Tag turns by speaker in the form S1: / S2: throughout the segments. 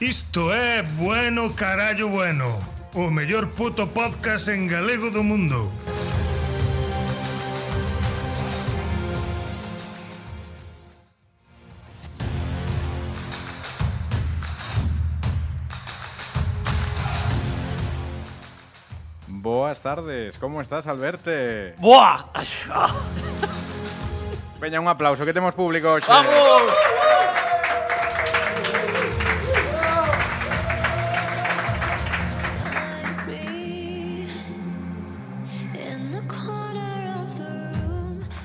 S1: Isto é Bueno Carallo Bueno, o mellor puto podcast en galego do mundo.
S2: Boas tardes, como estás, Alberte?
S3: Boa!
S2: Veña, un aplauso, que temos público hoxe.
S3: Vamos!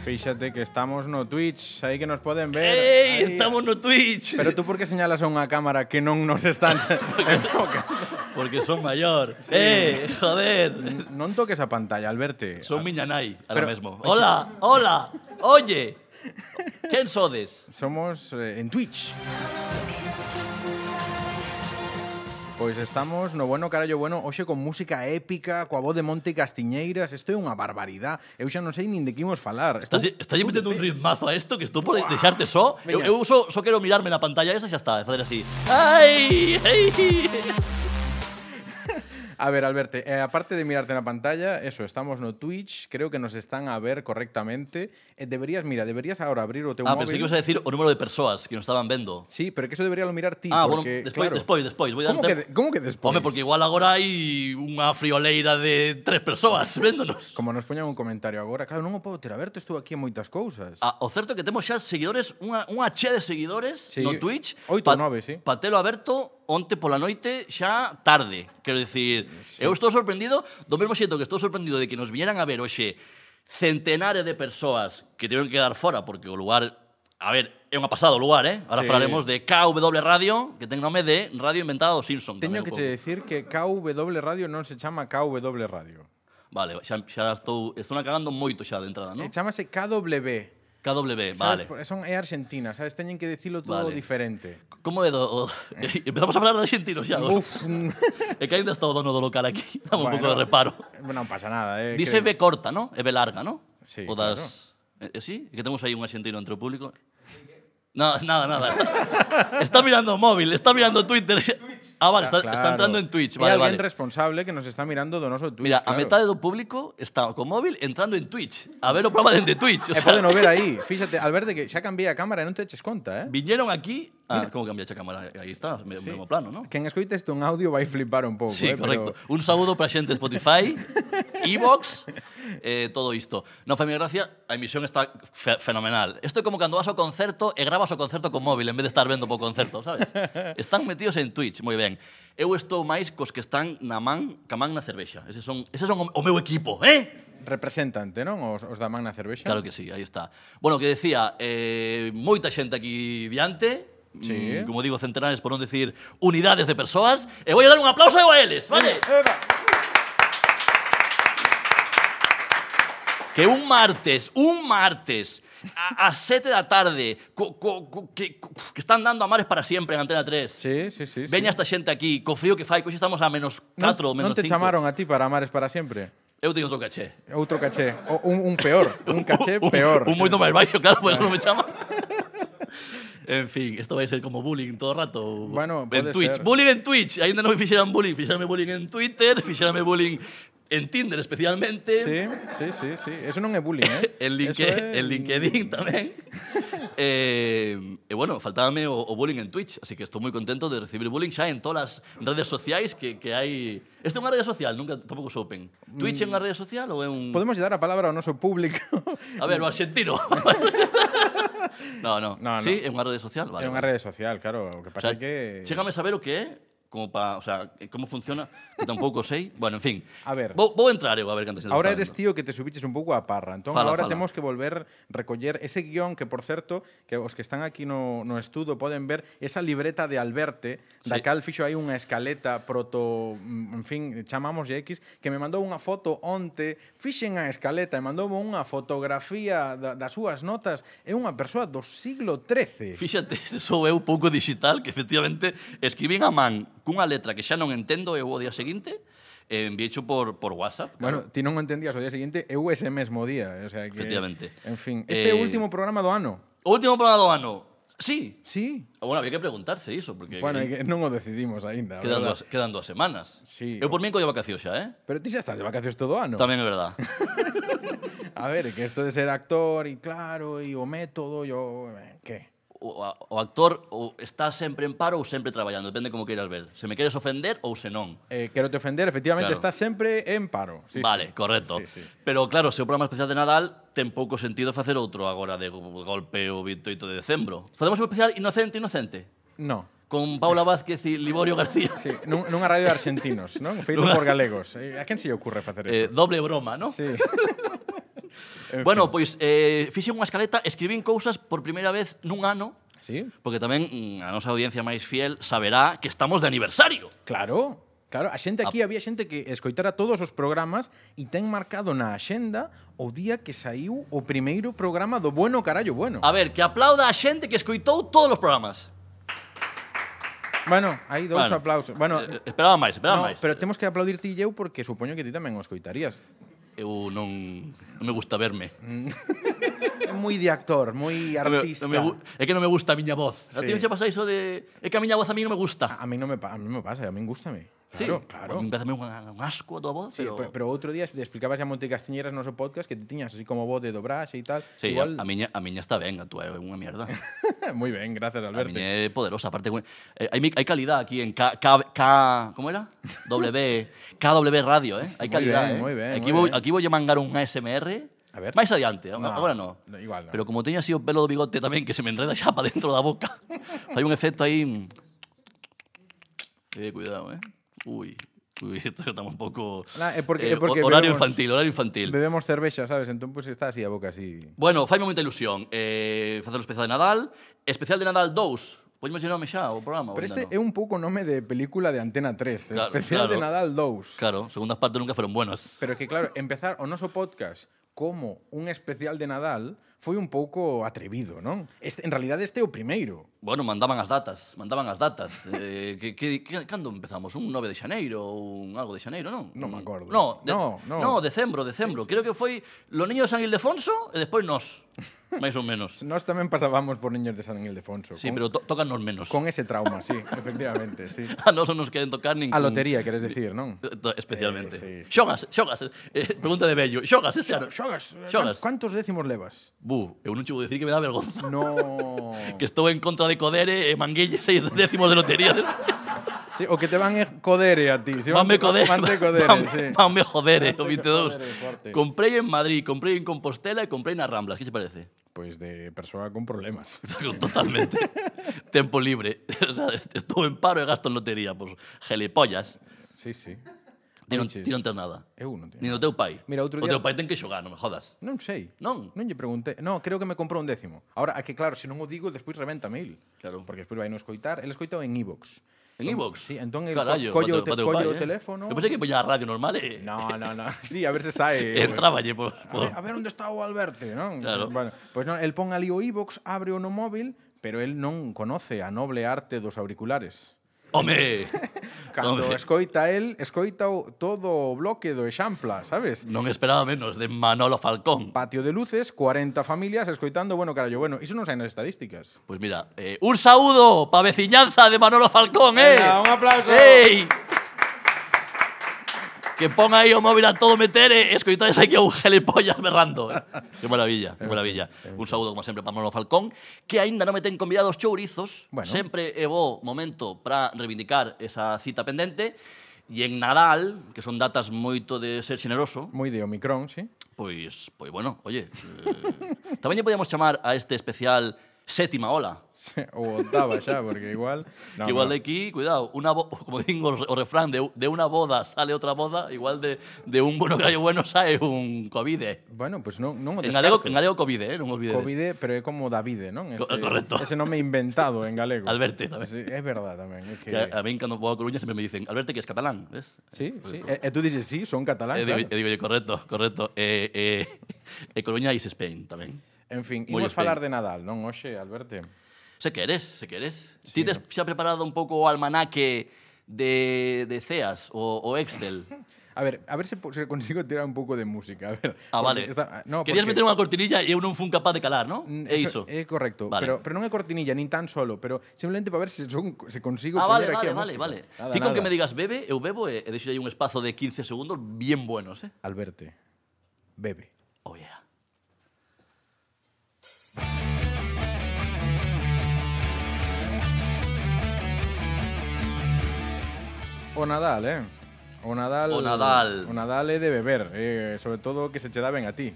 S2: Fíxate que estamos no Twitch, aí que nos poden ver.
S3: Ei,
S2: Aí.
S3: estamos no Twitch.
S2: Pero tú por que señalas a unha cámara que non nos están enfocando?
S3: Porque son maior. Eh, joder.
S2: Non toques a pantalla, Alberte.
S3: Son miña nai ahora
S2: Pero-
S3: mesmo. Hola, hola. Oye. Quen sodes?
S2: Somos eh, en Twitch. Pois estamos no bueno carallo bueno Hoxe con música épica, coa voz de Monte Castiñeiras Isto é unha barbaridad Eu xa non sei nin de que imos falar
S3: Estás, estás metendo un ritmazo a esto que estou por deixarte só. Eu,
S2: Veña.
S3: eu só, só quero mirarme na pantalla esa e xa está, e facer así. Ai, ai.
S2: A ver, Alberto, eh, aparte de mirarte en la pantalla, eso, estamos no Twitch, creo que nos están a ver correctamente. Eh, deberías, mira, deberías ahora abrir o teu
S3: Ah,
S2: móvil.
S3: pensei que ibas a decir o número de persoas que nos estaban vendo.
S2: Sí, pero que eso debería lo mirar ti,
S3: Ah,
S2: porque,
S3: bueno, despois,
S2: claro,
S3: despois, despois, vou
S2: ¿Cómo que, de-
S3: darte-
S2: ¿Cómo que despois?
S3: Home, porque igual agora hai unha frioleira de tres persoas véndonos.
S2: Como nos poñan un comentario agora, claro, non o podo ter aberto, estou aquí en moitas cousas.
S3: A, o certo é que temos xa seguidores, unha, unha che de seguidores
S2: Sí,
S3: no Twitch.
S2: oito ou nove, sí.
S3: Patelo aberto onte pola noite xa tarde. Quero dicir, eu estou sorprendido, do mesmo xeito que estou sorprendido de que nos vieran a ver hoxe centenares de persoas que tiveron que dar fora porque o lugar A ver, é unha pasada o lugar, eh? Ahora
S2: Sí.
S3: falaremos de KW Radio, que ten nome de Radio Inventada dos Simpson.
S2: Teño
S3: tamén
S2: que
S3: un
S2: che
S3: pouco.
S2: decir que KW Radio non se chama KW Radio.
S3: Vale, xa, xa estou, estou cagando moito xa de entrada,
S2: Eh,
S3: non?
S2: Chámase KW.
S3: KW, vale.
S2: ¿sabes? Por- Son é Argentina, sabes? Teñen que dicilo todo
S3: Vale.
S2: diferente.
S3: Como é do... o- Empezamos a falar de argentinos xa. agora.
S2: Eh. Uf. mm,
S3: É que ainda está o dono do local aquí. Dame un pouco
S2: bueno,
S3: de reparo.
S2: Non pasa nada, eh.
S3: Dice
S2: que-
S3: B corta, ¿no? E B larga, ¿no?
S2: Sí,
S3: o das... Eh, eh, sí? Que temos aí un argentino entre o público. No, nada, nada. Está, está mirando o móvil, está mirando o Twitter. Ah, vale, está, está
S2: Claro.
S3: entrando en Twitch.
S2: E
S3: Vale,
S2: alguén
S3: vale.
S2: responsable que nos está mirando do noso Twitch.
S3: Mira,
S2: claro.
S3: a metade do público está co móvil entrando en Twitch. A ver o programa dende Twitch. O
S2: E poden o Eh, ver aí. Fíxate, Alberto, que xa cambiei a cámara e non te eches conta, eh?
S3: Viñeron aquí... Ah, como cambiaste a cámara? Aí está, me- mesmo plano, ¿no?
S2: Quen escoite isto en audio vai flipar un pouco,
S3: Sí,
S2: eh?
S3: correcto.
S2: Pero...
S3: Un saúdo para xente de Spotify, Evox, eh, todo isto. No fai mi gracia, a emisión está fe fenomenal. Isto é como cando vas ao concerto e grabas o concerto con móvil en vez de estar vendo po concerto, sabes? Están metidos en Twitch, moi ben. Eu estou máis cos que están na man, ca man na cervexa. Eses son, eses son o, o meu equipo, eh?
S2: Representante, non? Os, os da Magna Cervexa.
S3: Claro que sí, aí está. Bueno, que decía, eh, moita xente aquí diante,
S2: Sí.
S3: mm, como digo, centenares por non decir unidades de persoas, e vou dar un aplauso eu a eles, vale? Que un martes, un martes, a- ás 7 da tarde, co, co, co, que, co- que están dando a mares para sempre en Antena 3.
S2: Sí, sí, sí. sí.
S3: Veña esta xente aquí, co frío que fai, que hoxe estamos a menos 4 ou
S2: non,
S3: menos 5.
S2: non te chamaron a ti para Amares para sempre?
S3: Eu teño outro caché.
S2: Outro caché. O, un, un peor. Un caché
S3: Un-
S2: peor.
S3: Un, moito máis baixo, claro, por eso non me chaman. en fin, isto vai ser como bullying todo o rato.
S2: Bueno,
S3: en
S2: pode
S3: Twitch.
S2: ser.
S3: Bullying en Twitch. Ainda non me fixeran bullying. Fixerame bullying en Twitter, fixerame bullying en Tinder especialmente.
S2: Sí, sí, sí, sí. Eso non é bullying, eh?
S3: El,
S2: Eso
S3: linke,
S2: é-
S3: el LinkedIn tamén. eh, e bueno, faltábame o, o bullying en Twitch, así que estou moi contento de recibir bullying xa en todas as redes sociais que, que hai... Esta é unha rede social, nunca tampouco soupen. Twitch é unha rede social ou é un...
S2: Mm. Podemos dar a palabra ao noso público.
S3: A ver, o argentino. no, no.
S2: No, no.
S3: Sí, é unha rede social, vale.
S2: é unha rede social, claro. O que
S3: O
S2: pasa
S3: sea,
S2: é que...
S3: Chégame a saber o que é, como pa, o sea, como funciona, que tampouco sei. Bueno, en fin.
S2: A ver.
S3: Vou, vou entrar eu a ver cantas xente
S2: Ahora
S3: está
S2: eres tío
S3: vendo.
S2: que te subiches un pouco a parra. Entón,
S3: Fala,
S2: agora
S3: fala.
S2: temos que volver recoller ese guión que, por certo, que os que están aquí no, no estudo poden ver esa libreta de Alberte, sí. da
S3: Sí.
S2: cal fixo hai unha escaleta proto, mm, en fin, chamamos X, que me mandou unha foto onte, fixen a escaleta e mandoume unha fotografía da, das súas notas. É unha persoa do siglo XIII.
S3: Fíxate, se sou eu pouco digital, que efectivamente escribín a man cunha letra que xa non entendo eu o día seguinte, e enviécho por, por WhatsApp.
S2: Bueno, ti non o entendías o día seguinte, eu ese mesmo día. eh, O sea que,
S3: Efectivamente.
S2: En fin, este é o
S3: Eh,
S2: último programa do ano.
S3: O último programa do ano. Sí.
S2: Sí.
S3: Bueno, había que preguntarse iso, porque
S2: Bueno, é que non o decidimos aínda.
S3: quedan,
S2: verdad.
S3: dos, quedan dos semanas.
S2: Sí.
S3: Eu por min coño vacacións xa, eh?
S2: Pero ti xa estás de vacacións todo o ano.
S3: Tamén é verdad.
S2: A ver, que esto de ser actor e claro, e o método, yo... eh, Que?
S3: o, a- o actor ou está sempre en paro ou sempre traballando, depende como queiras ver. Se me queres ofender ou se non.
S2: Eh, quero te ofender, efectivamente,
S3: Claro.
S2: estás sempre en paro. Sí, sí.
S3: vale, correcto.
S2: Sí, sí.
S3: Pero claro, se o programa especial de Nadal ten pouco sentido facer outro agora de go- golpe o 28 de decembro. Facemos un especial Inocente Inocente
S2: No.
S3: con Paula Vázquez e Liborio García.
S2: Sí, nun, nunha radio de argentinos, non? Feito
S3: Nunha-
S2: por galegos. Eh, a quen se lle ocurre facer
S3: Eh,
S2: eso?
S3: doble broma, ¿no?
S2: Sí.
S3: Bueno, pois eh, fixen unha escaleta, escribín cousas por primeira vez nun ano,
S2: Sí?
S3: porque tamén mm, a nosa audiencia máis fiel saberá que estamos de aniversario.
S2: Claro, claro. A xente
S3: Ah.
S2: aquí había xente que escoitara todos os programas e ten marcado na axenda o día que saiu o primeiro programa do Bueno Carallo Bueno.
S3: A ver, que aplauda a xente que escoitou todos os programas.
S2: Bueno, hai dous
S3: Bueno,
S2: aplausos. Bueno,
S3: Eh, esperaba máis, esperaba
S2: no,
S3: máis.
S2: pero temos que aplaudir ti eu porque supoño que ti tamén o escoitarías.
S3: Eu non, non me gusta verme.
S2: É moi de actor, moi
S3: Non me-
S2: artista.
S3: non me gu- é que non me gusta a miña voz. A ti
S2: Sí.
S3: se pasa iso de... É que a miña voz a mí non me gusta.
S2: A a mí non me pa- a mí me pasa, a mí gustame. Claro,
S3: sí,
S2: claro.
S3: Me parece un asco a tua voz,
S2: Sí,
S3: pero...
S2: pero, pero outro día explicabas a Monte Castiñeras no seu podcast que ti tiñas así como voz de dobraxe e tal.
S3: Sí,
S2: Igual,
S3: a, a, miña, a miña está ben, a tua é unha mierda.
S2: moi ben, gracias
S3: A
S2: Alberto.
S3: miña é poderosa, aparte... bueno, Eh, hai, mi- hai calidad aquí en K... K, K como era? W... KW Radio, eh?
S2: Moi
S3: Hai calidad,
S2: ben,
S3: eh?
S2: moi ben,
S3: Aquí
S2: moi ben.
S3: vou, aquí vou lle mangar unha SMR...
S2: A ver.
S3: Máis adiante, a-
S2: No,
S3: agora no.
S2: no, igual no.
S3: Pero como teño así o pelo do bigote tamén que se me enreda xa para dentro da boca, hai un efecto aí... mm, Eh, cuidado, eh. Ui, ui, esto estamos un pouco...
S2: Na, é Ah, porque- é
S3: eh,
S2: porque
S3: ho- horario
S2: bebemos-
S3: infantil, horario infantil.
S2: Bebemos cervexa, sabes? Entón, pois, está así a boca así...
S3: Bueno, faime moita ilusión eh, facer o especial de Nadal. Especial de Nadal 2. Podemos lle nome xa o programa? ou
S2: Pero este
S3: ainda
S2: é
S3: non?
S2: un pouco nome de película de Antena 3,
S3: Claro,
S2: especial de
S3: claro.
S2: Nadal 2.
S3: Claro, segundas partes nunca fueron buenas.
S2: Pero que claro, empezar o noso podcast como un especial de Nadal foi un pouco atrevido, non? Este, en realidad este é o primeiro.
S3: Bueno, mandaban as datas, mandaban as datas. eh, que, que, que, cando empezamos? Un 9 de xaneiro ou un algo de xaneiro, non?
S2: Non me acordo.
S3: No, de,
S2: No, no.
S3: no, no. decembro, decembro. Creo que foi los niños de San Ildefonso e despois nós, máis ou menos.
S2: Nós tamén pasábamos por Niños de San Ildefonso.
S3: Sí,
S2: con,
S3: pero to, tocan nos menos.
S2: con ese trauma, sí, efectivamente, sí.
S3: A nós non nos queren tocar ningún...
S2: A lotería, queres decir, non?
S3: Eh, to- Especialmente.
S2: Eh, sí, sí.
S3: Xogas, xogas. Eh, pregunta de Bello. Xogas este ano.
S2: Xogas, eh,
S3: Xogas.
S2: can- cantos décimos levas?
S3: Bu, eu non che vou dicir que me dá vergonza.
S2: No.
S3: Que estou en contra de Codere e Manguille seis décimos de lotería.
S2: Sí, o que te van é codere a ti. Si
S3: Vanme Codere.
S2: Vanme codere,
S3: vanme-
S2: sí.
S3: vanme jodere, o
S2: Vanme
S3: 22.
S2: jodere, forte.
S3: Comprei en Madrid, comprei en Compostela e comprei nas Ramblas. Que se parece?
S2: Pois de persoa con problemas.
S3: Totalmente. Tempo libre. o sea, est- estou en paro e gasto en lotería. Pois, gelepollas.
S2: Sí, sí.
S3: Ti non,
S2: Manches.
S3: ti non ter nada.
S2: Eu non
S3: Ni
S2: teño.
S3: no teu pai.
S2: Mira, outro
S3: o
S2: día-
S3: teu pai ten que xogar, non me jodas.
S2: Non sei.
S3: Non?
S2: Non lle preguntei. No, creo que me comprou un décimo. Ahora, a que claro, se non o digo, despois reventa mail.
S3: Claclaro.
S2: Porque despois vai non escoitar. El escoitou en iVox.
S3: En iVox?
S2: Sí, entón el
S3: Carallo,
S2: co- collo,
S3: pa
S2: o te,
S3: teu- pa teu
S2: collo o
S3: pai, eh.
S2: teléfono.
S3: Eu pensei que poña a radio normal eh. e...
S2: No, no, no. Sí, a ver se sae.
S3: e Entráballe por...
S2: A ver, a ver onde está o Alberto, non?
S3: Claro.
S2: Bueno, pois non, el pon ali o iVox, abre o no móvil, pero el non conoce a noble arte dos auriculares.
S3: Home!
S2: Cando
S3: Home,
S2: escoita el, escoita o- todo o bloque do Exampla, sabes?
S3: non esperaba menos de Manolo Falcón.
S2: Patio de luces, 40 familias escoitando, bueno, carallo, bueno, iso non sai nas estadísticas.
S3: Pois mira, eh, un saúdo pa veciñanza de Manolo Falcón, eh.
S2: Venga, un aplauso.
S3: Ei. Que ponga aí o móvil a todo meter eh. e escoitades aquí a un gelepollas berrando. eh. Que maravilla, que maravilla. Un saúdo, como sempre, para Manolo Falcón, que aínda non me ten convidados chourizos.
S2: Bueno.
S3: Sempre é bo momento para reivindicar esa cita pendente. E en Nadal, que son datas moito de ser xeneroso,
S2: Moi de Omicron, sí?
S3: Pois, pois bueno, oye, eh, tamén lle podíamos chamar a este especial Sétima Ola.
S2: Ou octava xa, porque igual...
S3: que igual de aquí, cuidado, una bo- como din o, re- o refrán, de, u- de unha boda sale outra boda, igual de, de un bueno gallo bueno sae un COVID. eh.
S2: Bueno, pois non, non o
S3: En galego, en
S2: descarto.
S3: galego COVID, eh, non olvides.
S2: Covid, pero é como Davide, non? Ese,
S3: Co- correcto.
S2: Ese nome inventado en galego.
S3: Alberto tamén.
S2: Sí, é verdade tamén. É que...
S3: Que a, a min cando vou a Coruña sempre me dicen, Alberto, que es catalán, ves?
S2: Sí, sí. E, e tú dices, sí, son catalán,
S3: E digo,
S2: claro.
S3: e digo, "Oye, correcto, correcto. E, e, e Coruña is Spain tamén.
S2: En fin,
S3: Moi
S2: imos
S3: Spain.
S2: falar de Nadal, non? Oxe, Alberto.
S3: Se queres, se queres. Ti tes xa preparado un pouco o almanaque de, de CEAS o, o Excel.
S2: A ver, a ver si, po- si consigo tirar un pouco de música. A ver,
S3: Ah,
S2: porque
S3: vale.
S2: Pues está- no,
S3: Querías
S2: porque-
S3: meter unha cortinilla e eu non fun capaz de calar, E non?
S2: Mm,
S3: É iso.
S2: É correcto,
S3: Vale.
S2: pero, pero non é cortinilla, nin tan solo, pero simplemente para ver se, son, se consigo
S3: Ah, vale,
S2: poñer aquí a
S3: vale, vale,
S2: música.
S3: vale.
S2: Nada,
S3: Ti con que
S2: nada.
S3: me digas bebe, eu bebo e, e deixo aí un espazo de 15 segundos bien buenos, eh?
S2: Alberte, bebe.
S3: Oh, yeah.
S2: O Nadal, eh? O Nadal,
S3: O Nadal.
S2: O Nadal é de beber, eh, sobre todo que se che dá ben a ti.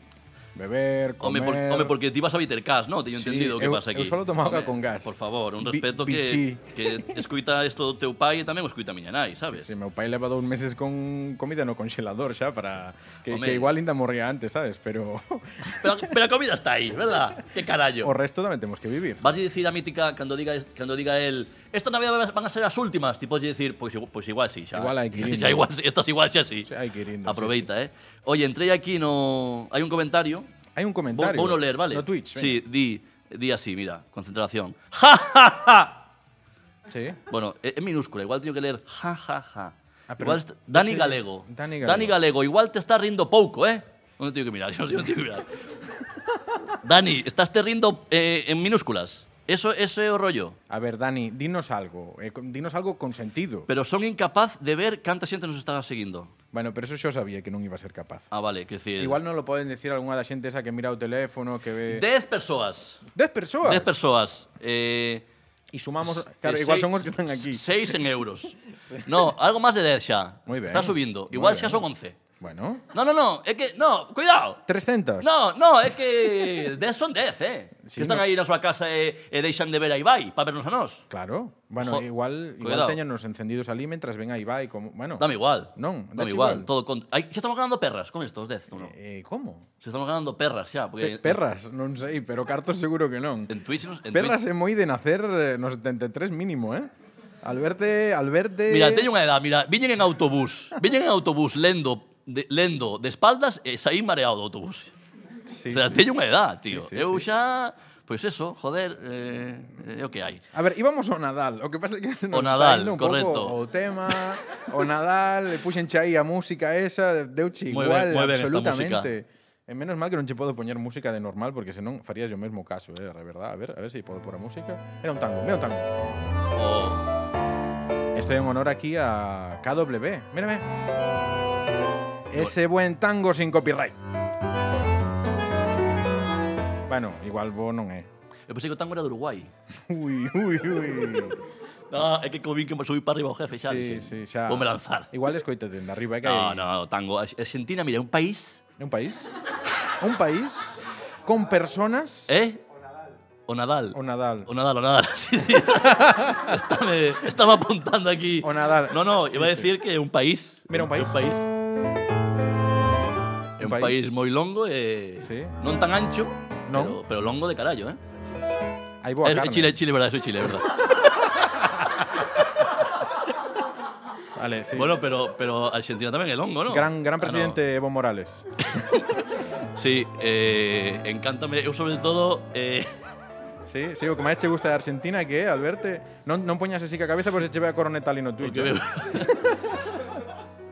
S2: Beber,
S3: Home,
S2: comer...
S3: por, home, porque ti vas a Vitercás, non? Teño
S2: Sí,
S3: entendido o que
S2: eu-
S3: pasa aquí.
S2: eu solo tomaba
S3: Home,
S2: con gas.
S3: Por favor, un
S2: Pi-
S3: respeto
S2: pichí.
S3: que, que escuita isto do teu pai e tamén o escuita a miña nai, sabes?
S2: Si, meu pai leva dous meses con comida no congelador xa para que,
S3: Home.
S2: que igual ainda morría antes, sabes? Pero
S3: Pero, pero a comida está aí, verdad? Que carallo.
S2: o resto tamén temos que vivir.
S3: Vas a dicir a mítica cando diga cando diga el esta Navidad van a ser as últimas, tipo de dicir, pois igu- pois igual si, xa.
S2: Igual hai que ir indo.
S3: xa igual, si, estas igual xa si.
S2: Sí, hai que ir indo, sí,
S3: Aproveita, eh. Oye, entrei aquí no hai un comentario.
S2: Hai un
S3: Vou
S2: comentario.
S3: vouno ler, vale?
S2: No Twitch, veña.
S3: Sí, di di así, mira, concentración. Ja ja ja.
S2: Sí.
S3: Bueno, é, é minúscula, igual teño que ler ja ja ja.
S2: Ah, pero
S3: igual est-
S2: ese-
S3: Dani Galego.
S2: Dani Galego.
S3: Galego, igual te estás rindo pouco, eh? Non teño que mirar, yo non teño que mirar. Dani, estás te rindo eh, en minúsculas. Eso, eso é o rollo.
S2: A ver, Dani, dinos algo. eh, con- dinos algo con sentido.
S3: Pero son incapaz de ver canta xente nos está seguindo.
S2: bueno, pero eso yo sabía que non iba a ser capaz.
S3: Ah, vale, que decir...
S2: Igual non lo poden decir algunha da xente esa que mira o teléfono, que ve...
S3: 10 persoas.
S2: Dez persoas.
S3: 10 persoas. Eh,
S2: E sumamos... Claro, igual son os que están aquí.
S3: 6 en euros. No, algo máis de 10 xa.
S2: Moi ben.
S3: Está subindo.
S2: Moi
S3: Igual xa
S2: ben.
S3: son 11.
S2: Bueno,
S3: No, no, no, é que... No, cuidado.
S2: 300.
S3: No, no, é que 10 son 10, eh.
S2: Sí,
S3: que están
S2: no.
S3: aí na súa casa e, e deixan de ver a Ibai para vernos a nós.
S2: Claro. Bueno,
S3: Jo-
S2: igual, igual
S3: cuidado.
S2: teñanos encendidos ali mentras ven aí vai como... Bueno,
S3: Dame igual.
S2: Non, dache
S3: dame
S2: igual.
S3: igual. Todo con... Ai, xa estamos ganando perras con estos 10, no?
S2: eh, como?
S3: Se estamos ganando perras xa, porque
S2: Pe- Perras, non sei, pero cartos seguro que non.
S3: Eh, en Twitch, nos- en Twitch
S2: Perras é moi de nacer eh, nos 73 mínimo, eh? Alberte, Alberte...
S3: Mira, teño unha edad, mira, viñen en autobús, viñen en autobús lendo, de, lendo de espaldas eh, e saí mareado do autobús.
S2: Sí,
S3: o sea,
S2: sí.
S3: teño unha edad, tío.
S2: Sí, sí,
S3: eu
S2: sí.
S3: xa, pois pues eso, joder, eh, é o que hai.
S2: A ver, íbamos ao Nadal. O que pasa é que nos
S3: O
S2: está
S3: Nadal,
S2: indo un
S3: correcto.
S2: pouco o tema, o Nadal, le puxenche aí a música esa, deuche
S3: Moi
S2: igual
S3: ben, moi ben esta
S2: absolutamente. E menos mal que non che podo poñer música de normal porque senón farías o mesmo caso, eh, de verdad. A ver, a ver se si podo pôr a música. Era un tango, mira un tango.
S3: O,
S2: Estoy en honor aquí a KW. Mírame. Ese buen tango sin copyright. Bueno, igual vos non é.
S3: eu pensei que o tango era de Uruguai.
S2: Ui, ui, ui.
S3: No, é que como vin que me subí para arriba o jefe, xa,
S2: Sí,
S3: dixen,
S2: sí, xa.
S3: Vou me lanzar.
S2: Igual escoita dende arriba, é que hai
S3: No, no, o tango. Ar- Argentina, mira, é un país,
S2: un país. Un país con personas
S3: eh? O Nadal.
S2: o Nadal.
S3: O Nadal, o Nadal. Sí, sí. Estame, estaba apuntando aquí.
S2: O Nadal.
S3: No, no,
S2: Sí,
S3: iba a
S2: sí.
S3: decir que é un país.
S2: Mira, un
S3: É
S2: país.
S3: Un país.
S2: Un
S3: É un
S2: país.
S3: país moi longo e
S2: Sí.
S3: non tan ancho,
S2: Non.
S3: pero, pero longo de carallo, eh?
S2: Hai boa
S3: É- é
S2: carne.
S3: Chile, Chile, verdad, soy Chile, verdad.
S2: Vale, sí.
S3: Bueno, pero pero Argentina tamén é longo, ¿no?
S2: gran gran
S3: Ah, no.
S2: presidente Evo Morales.
S3: Sí, eh, encántame, eu sobre todo eh,
S2: Sí, sí, o que máis che gusta de Argentina que é, Alberto, non non poñas así que a cabeza porque se che ve a coroneta ali no
S3: o
S2: Twitch.
S3: que veo.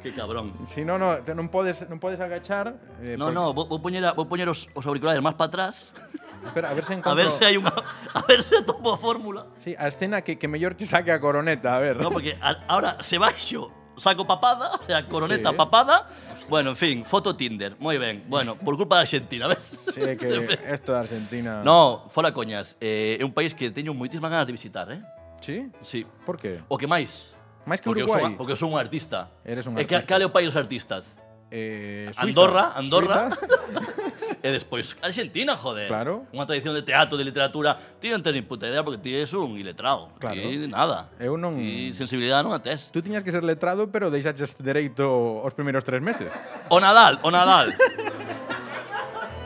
S3: Qué cabrón.
S2: Si no, no, te- non podes, non podes agachar. eh,
S3: No,
S2: porque-
S3: no, vou, vou poñer, a, vou poñer os, os auriculares máis para atrás
S2: Espera, a ver se encontro.
S3: a ver se hai unha a ver se atopo a fórmula.
S2: Sí, a escena que, que mellor che saque a coroneta, a ver.
S3: No, porque a- ahora se baixo, saco papada, o sea, coroneta
S2: Sí.
S3: papada. Bueno, en fin, foto Tinder, moi ben. Bueno, por culpa da Argentina, ves?
S2: Sí, que esto de Argentina.
S3: No, fora coñas, eh, é un país que teño moitísimas ganas de visitar, eh?
S2: Sí?
S3: Sí.
S2: Por que?
S3: O que máis?
S2: Máis que
S3: porque eu
S2: Uruguai.
S3: sou, porque eu sou un artista.
S2: Eres un
S3: E que-
S2: artista.
S3: cal é o país dos artistas?
S2: Eh,
S3: Andorra, Andorra.
S2: Suiza.
S3: E despois Argentina, joder.
S2: Claro.
S3: Unha tradición de teatro, de literatura. Ti non tens ni puta idea porque ti és un iletrao.
S2: Claro.
S3: Ti nada.
S2: Eu Eh, non-
S3: Ti sensibilidade non a tes.
S2: Tú tiñas que ser letrado, pero deixaches dereito os primeiros tres meses.
S3: O Nadal, o Nadal.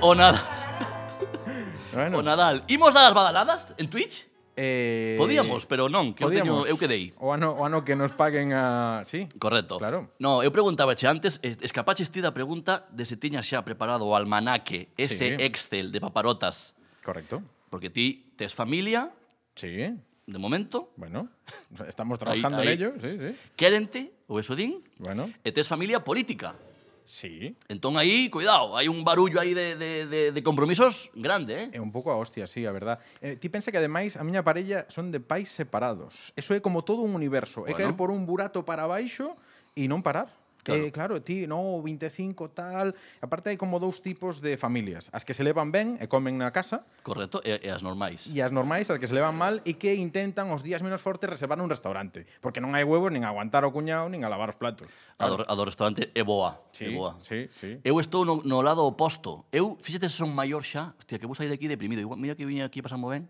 S3: o Nadal.
S2: Bueno,
S3: O Nadal. Imos dar as badaladas en Twitch?
S2: eh,
S3: Podíamos, pero non, que eu teño- eu quedei.
S2: O ano, o ano que nos paguen a... Sí?
S3: Correcto.
S2: Claro.
S3: No, eu preguntaba che antes, es- escapaches ti da pregunta de se tiñas xa preparado o almanaque, ese
S2: Sí.
S3: Excel de paparotas.
S2: Correcto.
S3: Porque ti tes familia,
S2: Sí.
S3: de momento,
S2: Bueno, estamos trabajando
S3: ahí.
S2: en ello. Sí, sí.
S3: quérente, ou eso din,
S2: Bueno,
S3: e tes familia política.
S2: sí.
S3: Entón aí, cuidado, hai un barullo aí de, de, de, de compromisos grande, eh?
S2: É un pouco a hostia, sí, a verdad. Eh, ti pensa que ademais a miña parella son de pais separados. Eso é como todo un universo. Bueno. É
S3: Bueno.
S2: caer por un burato para baixo e non parar. Claro.
S3: Claro.
S2: Eh, claro, ti, no, 25 tal... Aparte hai como dous tipos de familias. As que se levan ben e comen na casa
S3: Correcto, e, e as normais.
S2: e as normais, as que se levan mal e que intentan os días menos fortes reservar un restaurante. Porque non hai huevos nin a aguantar o cuñado nin a lavar os platos.
S3: A do, a do restaurante é boa.
S2: Sí,
S3: é boa. Eh,
S2: sí, sí.
S3: Eu estou no, no lado oposto. Eu, fíxate se son maior xa, hostia, que vou sair daqui deprimido. Igual, mira que viña aquí pasando ben.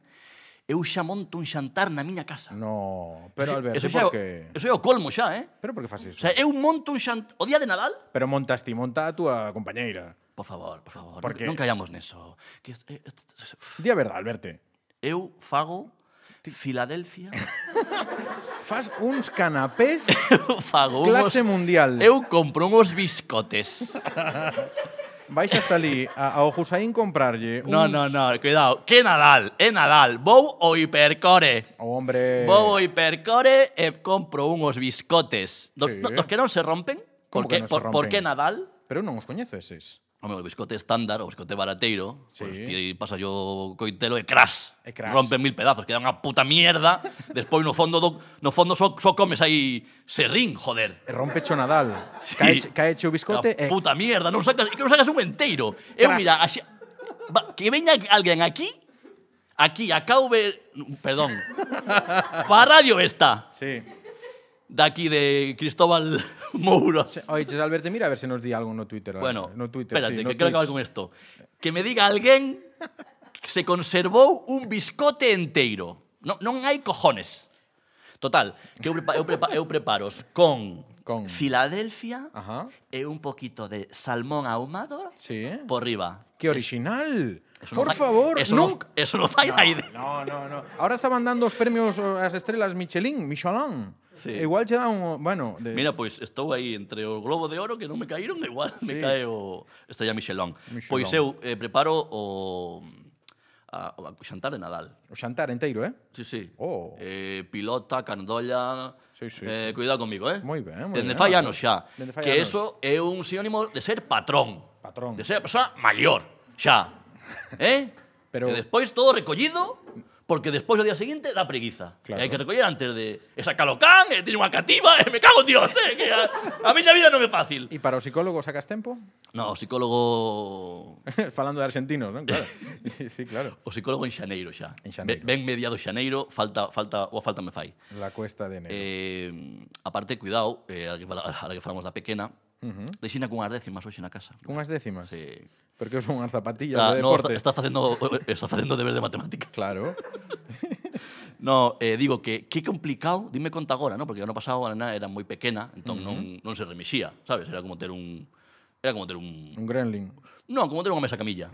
S3: Eu xa monto un xantar na miña casa.
S2: No, Mm, pero Alberto,
S3: eso,
S2: por
S3: xa, é o-
S2: que...
S3: eso é o colmo xa, eh?
S2: Pero por que fas iso?
S3: O sea, eu monto un xantar... O día de Nadal,
S2: Pero montas ti, monta a túa compañeira.
S3: Por favor, por favor,
S2: Porque-
S3: porque... non callamos neso. Que es- eh, est- est-
S2: Di a verdade, Alberto.
S3: eu fago Filadelfia,
S2: Fas uns canapés
S3: eu fago
S2: clase
S3: unos...
S2: mundial. Eu...
S3: Eu compro uns biscotes.
S2: Vais hasta ali a, ao Husaín comprarlle
S3: No,
S2: uns...
S3: no, no, cuidado. Que Nadal, é Nadal. Vou ao hipercore.
S2: Oh, hombre...
S3: Vou ao hipercore e compro unos biscotes. Do,
S2: Sí.
S3: no, dos que non se rompen.
S2: Como que
S3: Porque,
S2: non se
S3: por,
S2: rompen?
S3: por que Nadal?
S2: Pero eu non os coñezo eses.
S3: Home, o biscote estándar, o biscote barateiro,
S2: Sí.
S3: sí. pues ti pasa yo coitelo e crash.
S2: E crash.
S3: Rompen mil pedazos, queda unha puta mierda. Despois no fondo do, no fondo só, só comes aí serrín, joder.
S2: E Rompe cho Nadal. Sí. Caeche, caeche o biscote e...
S3: e... puta mierda, non sacas, que non sacas un enteiro. Eu
S2: Crash.
S3: mira, así, va, que veña alguén aquí, aquí a KV, perdón. Va a radio esta,
S2: Sí.
S3: daqui de Cristóbal Mouros.
S2: Oiches, Alberto, mira a ver se nos di algo no Twitter. eh,
S3: Bueno,
S2: no Twitter,
S3: espérate,
S2: sí, no
S3: que quiero acabar
S2: Twitch.
S3: con esto. Que me diga alguén que se conservou un biscote enteiro. No, non hai cojones. Total, que eu, prepa, eu, prepa, eu preparos con,
S2: Con.
S3: Filadelfia
S2: Ajá.
S3: e un poquito de salmón ahumado
S2: Sí.
S3: por riba.
S2: Que original.
S3: Eso
S2: Por
S3: non fai-
S2: favor,
S3: eso non,
S2: nunca...
S3: eso non fai na idea.
S2: No, no, no. Ahora estaban dando os premios o, as estrelas Michelin, Michelin.
S3: Sí.
S2: E Igual che dan un, bueno, de
S3: Mira, pois estou aí entre o globo de oro que non me caíron, e igual
S2: Sí.
S3: sí. me cae o estrella Michelin.
S2: Michelin.
S3: Pois eu eh, preparo o a, o xantar de Nadal.
S2: o xantar enteiro, eh?
S3: Sí, sí.
S2: Oh.
S3: Eh, pilota, candolla...
S2: Sí, sí,
S3: eh, Cuidado conmigo, eh?
S2: Moi ben, moi
S3: Dende
S2: ben,
S3: fai
S2: Álvaro.
S3: anos xa.
S2: Dende fai
S3: que
S2: anos.
S3: eso é un sinónimo de ser patrón.
S2: Patrón.
S3: De ser a persoa maior, xa. eh?
S2: Pero-
S3: E despois todo recollido, porque despois o día seguinte dá preguiza.
S2: Claro.
S3: E hai que recoller antes de... E sacalo can, e teño unha cativa, e me cago en Dios, eh? Que a, a miña vida non é fácil.
S2: E para o psicólogo sacas tempo?
S3: No, o psicólogo...
S2: Falando de argentinos, non? Claro. sí, sí, claro.
S3: O psicólogo en xaneiro xa.
S2: En xaneiro.
S3: Ben mediado xaneiro, falta, falta, ou a falta me fai.
S2: La cuesta de enero.
S3: Eh, aparte, cuidado, eh, ahora, que, fala- ahora que falamos da pequena, deixina cunhas décimas hoxe na casa.
S2: Unhas décimas.
S3: Sí.
S2: Porque son unhas zapatillas
S3: Está,
S2: de
S3: no,
S2: deporte.
S3: está, está facendo está facendo deber de matemática.
S2: Claro.
S3: No, eh, digo que que complicado, dime conta agora, ¿no? porque ano pasado a nena era moi pequena, entón non, non se remexía, sabes? Era como ter un era como ter un
S2: Un gremlin.
S3: Non, como ter unha mesa camilla.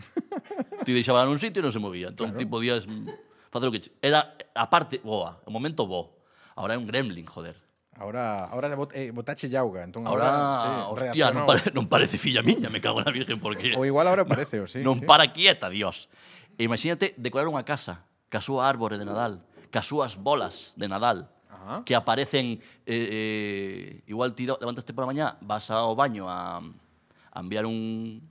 S3: Ti deixaba nun sitio e non se movía. Entón, claro. ti podías mm, facer o que... che- Era, aparte, boa, o momento bo. Ahora é un gremlin, joder.
S2: Ahora, ahora bot, eh, botache yauga. Entón,
S3: Ahora,
S2: sí,
S3: hostia,
S2: reaccionou.
S3: non, pare, non parece filla miña, me cago na virgen, porque
S2: O igual ahora parece, o sí.
S3: non
S2: sí.
S3: para quieta, dios. E imagínate decorar unha casa, ca súa árbore de Nadal, ca súas bolas de Nadal,
S2: Ajá.
S3: que aparecen, eh, eh, igual tiro, levantaste pola mañá, vas ao baño a, a enviar un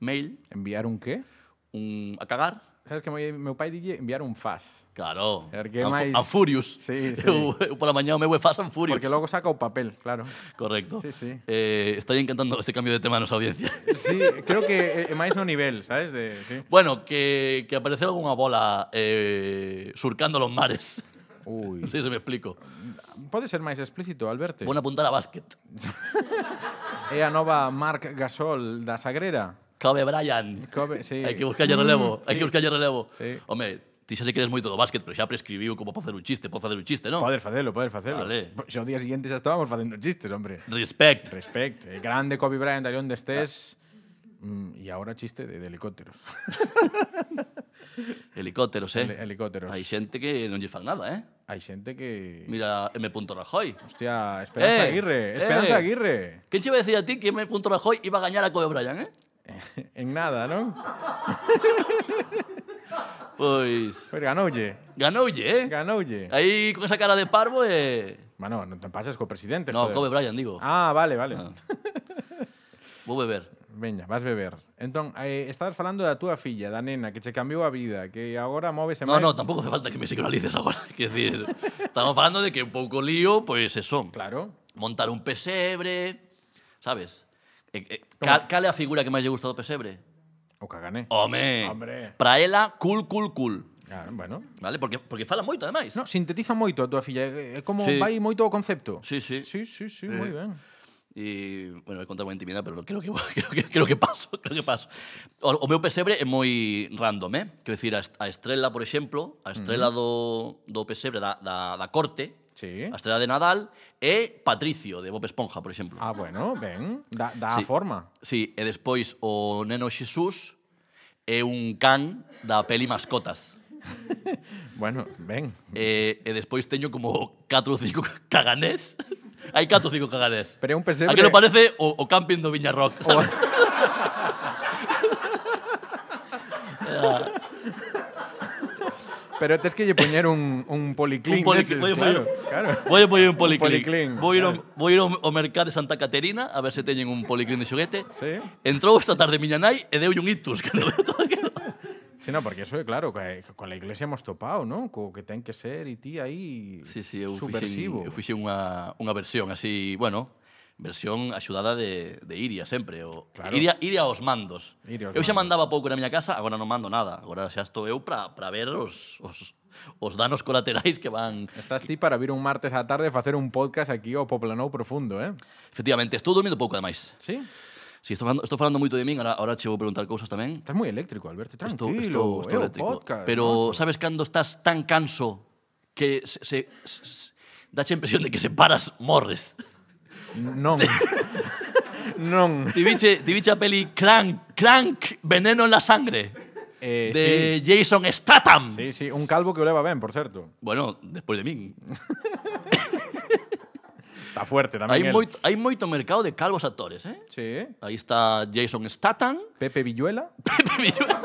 S3: mail,
S2: Enviar un qué?
S3: un, a cagar,
S2: Sabes que meu, meu pai dille enviar un faz.
S3: Claro.
S2: Er, que
S3: a,
S2: máis-
S3: a Furious.
S2: Sí, sí.
S3: Eu, eu pola mañá o meu é Fast and Furious.
S2: Porque logo saca o papel, claro.
S3: Correcto.
S2: Sí, sí.
S3: Eh, estoy encantando este cambio de tema a nosa audiencia.
S2: Sí, creo que é, é máis no nivel, sabes? De, sí.
S3: bueno, que, que apareceu algunha bola eh, surcando los mares.
S2: Ui.
S3: Non sei se me explico.
S2: Pode ser máis explícito, Alberto.
S3: Vou apuntar a básquet.
S2: É a nova Marc Gasol da Sagrera.
S3: Kobe Bryant.
S2: Kobe, sí.
S3: Hai que buscarlle relevo. Hai que buscarlle relevo.
S2: Sí.
S3: Home, ti xa se queres moito do básquet, pero xa prescribiu como para facer un chiste, para facer un chiste, non?
S2: Podes facelo, podes facelo.
S3: Vale.
S2: Se o día siguiente xa estábamos facendo chistes, hombre.
S3: Respect.
S2: Respect. Eh, grande Kobe Bryant, allí onde estés. Mm, y ahora chiste de, de helicópteros.
S3: Helicópteros, eh?
S2: Heli- helicópteros.
S3: Hai xente que non lle fan nada, eh?
S2: Hai xente que...
S3: Mira M. Rajoy.
S2: Hostia, Esperanza
S3: Eh,
S2: Aguirre.
S3: eh.
S2: Esperanza Aguirre.
S3: ¿Quién te iba a decir a ti que M. Rajoy iba a ganar a Kobe Bryant, eh?
S2: En nada, non?
S3: Pois
S2: Pero ganoulle.
S3: ganoulle, eh?
S2: Ganoulle.
S3: Aí con esa cara de parvo eh,
S2: Mano, non te pases co presidente.
S3: No,
S2: joder.
S3: Kobe Bryant, digo.
S2: Ah, vale, vale.
S3: Ah. Vou beber.
S2: Veña, vas beber. Entón, eh, estabas falando da túa filla, da nena, que che cambiou a vida, que agora móvese
S3: No,
S2: máis...
S3: no, tampouco hace falta que me psicoanalices agora. Quer decir, estamos falando de que un pouco lío, pois pues, eso.
S2: Claro.
S3: Montar un pesebre, sabes? Eh, eh, cal, cal é a figura que máis lle gusta do pesebre?
S2: O cagané.
S3: Oh. Home,
S2: Hombre.
S3: pra ela, cool, cool, cool.
S2: Claro, bueno.
S3: Vale? Porque, porque fala moito, ademais.
S2: No, sintetiza moito a túa filla, é é como
S3: Sí.
S2: vai moito o concepto.
S3: Sí, sí. Eh,
S2: Sí, sí, sí, moi ben.
S3: E, bueno, he contado unha intimidade, pero creo que, creo que, creo que paso, creo que paso. O, o meu pesebre é moi random, eh? Quero dicir, a, est- a estrela, por exemplo, a estrela do, do pesebre da, da, da corte,
S2: Sí.
S3: a estrela de Nadal, é Patricio, de Bob Esponja, por exemplo.
S2: Ah, bueno, ben. Da, da
S3: Sí.
S2: forma.
S3: Sí, e despois o neno Xesús é un can da peli Mascotas.
S2: Bueno, ben.
S3: E, e despois teño como 4 ou 5 caganés. Hai 4 ou 5 caganés.
S2: Pero é un pesebre-
S3: A que non parece o, o camping do Viña Rock.
S2: O,
S3: ¿sabes?
S2: pero tes que lle poñer un, un policlín.
S3: Un policlín,
S2: deses,
S3: voy a
S2: claro,
S3: poñer-
S2: claro.
S3: Voy a poñer un
S2: policlín,
S3: policlín. Vou ir, ao,
S2: claro.
S3: vou ir ao, ao mercado de Santa Caterina a ver se teñen un policlín de xoguete.
S2: Sí.
S3: Entrou esta tarde miña nai e deu un ictus. Cando veu todo aquilo.
S2: Sí, no, porque eso é claro, que con la iglesia hemos topado, ¿no? Co que ten que ser e ti aí
S3: Sí, sí, eu fixen,
S2: subversivo.
S3: eu fixen unha, unha versión así, bueno, versión axudada de, de Iria sempre. O,
S2: Claro.
S3: Iria, Iria aos mandos.
S2: Iria aos
S3: eu xa
S2: mandos.
S3: mandaba pouco na miña casa, agora non mando nada. Agora xa estou eu para para ver os, os, os danos colaterais que van...
S2: Estás ti para vir un martes á tarde facer un podcast aquí ao Poplanou Profundo, eh?
S3: Efectivamente, estou dormindo pouco, ademais.
S2: Sí.
S3: Si, estou falando, estou falando moito de min, ahora, ahora che vou preguntar cousas tamén.
S2: Estás moi eléctrico, Alberto.
S3: Estou-
S2: Tranquilo,
S3: estou- estou
S2: é o
S3: eléctrico.
S2: podcast.
S3: Pero sabes cando estás tan canso que se, se, se, se dache a impresión de que se paras, morres.
S2: Non. non.
S3: Ti viche, ti viche a peli Crank, Crank, Veneno en la Sangre
S2: Eh,
S3: de Jason Statham.
S2: sí. sí, sí, un calvo que oleva ben, por certo.
S3: Bueno, despois de min.
S2: Está fuerte tamén
S3: Hai
S2: el.
S3: moito, hai moito mercado de calvos actores, eh?
S2: Sí.
S3: Aí está Jason Statham,
S2: Pepe Villuela.
S3: Pepe Villuela.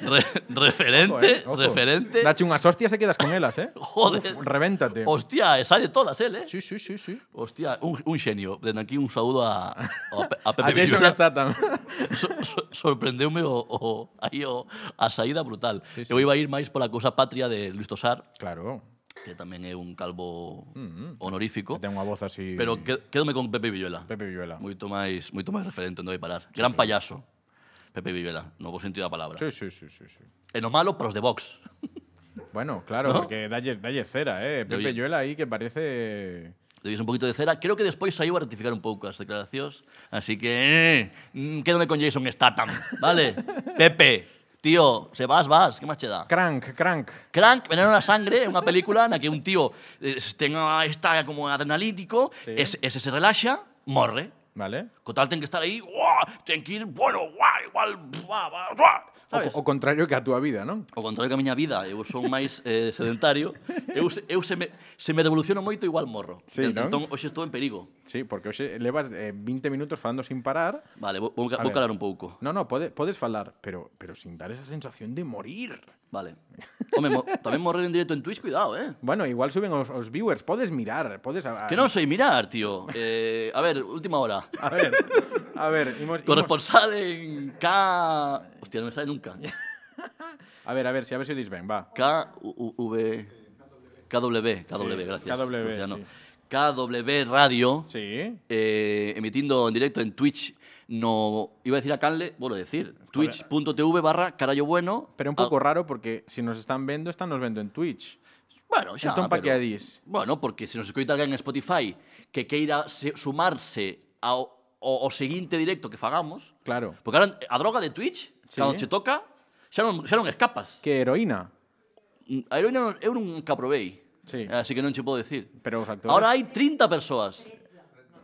S3: Re- referente,
S2: Ojo, eh, ojo.
S3: referente.
S2: Dache unhas hostias e quedas con elas, eh?
S3: Joder.
S2: Uf, revéntate.
S3: Hostia, e sai de todas, él, eh?
S2: Sí, sí, sí, sí.
S3: Hostia, un, un xenio. Dende aquí un saúdo a, a, Pe-
S2: A
S3: a Pepe
S2: Jason
S3: Villuela.
S2: Statham.
S3: so, so, sorprendeume o, o, aí o, a saída brutal.
S2: Sí,
S3: Sí,
S2: sí.
S3: sí. Eu iba a ir máis pola cousa patria de Luis Tosar,
S2: Claro.
S3: que tamén é un calvo honorífico,
S2: Mm-hmm. Ten unha voz así.
S3: pero que, quédome con Pepe Villuela.
S2: Pepe Villuela.
S3: Moito máis, moito máis referente onde vai parar. Gran payaso. Pepe Villuela, no bo sentido da palabra.
S2: Sí, sí, sí, sí, sí.
S3: E no malo para os de Vox.
S2: Bueno, claro, porque dalle, dalle cera, eh. Pepe
S3: Oye.
S2: Villuela aí que parece
S3: Deis un poquito de cera. Creo que despois saiu a rectificar un pouco as declaracións, así que eh, mm, quédome con Jason Statham, vale? Pepe, tío, se vas, vas, que máis che dá?
S2: crank, crank.
S3: Crank, Veneno na Sangre, é unha película na que un tío eh, tenga, está como adrenalítico,
S2: Sí.
S3: sí. ese, ese se relaxa, morre.
S2: Vale?
S3: Co tal ten que estar aí, ¡guau! ten que ir, bueno, guau, igual, guau, guau, guau,
S2: O,
S3: sabes?
S2: co- o contrario que a túa vida, non?
S3: O contrario que a miña vida, eu son máis eh, sedentario, eu, se- eu se, me, se me revoluciono moito, igual morro.
S2: Sí, non?
S3: entón, hoxe estou en perigo.
S2: Sí, porque hoxe levas eh, 20 minutos falando sin parar.
S3: Vale, vou, vou,
S2: A ver.
S3: vou calar un pouco.
S2: No, no, pode, podes falar, pero, pero sin dar esa sensación de morir.
S3: Vale. Home, mo, tamén morrer en directo en Twitch, cuidado, eh?
S2: Bueno, igual suben os, os viewers, podes mirar, podes... A, a-
S3: Que non sei mirar, tío. Eh, a ver, última hora.
S2: A ver, a ver, imos, imos,
S3: Corresponsal en K... Hostia, non me sale nunca.
S2: a ver, a ver, si a ver se o dis ben, va.
S3: K... U- U- V... KW, KW,
S2: Sí,
S3: gracias.
S2: KW,
S3: Luciano.
S2: sí.
S3: KW Radio,
S2: Sí,
S3: eh, emitindo en directo en Twitch no... Iba a decir a Canle, bueno, decir, twitch.tv barra carallo bueno.
S2: pero un pouco raro porque se si nos están vendo, están nos vendo en Twitch.
S3: Ah, bueno, xa,
S2: entón, pa
S3: pero-
S2: que a dis?
S3: Bueno, porque se nos escoita alguén en Spotify que queira se- sumarse ao, ao, ao seguinte directo que fagamos,
S2: Claro.
S3: porque ahora a droga de Twitch,
S2: Sí.
S3: cando che toca, xa non, xa non escapas.
S2: Que heroína.
S3: Mm, A heroína non- eu nunca probei. eh,
S2: Sí.
S3: Así que non che podo decir.
S2: Pero os actores...
S3: Ahora hai 30 persoas.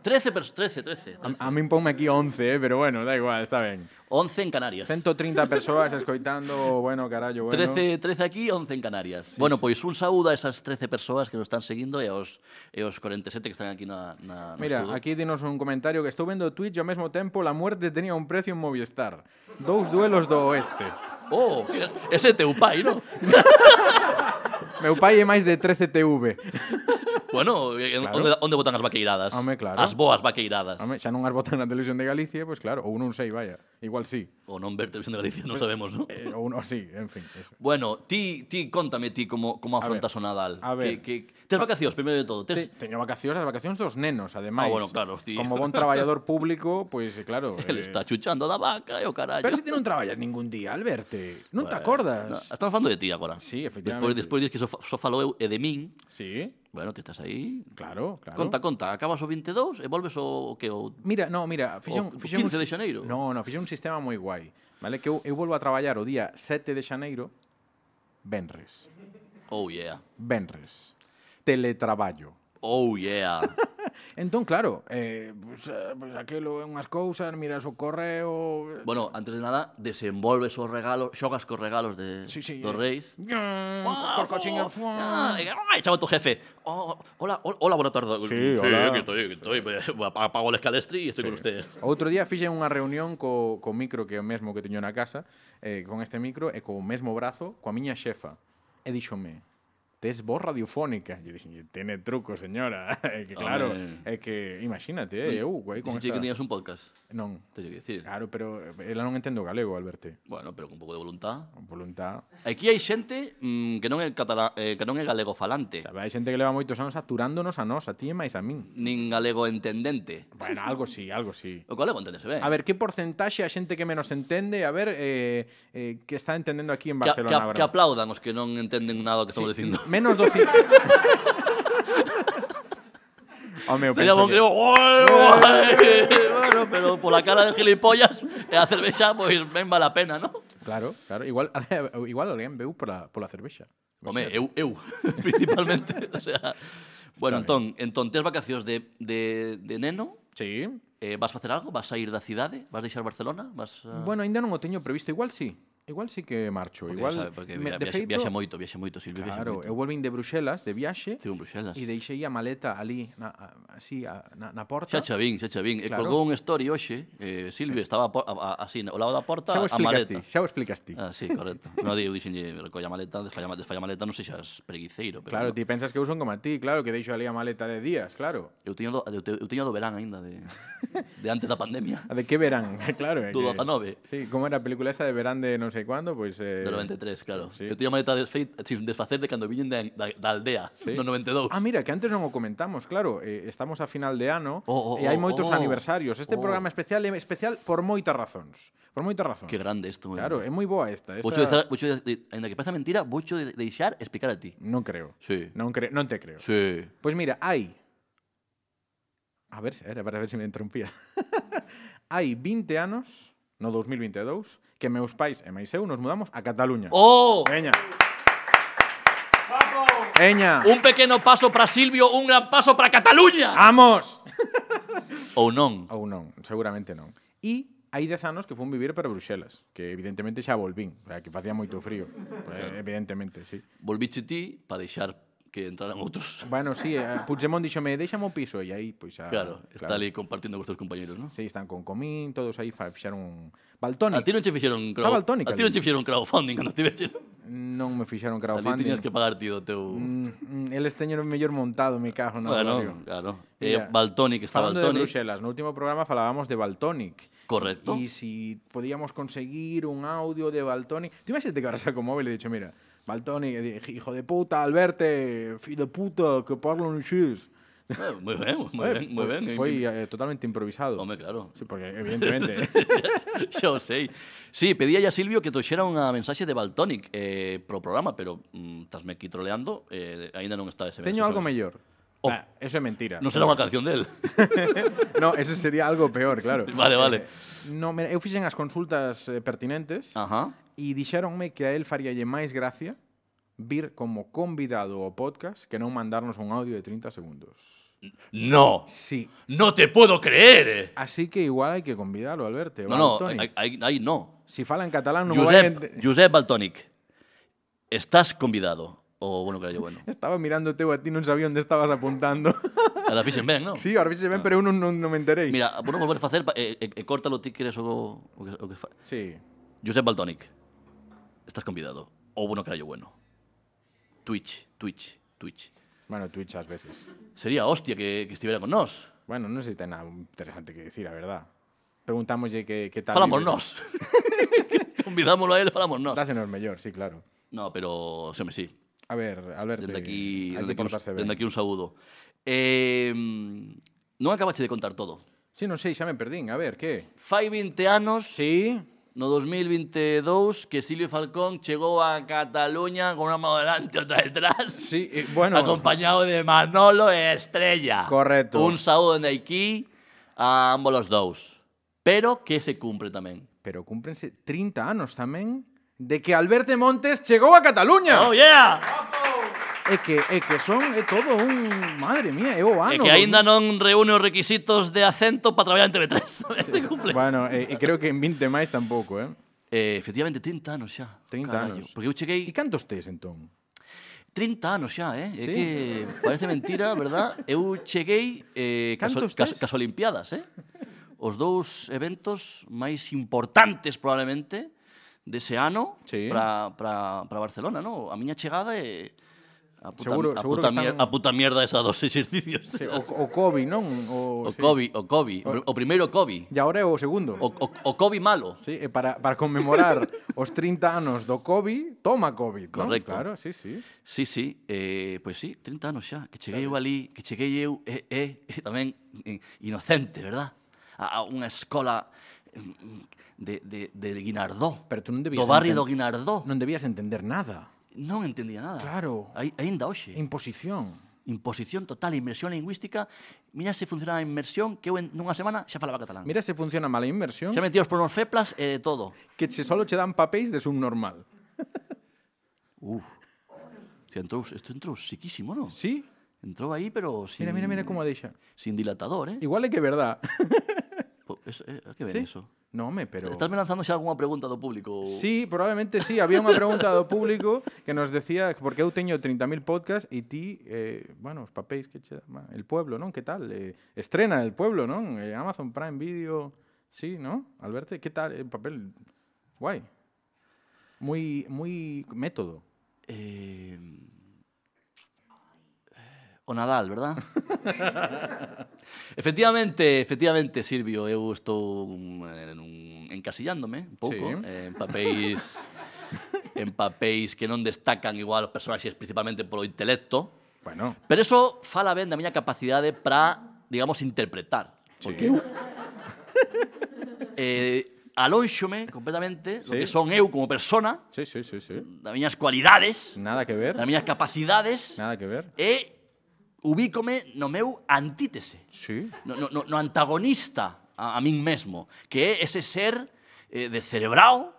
S3: 13 persoas, 13, 13.
S2: A, a min ponme aquí 11, eh, pero bueno, da igual, está ben.
S3: 11 en Canarias.
S2: 130 persoas escoitando, bueno, carallo, bueno.
S3: 13, 13 aquí, 11 en Canarias. bueno, pois un saúdo a esas 13 persoas que nos están seguindo e aos, e aos 47 que están aquí na, na, no
S2: Mira,
S3: estudo.
S2: aquí dinos un comentario que estou vendo Twitch e ao mesmo tempo la muerte tenía un precio en Movistar. Dous duelos do oeste.
S3: Oh, ese é teu pai, non?
S2: Meu pai é máis de 13 TV.
S3: Bueno, eh,
S2: Claro.
S3: onde, onde botan as vaqueiradas?
S2: Home, claro.
S3: As boas vaqueiradas.
S2: Home, xa non as botan na televisión de Galicia, pois claro, ou non sei, vaya. Igual sí.
S3: Ou non ver televisión de Galicia, non sabemos, non?
S2: Eh, ou non, sí, en fin. Eso.
S3: Bueno, ti, ti contame ti como, como afrontas o Nadal.
S2: a ver.
S3: Que, que, tes vacacións, primeiro de todo. Tes,
S2: Te, teño vacacións, as vacacións dos nenos, ademais.
S3: Ah, bueno, claro, sí.
S2: Como bon traballador público, pois pues, claro.
S3: Ele está chuchando da vaca e o carallo.
S2: Pero se ti non traballas ningún día, Alberto. Non te
S3: Bueno,
S2: acordas?
S3: no, estamos falando de ti agora.
S2: Sí,
S3: Despois,
S2: efectivamente.
S3: despois dis que só, fa- só falou eu e de min.
S2: Sí,
S3: Bueno, ti estás aí.
S2: claro, claro.
S3: Conta, conta. Acabas o 22 e volves o, o que? O...
S2: Mira, no, mira, fixen,
S3: O
S2: fixen
S3: 15
S2: un,
S3: de xaneiro?
S2: No, no, fixen un sistema moi guai, vale? Que eu, eu volvo a traballar o día 7 de xaneiro Benres.
S3: Oh, yeah.
S2: Benres. Teletraballo.
S3: Oh, yeah.
S2: Entón, claro, eh, pues, eh, pues aquilo é unhas cousas, miras o correo... eh,
S3: bueno, antes de nada, desenvolves os regalos, xogas cos regalos de,
S2: Sí, sí. eh.
S3: dos reis.
S2: Mm,
S3: Ah,
S2: corcochiña,
S3: oh,
S2: fuá.
S3: ah, e- Ay, chama tu jefe. Oh, hola, hol- hola, buena tarde.
S2: Sí, hola.
S3: que estoy, que estoy. Apago el escalestri y estoy con ustedes.
S2: Outro día fixen unha reunión co, co micro que é o mesmo que teño na casa, eh, con este micro e co mesmo brazo, coa miña xefa. E díxome, tes voz radiofónica. E dixen, tene truco, señora. É que claro,
S3: Home.
S2: é que imagínate, eh, eu, aí con
S3: Dixiste que
S2: esta... Ah.
S3: tenías un podcast.
S2: Non,
S3: Te que decir.
S2: claro, pero eh, ela non entendo galego, Alberto.
S3: Bueno, pero con un pouco de voluntad.
S2: Con voluntad.
S3: Aquí hai xente mm, que non é catalá, eh, que non é galego falante,
S2: Sabe, hai xente que leva moitos anos aturándonos a nós, a ti e máis a min.
S3: nin galego entendente.
S2: Bueno, algo sí, algo sí.
S3: O galego entendese ben.
S2: A ver, que porcentaxe a xente que menos entende, a ver, eh, eh, que está entendendo aquí en
S3: que, que,
S2: Barcelona agora?
S3: que aplaudan os que non entenden nada do que estamos dicindo.
S2: Menos do cinco. Home, eu
S3: Sería
S2: penso
S3: bon
S2: que...
S3: que... digo, "Guai, guai". bueno, pero pola cara de gilipollas e a cervexa, pois ben vale a pena, non?
S2: Claro, claro. Igual, igual alguén veu pola, pola cervexa.
S3: Home, eu, eu, principalmente. o sea, bueno,
S2: Está
S3: entón, entón, tes vacacións de, de, de neno,
S2: Sí.
S3: eh, vas facer algo? Vas sair da cidade? Vas deixar Barcelona? Vas, a...
S2: Bueno, ainda non o teño previsto. Igual sí. Igual sí que marcho.
S3: Ah. porque,
S2: igual,
S3: sabe, porque
S2: me-
S3: via,
S2: de
S3: viaxe,
S2: feito,
S3: viaxe moito, viaxe moito, Silvio,
S2: Claro,
S3: viaxe moito.
S2: eu volvín de Bruxelas, de viaxe,
S3: Estive en Bruxelas.
S2: e deixei a maleta ali, na, a- así, a, na, na porta.
S3: Xa xa vin, xa xa vin. E
S2: Claro.
S3: colgou un story hoxe, eh, Silvio, estaba a, por- a, a, así, ao lado da porta,
S2: xa o
S3: a
S2: explicas ti,
S3: maleta.
S2: xa o explicas ti.
S3: Ah, sí, correcto. No digo, dixenlle, recolla a maleta, desfalla, ma- desfalla a maleta, non sexas preguiceiro. Pero
S2: Claro,
S3: bueno.
S2: ti pensas que eu son como a ti, claro, que deixo ali a maleta de días, claro.
S3: Eu teño, do, eu, te, eu teño do verán aínda de, de antes da pandemia,
S2: A de que verán, claro. é
S3: do
S2: que-
S3: 19,
S2: Sí, como era a película esa de verán de non sei cuándo, pois... Eh...
S3: do 93, claro.
S2: sí.
S3: Eu teño a maleta desfei, sin desfacer de cando viñen da, da, da aldea,
S2: Sí.
S3: no 92.
S2: Ah, mira, que antes non o comentamos, claro, eh, estamos a final de ano
S3: Oh, oh,
S2: e hai
S3: oh,
S2: moitos
S3: oh.
S2: aniversarios. Este
S3: Oh.
S2: programa especial é especial por moitas razóns. Por moitas razóns.
S3: Que grande isto. eh.
S2: Claro, é moi boa esta. esta...
S3: Vocho de, zar- vocho de, de, ainda que parece mentira, vocho de, de deixar explicar a ti.
S2: Non creo.
S3: Sí.
S2: Non, cre... non te creo.
S3: Sí.
S2: Pois mira, hai A ver, era para ver se me interrumpía. hai 20 anos, no 2022, que meus pais e máis eu nos mudamos a Cataluña.
S3: ¡Oh!
S2: Eña. Eña.
S3: Un pequeno paso para Silvio, un gran paso para Cataluña.
S2: Vamos.
S3: Ah, Ou non.
S2: Ou non, seguramente non. E hai 10 anos que fun vivir para Bruxelas, que evidentemente xa volvín, o sea, que facía moito frío, eh, evidentemente, sí.
S3: Volviche ti para deixar que entraran outros.
S2: Bueno, sí, eh, Puigdemont dixome, déxame o piso, e aí, pois xa...
S3: Claro, está ali compartindo con os teus compañeros, non?
S2: Sí, están con Comín, todos aí fa- fixaron un...
S3: A ti
S2: Baltónico.
S3: non che fixeron crowd...
S2: Estaba Baltónica
S3: A ti non
S2: ali.
S3: che fixeron crowdfunding cando estiveche.
S2: Non me fixaron
S3: Ali
S2: crowdfunding.
S3: tiñas que pagar ti do teu...
S2: Mm, mm, eles teñen o mellor montado, me cago na
S3: bueno,
S2: barrio.
S3: claro.
S2: Mira,
S3: Eh, Baltónic, está
S2: Falando de
S3: Baltónic.
S2: Bruxelas, no último programa falábamos de Baltonic.
S3: Correcto.
S2: Y si podíamos conseguir un audio de Baltonic. Tú imagínate que ahora saco un móvil y he dicho, mira, Baltonic, e dije, hijo de puta, Alberte, hijo de puta, que parlo en xis.
S3: Eh, moi ben, moi ben, moi ben.
S2: Foi eh, totalmente improvisado.
S3: Home, claro.
S2: Sí, porque evidentemente. eh,
S3: Xa o sei. Sí, pedía a Silvio que toxera unha mensaxe de Baltónic eh, pro programa, pero mm, tasme aquí troleando, eh, aínda non está ese
S2: teño
S3: mensaxe.
S2: algo mellor.
S3: Oh.
S2: Nah, eso é mentira.
S3: Non será unha canción del.
S2: No, eso sería algo peor, claro.
S3: Vale, vale.
S2: Eh, no, mira, eu fixen as consultas eh, pertinentes.
S3: Ajá.
S2: E dixéronme que a el faríalle máis gracia vir como convidado ao podcast que non mandarnos un audio de 30 segundos.
S3: No,
S2: Sí.
S3: no te puedo creer. eh.
S2: Así que igual hai que convidalo, Alberto.
S3: No,
S2: vale,
S3: no,
S2: Toni?
S3: ahí, ahí- ahí no.
S2: Si fala en catalán non o vai
S3: Josep,
S2: ente-
S3: Josep Baltonic, estás convidado. O bueno, que yo bueno.
S2: Estaba mirándote a ti, non sabía onde estabas apuntando.
S3: Ahora fixen ben, ¿no?
S2: sí, ahora fíxese ben, pero eu non, non, non me enterei.
S3: Ah. Mira, por non volver a facer, pa- e, e, e córtalo ti queres o, o que, o que fa.
S2: Sí.
S3: Josep Baltonic, estás convidado. O bueno, que yo bueno. Twitch, Twitch, Twitch.
S2: Bueno, Twitch ás veces.
S3: Sería hostia que, que estivera con nós.
S2: Bueno, non sei se ten nada interesante que dicir, a verdad. Preguntámoslle que, que tal
S3: Falamos
S2: vive.
S3: nós. Convidámoslo a él, falamos nós.
S2: Dásenos mellor, sí, claro.
S3: No, pero, se me sí.
S2: A ver, Alberto,
S3: Dende aquí,
S2: hai
S3: dende
S2: que
S3: aquí, un,
S2: portarse ben.
S3: dende aquí un saúdo. Eh, non acabaste de contar todo.
S2: Sí, non sei, xa me perdín. A ver, que?
S3: Fai 20 anos,
S2: Sí,
S3: no 2022, que Silvio Falcón chegou a Cataluña con unha mano delante e outra detrás.
S2: sí, eh, bueno.
S3: Acompañado de Manolo e Estrella.
S2: Correcto.
S3: Un saúdo dende aquí a ambos os dous. Pero que se cumpre tamén.
S2: Pero cúmprense 30 anos tamén de que Alberto Montes chegou a Cataluña.
S3: Oh, yeah!
S2: É que é que son é todo un, madre mía, é o
S3: e
S2: ano.
S3: que
S2: do-
S3: aínda non reúne os requisitos de acento para traballar en TV3. Sí. se cumple.
S2: Bueno, e, e creo que en 20 máis tampouco, eh?
S3: Eh, efectivamente, 30 anos xa.
S2: 30
S3: carallo.
S2: anos.
S3: Porque eu
S2: E
S3: cheguei
S2: cantos tes entón?
S3: 30 anos xa, eh? É
S2: Sí.
S3: que parece mentira, verdad? Eu cheguei eh, caso,
S2: Cantos
S3: cas,
S2: tes?
S3: cas Olimpiadas, eh? Os dous eventos máis importantes probablemente dese ano
S2: Sí.
S3: para para Barcelona, ¿no? A miña chegada é a puta,
S2: Seguro-
S3: a,
S2: seguro
S3: puta
S2: que están-
S3: mier- a puta mierda esa dos exercicios.
S2: Sí, o, o Kobe, non? O,
S3: O
S2: sí.
S3: Kobe, o Kobe, o primeiro Kobe,
S2: E agora é o segundo.
S3: o, o, o Kobe malo.
S2: Sí, e para, para conmemorar os 30 anos do Kobe, toma COVID, non?
S3: Correcto.
S2: Claro, sí, sí.
S3: Sí, sí, eh, pois sí, 30 anos xa, que cheguei eu ali, que cheguei eu, e, e, e tamén eh, inocente, verdad? A, a unha escola mm, de, de, de Guinardó,
S2: Pero tú non debías
S3: do barrio
S2: enten-
S3: do Guinardó,
S2: Non
S3: non,
S2: debías entender nada.
S3: non entendía nada.
S2: Claro.
S3: Ai, ainda hoxe,
S2: Imposición.
S3: imposición total, inmersión lingüística, mira se funcionaba a inmersión, que eu en nunha semana xa falaba catalán.
S2: Mira se funciona mal a inmersión,
S3: Xa metí os pronos feplas e de todo.
S2: que che solo che dan papéis de subnormal.
S3: Uf, se entrou, isto entrou siquísimo, non?
S2: Sí?
S3: Entrou aí, pero sin,
S2: Mira, mira, mira como a deixa.
S3: sin dilatador, eh?
S2: Igual é que é verdad.
S3: Po- eso- eh, a que ven
S2: Sí?
S3: eso?
S2: No, me, pero...
S3: Estás me lanzando xa algunha pregunta do público?
S2: Sí, probablemente sí. Había unha pregunta do público que nos decía porque eu teño 30.000 podcasts e ti, eh, bueno, os papéis que che dá, el pueblo, non? Que tal? Eh, estrena el pueblo, non? Eh, Amazon Prime Video. Sí, ¿no? Alberto, que tal el papel? Guai. Muy muy método.
S3: Eh, o Nadal, verdad? efectivamente, efectivamente, Silvio, eu estou mm, en un, encasillándome un pouco
S2: Sí.
S3: eh, en papéis en papéis que non destacan igual os personaxes principalmente polo intelecto,
S2: Bueno,
S3: Pero eso fala ben da miña capacidade para, digamos, interpretar. Porque eu... eh, alónxome completamente do
S2: Sí.
S3: que son eu como persona,
S2: sí, sí, sí, sí.
S3: das miñas cualidades,
S2: Nada que ver.
S3: das miñas capacidades,
S2: Nada que ver.
S3: e ubícome no meu antítese,
S2: Sí.
S3: no, no, no, no antagonista a, a min mesmo, que é ese ser eh, descerebrao,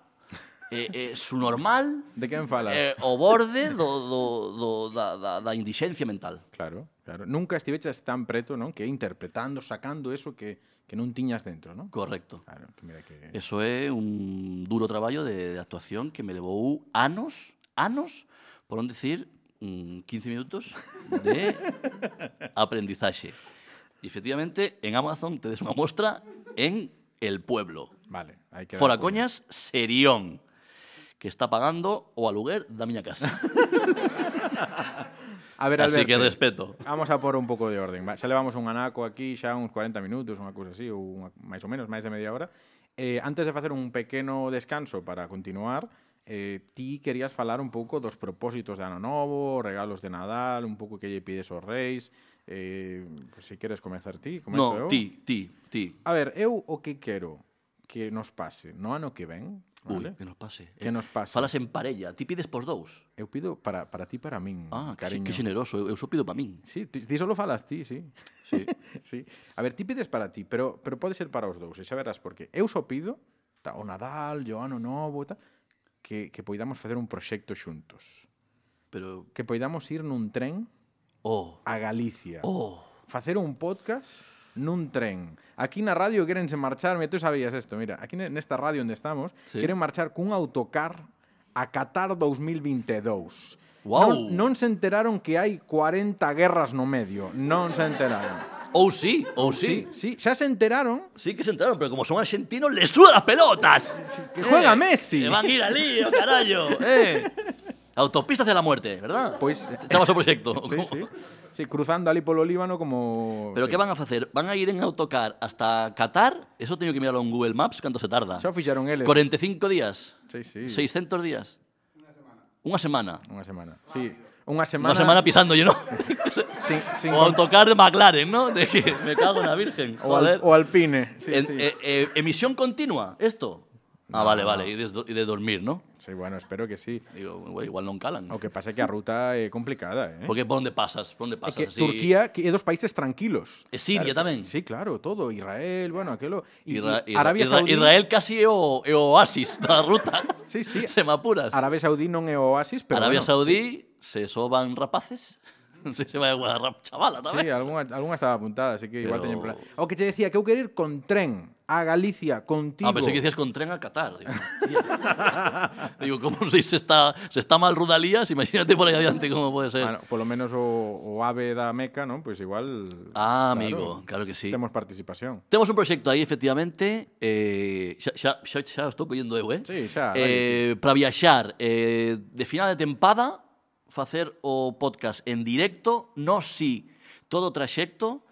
S3: eh, eh, subnormal,
S2: De quen falas?
S3: eh, o borde do, do, do, da, da, da indixencia mental.
S2: Claro, claro. Nunca estiveches tan preto, non? Que interpretando, sacando eso que que non tiñas dentro, non?
S3: Correcto.
S2: Claro, que mira que
S3: Eso é un duro traballo de, de actuación que me levou anos, anos, por non decir mm, 15 minutos de aprendizaxe. E efectivamente, en Amazon tedes unha mostra en El Pueblo.
S2: Vale, hai que dar
S3: Fora
S2: puño.
S3: coñas, Serión, que está pagando o aluguer da miña casa.
S2: A ver,
S3: Así
S2: Alberto,
S3: que respeto.
S2: Vamos a por un pouco de orden. Va, xa levamos un anaco aquí, xa uns 40 minutos, unha cousa así, ou unha, máis ou menos, máis de media hora. Eh, antes de facer un pequeno descanso para continuar, eh, ti querías falar un pouco dos propósitos de Ano Novo, regalos de Nadal, un pouco que lle pides aos reis. Eh, pues, si queres comezar ti, comezo eu.
S3: No, ti, ti, ti.
S2: A ver, eu o que quero que nos pase no ano que ven,
S3: Ui,
S2: vale?
S3: que nos pase. eh.
S2: Que nos pase.
S3: Falas en parella, ti pides pos dous.
S2: Eu pido para, para ti para min,
S3: Ah, que,
S2: cariño.
S3: que generoso, eu, eu só pido para min.
S2: Sí, ti, ti solo falas ti, sí.
S3: Sí.
S2: sí. A ver, ti pides para ti, pero, pero pode ser para os dous, e xa verás por qué. Eu só pido, ta, o Nadal, o Ano Novo, ta, que, que poidamos facer un proxecto xuntos.
S3: Pero,
S2: Que poidamos ir nun tren
S3: oh,
S2: a Galicia.
S3: oh.
S2: Facer un podcast nun tren. Aquí na radio querense marcharme, tú sabías isto, mira, aquí ne- nesta radio onde estamos,
S3: Sí.
S2: queren marchar cun autocar a Qatar 2022.
S3: Guau.
S2: Non, non se enteraron que hai 40 guerras no medio, non se enteraron.
S3: Ou Oh, sí, ou sí.
S2: Sí, sí, xa se enteraron.
S3: Sí que se entraron, pero como son argentinos, les sudan las pelotas.
S2: que juega
S3: Eh,
S2: Messi.
S3: Que van a ir al lío, carallo. Eh. Autopista hacia la muerte, ¿verdad?
S2: Pois-
S3: Chama o proxecto.
S2: Pues, Sí, sí. Sí, cruzando ali polo Líbano como...
S3: Pero
S2: sí.
S3: que van a facer? Van a ir en autocar hasta Qatar? Eso teño que mirarlo en Google Maps, canto se tarda?
S2: Xa o fixeron eles.
S3: 45 días?
S2: ¿eh? Sí, sí.
S3: 600 días? Unha semana.
S2: Unha semana. Sí. Unha semana...
S3: Unha semana pisándolle, ¿no?
S2: sin, sin
S3: o autocar de McLaren, ¿no? De que me cago na virgen.
S2: o, al,
S3: Joder.
S2: o Alpine. Sí,
S3: En-
S2: sí.
S3: eh, eh, emisión continua, esto. Ah, vale, vale. E de, y de dormir, ¿no?
S2: sí, bueno, espero que sí.
S3: Digo, güey, igual non calan.
S2: O que pasa é que a ruta é complicada, eh?
S3: Porque por onde pasas, por
S2: É
S3: onde pasas.
S2: que
S3: así.
S2: Turquía que é dos países tranquilos.
S3: E Siria
S2: Claro,
S3: tamén.
S2: Sí, claro, todo. Israel, bueno, aquelo. E-
S3: Isra-
S2: e
S3: Isra-
S2: Arabia
S3: Isra-
S2: Saudí.
S3: Israel casi é o, é o oasis da ruta.
S2: Sí, sí.
S3: Se me apuras.
S2: Arabia Saudí non é o oasis, pero
S3: Arabia
S2: bueno,
S3: Saudí, se soban rapaces. Non sei se vai a unha rap chavala
S2: Sí,
S3: tamén.
S2: algunha, algunha estaba apuntada, así que igual
S3: Pero-
S2: teñen plan. O que te decía, que eu quero ir con tren a Galicia contigo.
S3: ah, pensei que dicías con tren a Qatar. Digo, hostia. digo como se, se está se está mal Rudalías, imagínate por aí adiante como pode ser.
S2: Bueno, polo menos o, o ave da Meca, non? Pois igual...
S3: Ah, amigo, claro que sí.
S2: Temos participación.
S3: Temos un proxecto aí, efectivamente, eh, xa, xa, xa, xa o estou collendo eu, eh?
S2: Sí, xa,
S3: Eh, para viaxar eh, de final de tempada, facer o podcast en directo, no si, todo o traxecto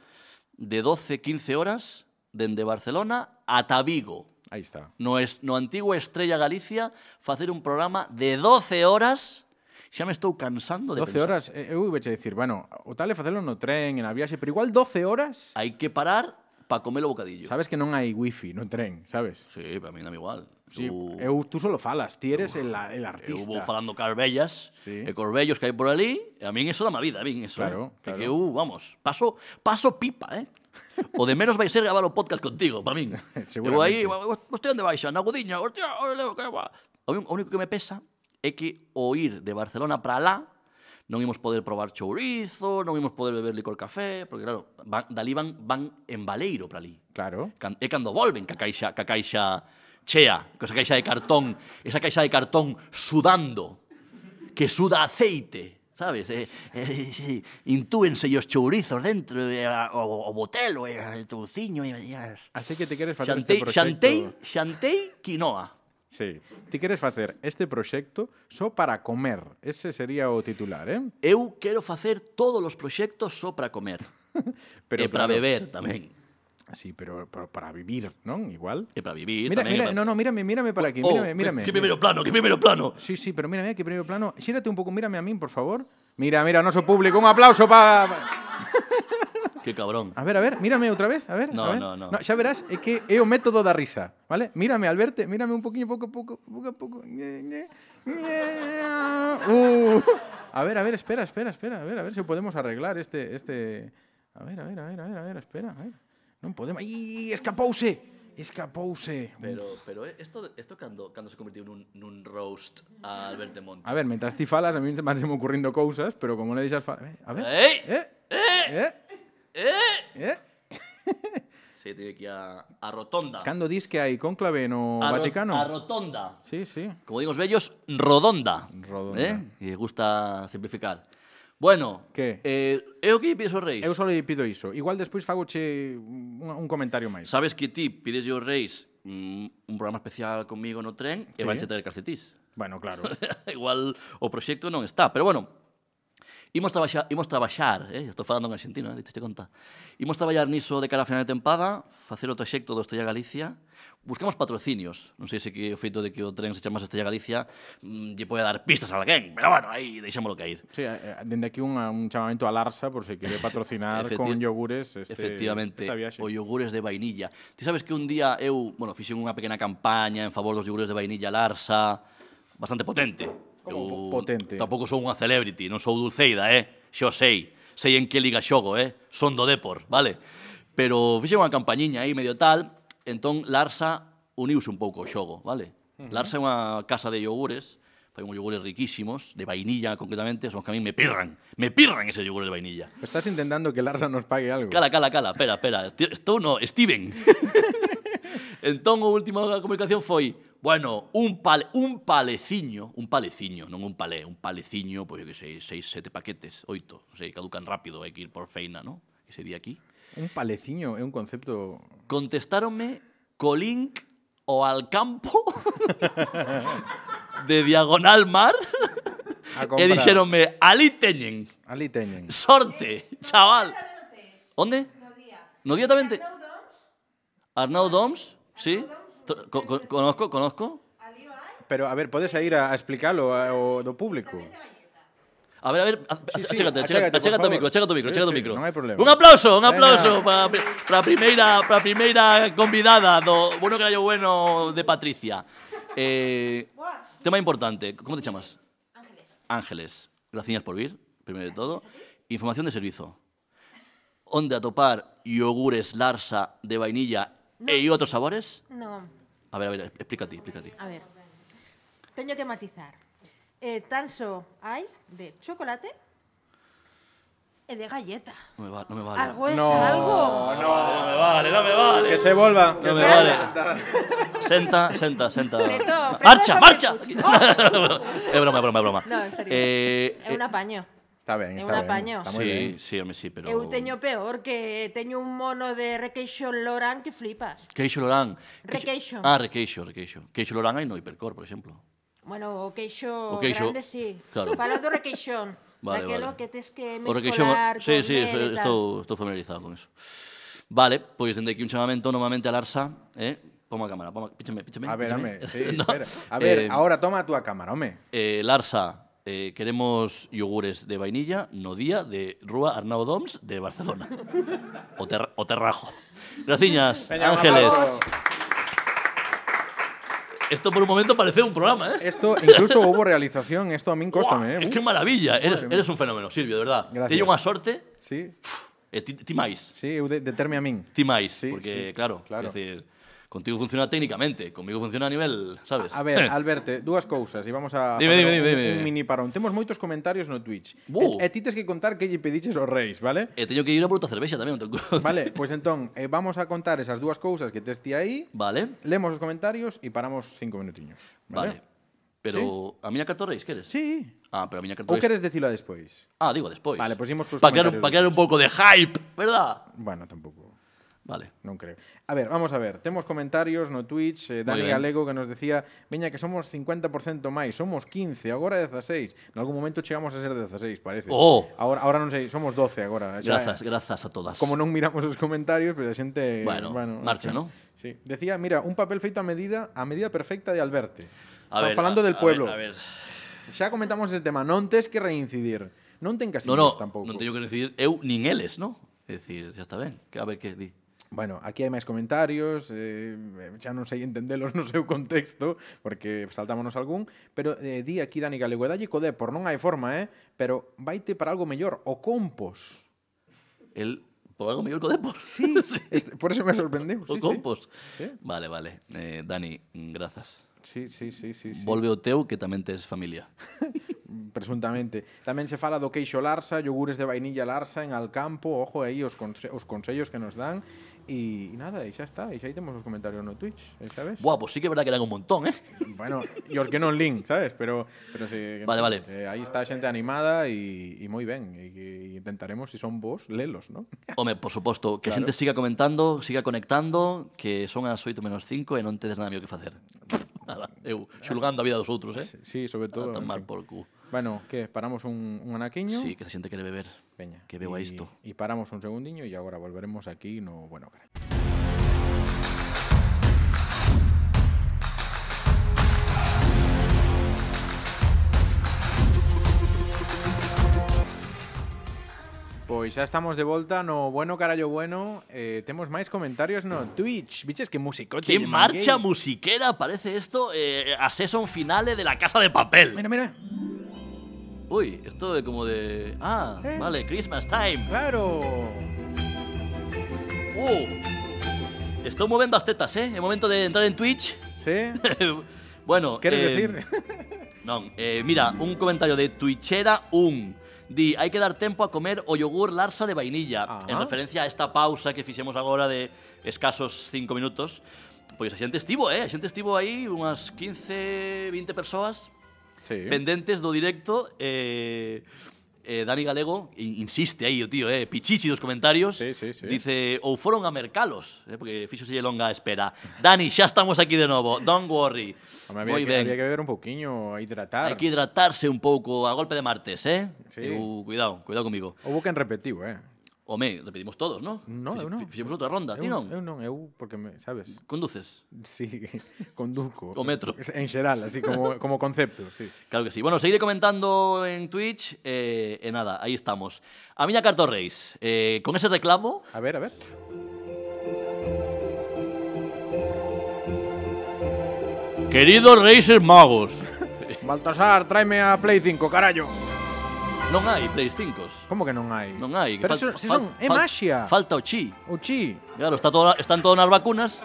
S3: de 12, 15 horas dende Barcelona ata Vigo.
S2: Aí está.
S3: No, es, no antigo Estrella Galicia, facer un programa de 12 horas, xa me estou cansando de
S2: 12
S3: pensar.
S2: horas, eh, eu veche dicir, bueno, o tal é facelo no tren, en a viaxe, pero igual 12 horas,
S3: Hai que parar para comer o bocadillo.
S2: sabes que non hai wifi no tren, sabes?
S3: Sí, para mí non é igual.
S2: Sí,
S3: Eu-
S2: eu, tú solo falas, ti eres el, a- el
S3: Eu vou
S2: artista.
S3: falando carbellas
S2: Sí.
S3: e corbellos que hai por ali, e a min eso dá má vida, a min eso.
S2: Claro,
S3: eh.
S2: claro.
S3: Que- Que eu, vamos, paso, paso pipa, eh? O de menos vai ser gravar o podcast contigo, para min. eu vou aí,
S2: Seguramente.
S3: hostia, onde vais xa? Na Gudiña, hostia, ole, que va. O un- o único que me pesa é que o ir de Barcelona para lá non imos poder probar chourizo, non imos poder beber licor café, porque claro, van, dali van, van en baleiro para ali.
S2: Claro.
S3: Can- é cando volven ca caixa, ca caixa chea, con esa caixa de cartón, esa caixa de cartón sudando, que suda aceite, sabes? Eh, eh, sí, intúense os chourizos dentro, e a- o, o botelo, eh, e a- o touciño, e, e as...
S2: Así que ti queres facer
S3: Xantei,
S2: este proxecto...
S3: xantei, xantei quinoa.
S2: Sí. Ti queres facer este proxecto só para comer. Ese sería o titular, eh?
S3: Eu quero facer todos os proxectos só para comer. e para
S2: claro,
S3: beber tamén.
S2: Sí, pero, pero para vivir, non? Igual.
S3: E para vivir
S2: Mira,
S3: tamén. e
S2: mira,
S3: para...
S2: no, no, mírame, mírame para aquí,
S3: Oh,
S2: mírame, mírame.
S3: Que, que primeiro plano, que primeiro plano.
S2: Sí, sí, pero mírame aquí, primeiro plano. Xírate un pouco, mírame a min, por favor. Mira, mira, o noso público, un aplauso para...
S3: Que cabrón.
S2: A ver, a ver, mírame outra vez, a ver, a
S3: No,
S2: ver.
S3: no, no.
S2: Xa verás, é que é o método da risa, vale? Mírame, Alberto, mírame un poquinho, pouco a pouco, pouco a pouco. Ñe, ñe, ñe. Uh. A ver, a ver, espera, espera, espera, a ver, a ver se o podemos arreglar este este A ver, a ver, a ver, a ver, a ver, espera, a ver. Non podemos. Ai, escapouse. Escapouse.
S3: Pero, pero esto, esto cando, cando se convirtiu nun, nun roast a Alberto Montes.
S2: A ver, mentras ti falas, a mí se me ocurrindo cousas, pero como le deixas falar... A ver,
S3: Ei!
S2: eh, eh,
S3: Eh!
S2: eh.
S3: Sí, tive que ir a, a Rotonda.
S2: Cando dis que hai cónclave no
S3: a Ro-
S2: Vaticano?
S3: a Rotonda.
S2: Sí, sí.
S3: Como digo os bellos, Rodonda.
S2: Rodonda.
S3: Eh? Que gusta simplificar. Bueno,
S2: Que?
S3: Eh, eu que pides os reis.
S2: Eu só lle pido iso. Igual despois fagoche un, un comentario máis.
S3: Sabes que ti pides os reis mm, un programa especial comigo no tren
S2: Sí.
S3: e vanche traer calcetís.
S2: Bueno, claro.
S3: Igual o proxecto non está, pero bueno. Imos trabaxar, imos trabaxar, eh? estou falando en argentino, eh? diste conta. Imos traballar niso de cara a final de tempada, facer o proxecto do Estrella Galicia. Buscamos patrocinios. Non sei se que o feito de que o tren se chamase Estrella Galicia mm, lle pode dar pistas a alguén, pero bueno, aí deixámoslo cair.
S2: Sí, eh, dende aquí unha, un chamamento a Larsa por se quere patrocinar con
S3: Efecti-
S2: yogures este,
S3: Efectivamente,
S2: esta viaxe.
S3: o yogures de vainilla. Ti sabes que un día eu, bueno, fixen unha pequena campaña en favor dos yogures de vainilla Larsa, bastante potente.
S2: Como po- Oh, potente?
S3: Tampouco sou unha celebrity, non sou Dulceida, eh? Xo sei, sei en que liga xogo, eh? Son do Depor, vale? Pero fixen unha campañiña aí medio tal, entón Larsa uniuse un pouco ao xogo, vale? Larsa é unha casa de yogures, fai uns yogures riquísimos, de vainilla concretamente, son os que a mí me pirran, me pirran ese yogures de vainilla.
S2: Estás intentando que Larsa nos pague algo.
S3: Cala, cala, cala, espera, espera. Esti- Estou no, Steven. entón, a última comunicación foi, bueno, un, pale, un paleciño, un paleciño, non un palé, un paleciño, pois, pues, que sei, seis, sete paquetes, oito, non sei, caducan rápido, hai que ir por feina, non? Ese día aquí.
S2: Un paleciño é un concepto...
S3: Contestáronme co link o al campo de Diagonal Mar
S2: A comprar.
S3: e dixéronme, ali teñen,
S2: Alí teñen.
S3: sorte, chaval. Onde?
S4: No día.
S3: No día tamén te... Arnau
S4: Arnau Doms,
S3: Doms, sí. Tro- co- co- Conozco, conozco.
S4: alí vai,
S2: Pero, a ver, podes ir a, a explicalo ao do público?
S3: A ver, a ver, a-
S2: Sí, sí,
S3: achégate,
S2: achégate, por
S3: achégate, achégate o
S2: favor.
S3: micro, achégate o micro,
S2: Sí,
S3: achégate o
S2: sí,
S3: micro.
S2: non hai problema.
S3: Un aplauso, un
S2: Venga.
S3: aplauso para a primeira, para primeira convidada do Bueno que era yo bueno de Patricia. Eh, tema importante, como te chamas? Ángeles. Ángeles. Gracias por vir, primeiro de todo. Información de servizo. Onde atopar yogures Larsa de vainilla e outros sabores?
S4: No,
S3: A ver, a ver, explícate, explícate.
S4: a ver. Teño que matizar. Eh, tan só hai de chocolate e de galleta.
S3: No me, va, no me vale.
S4: Algo es
S2: No.
S4: algo.
S3: No me vale, no me vale.
S2: Que se volva.
S3: No me
S2: se
S3: vale.
S2: volva.
S3: Senta, senta, senta.
S4: Preto, preto
S3: marcha,
S4: es
S3: marcha.
S4: porque-
S3: es broma, es broma, es broma.
S4: No, en serio.
S3: Eh,
S4: É un apaño.
S2: Está ben,
S4: É
S2: está
S4: un
S2: ben.
S4: apaño.
S2: Está
S3: sí,
S2: moi ben.
S3: sí, home, sí, pero...
S4: Eu teño peor que teño un mono de Requeixo Loran que flipas.
S3: Queixo Lorán.
S4: Requeixo.
S3: Ah, Requeixo, Requeixo. Queixo Lorán hai no hipercore, por exemplo.
S4: Bueno, o queixo,
S3: O queixo,
S4: grande, sí.
S3: claro.
S4: Falo do requeixón.
S3: Vale,
S4: daquelo
S3: vale.
S4: que tes que
S3: O Requeixo...
S4: mescolar
S3: Sí,
S4: con
S3: sí,
S4: mel e
S3: estou,
S4: tal.
S3: estou- estou familiarizado con eso. Vale, pois dende aquí un chamamento normalmente al Arsa, eh? Pon a cámara, pon a... Píchame, píchame.
S2: A ver,
S3: píchame.
S2: home, sí,
S3: No,
S2: espera. A ver,
S3: eh,
S2: ahora toma a túa cámara, home.
S3: Eh, Larsa, eh, queremos yogures de vainilla no día de Rúa Arnau Doms de Barcelona. o, ter- o Terrajo. Graciñas,
S2: Veña, un
S3: Ángeles.
S2: aplauso.
S3: Esto por un momento parece un programa, ¿eh?
S2: Esto, incluso hubo realización, esto a min
S3: Guau,
S2: cóstame, eh.
S3: es
S2: Uf,
S3: que maravilla. Eres, eres un fenómeno, Silvio, de verdad.
S2: Gracias.
S3: Te llevo una sorte.
S2: Sí,
S3: Eh, ti- ti máis.
S2: sí, eu de, determe a min.
S3: Ti máis,
S2: Sí,
S3: porque,
S2: sí,
S3: claro,
S2: claro.
S3: es decir, contigo funciona técnicamente, conmigo funciona a nivel, ¿sabes?
S2: A ver, Alberto, dúas cousas e vamos a
S3: Eh. Dime,
S2: facer
S3: dime,
S2: un,
S3: dime, dime.
S2: un mini parón. Temos moitos comentarios no Twitch.
S3: Bu.
S2: E, e ti tes que contar que lle pediches aos reis, vale?
S3: He tenido Eh, que ir a por outra cervexa tamén. non te cu-
S2: Vale, pois entón, eh, vamos a contar esas dúas cousas que tes ti aí,
S3: Vale.
S2: lemos os comentarios e paramos cinco minutiños.
S3: Vale.
S2: Vale?
S3: Pero a miña carta reis queres?
S2: Sí.
S3: Ah, pero a miña carta
S2: Ou
S3: reis.
S2: queres decila despois?
S3: Ah, digo despois.
S2: Vale, pois imos pros
S3: Para crear,
S2: comentarios
S3: pa crear un pouco de hype, ¿verdad?
S2: Bueno, tampouco.
S3: Vale.
S2: Non creo. A ver, vamos a ver. Temos comentarios no Twitch, eh, Dani
S3: Moi ben.
S2: Galego que nos decía, "Veña que somos 50% máis, somos 15, agora 16. Nalgún momento chegamos a ser 16, parece.
S3: Oh.
S2: Agora agora non sei, somos 12 agora. Xa,
S3: Grazas, grazas a todas.
S2: Como non miramos os comentarios, pero a xente
S3: Bueno, marcha, ¿no?
S2: Sí. Decía, mira, un papel feito a medida, a medida perfecta de Alberti. Están
S3: A ver,
S2: falando
S3: a-
S2: del
S3: a
S2: pueblo.
S3: ver, a ver.
S2: Xa comentamos ese tema, non tes que reincidir. Non ten casillas
S3: No, no,
S2: tampouco.
S3: non teño que decir eu nin eles, ¿no? É dicir, xa está ben. Que- A ver que di.
S2: Bueno, aquí hai máis comentarios, eh, xa non sei entendelos no seu contexto, porque saltámonos algún, pero eh, di aquí Dani Galego, dalle co Depor, non hai forma, eh? Pero vaite para algo mellor, o Compos.
S3: El por algo mellor que o Depor.
S2: Sí, este, por eso me sorprendeu.
S3: O
S2: Sí,
S3: Compos.
S2: Sí.
S3: Vale, vale. Eh, Dani, grazas.
S2: Sí, sí, sí, sí, sí.
S3: Volve o teu que tamén tes familia.
S2: presuntamente. Tamén se fala do queixo Larsa, yogures de vainilla Larsa en Alcampo, ojo aí os, conse os consellos que nos dan. E e nada, e xa está, e xa aí temos os comentarios no Twitch, e sabes?
S3: Buah, pois sí que é verdad que eran un montón, eh?
S2: Bueno, e os que non link, sabes? Pero, pero sí,
S3: Vale, vale.
S2: Eh, aí está a xente animada e, e moi ben. E, que intentaremos, se son vos, lelos, ¿no?
S3: Home, por suposto, que a
S2: Claro.
S3: xente siga comentando, siga conectando, que son as 8 menos 5 e non tedes nada mellor que facer. nada, eu xulgando a vida dos outros, eh?
S2: Sí, sobre todo.
S3: a
S2: en fin.
S3: tomar por cu.
S2: Bueno, que paramos un, un anaquiño.
S3: Sí, que se xente quere beber.
S2: Veña,
S3: Que beba
S2: y-
S3: isto.
S2: Y paramos un segundiño y ahora volveremos aquí no, bueno, caray. Pois xa estamos de volta no Bueno Carallo Bueno eh, Temos máis comentarios no Twitch Biches que musicote
S3: Que
S2: lle
S3: marcha
S2: manguei.
S3: musiquera parece esto eh, a season finale de La Casa de Papel.
S2: Mira, mira,
S3: Uy, esto es como de... Ah,
S2: Eh.
S3: vale, Christmas time.
S2: claro
S3: Uh. Estoy moviendo las tetas, ¿eh? Es momento de entrar en Twitch.
S2: Sí,
S3: bueno,
S2: queres
S3: eh,
S2: decir?
S3: No, eh, mira, un comentario de Twitchera un. Di, hai que dar tempo a comer o yogur Larsa de vainilla.
S2: Ah.
S3: En referencia a esta pausa que fixemos agora de escasos 5 minutos. Pois a xente estivo, eh? A xente estivo aí unhas 15, 20 persoas
S2: Sí.
S3: pendentes do directo eh, eh, Dani Galego i- insiste aí, o tío, eh, pichichi dos comentarios.
S2: Sí, sí, sí.
S3: Dice, ou foron a mercalos, eh, porque fixo selle longa a espera. Dani, xa estamos aquí de novo, don't worry.
S2: Home, había,
S3: Moi
S2: que,
S3: ben.
S2: había que beber un pouquiño, a hidratar.
S3: Hai que hidratarse un pouco a golpe de martes, eh?
S2: Sí.
S3: Eu, cuidado, cuidado comigo.
S2: Houve quen repetiu, eh?
S3: Home, repetimos todos, non?
S2: No,
S3: Fixi-
S2: eu non.
S3: fi- Fixemos outra ronda, ti
S2: eu,
S3: non?
S2: Eu non, eu porque me, sabes,
S3: Conduces.
S2: si conduco.
S3: O metro.
S2: En xeral, así como como concepto, sí.
S3: Claro que sí. Bueno, seguide comentando en Twitch eh, e nada, aí estamos. A miña carta aos reis, eh, con ese reclamo,
S2: A ver, a ver.
S3: Queridos Reyes Magos,
S2: Baltasar, tráeme a Play 5, carallo.
S3: non hai Play 5
S2: Como que non hai?
S3: Non hai que
S2: Pero
S3: fal-
S2: se, se
S3: fal-
S2: son, é
S3: fal-
S2: maxia.
S3: Falta o chi
S2: O chi.
S3: Claro, está toda, están todas nas vacunas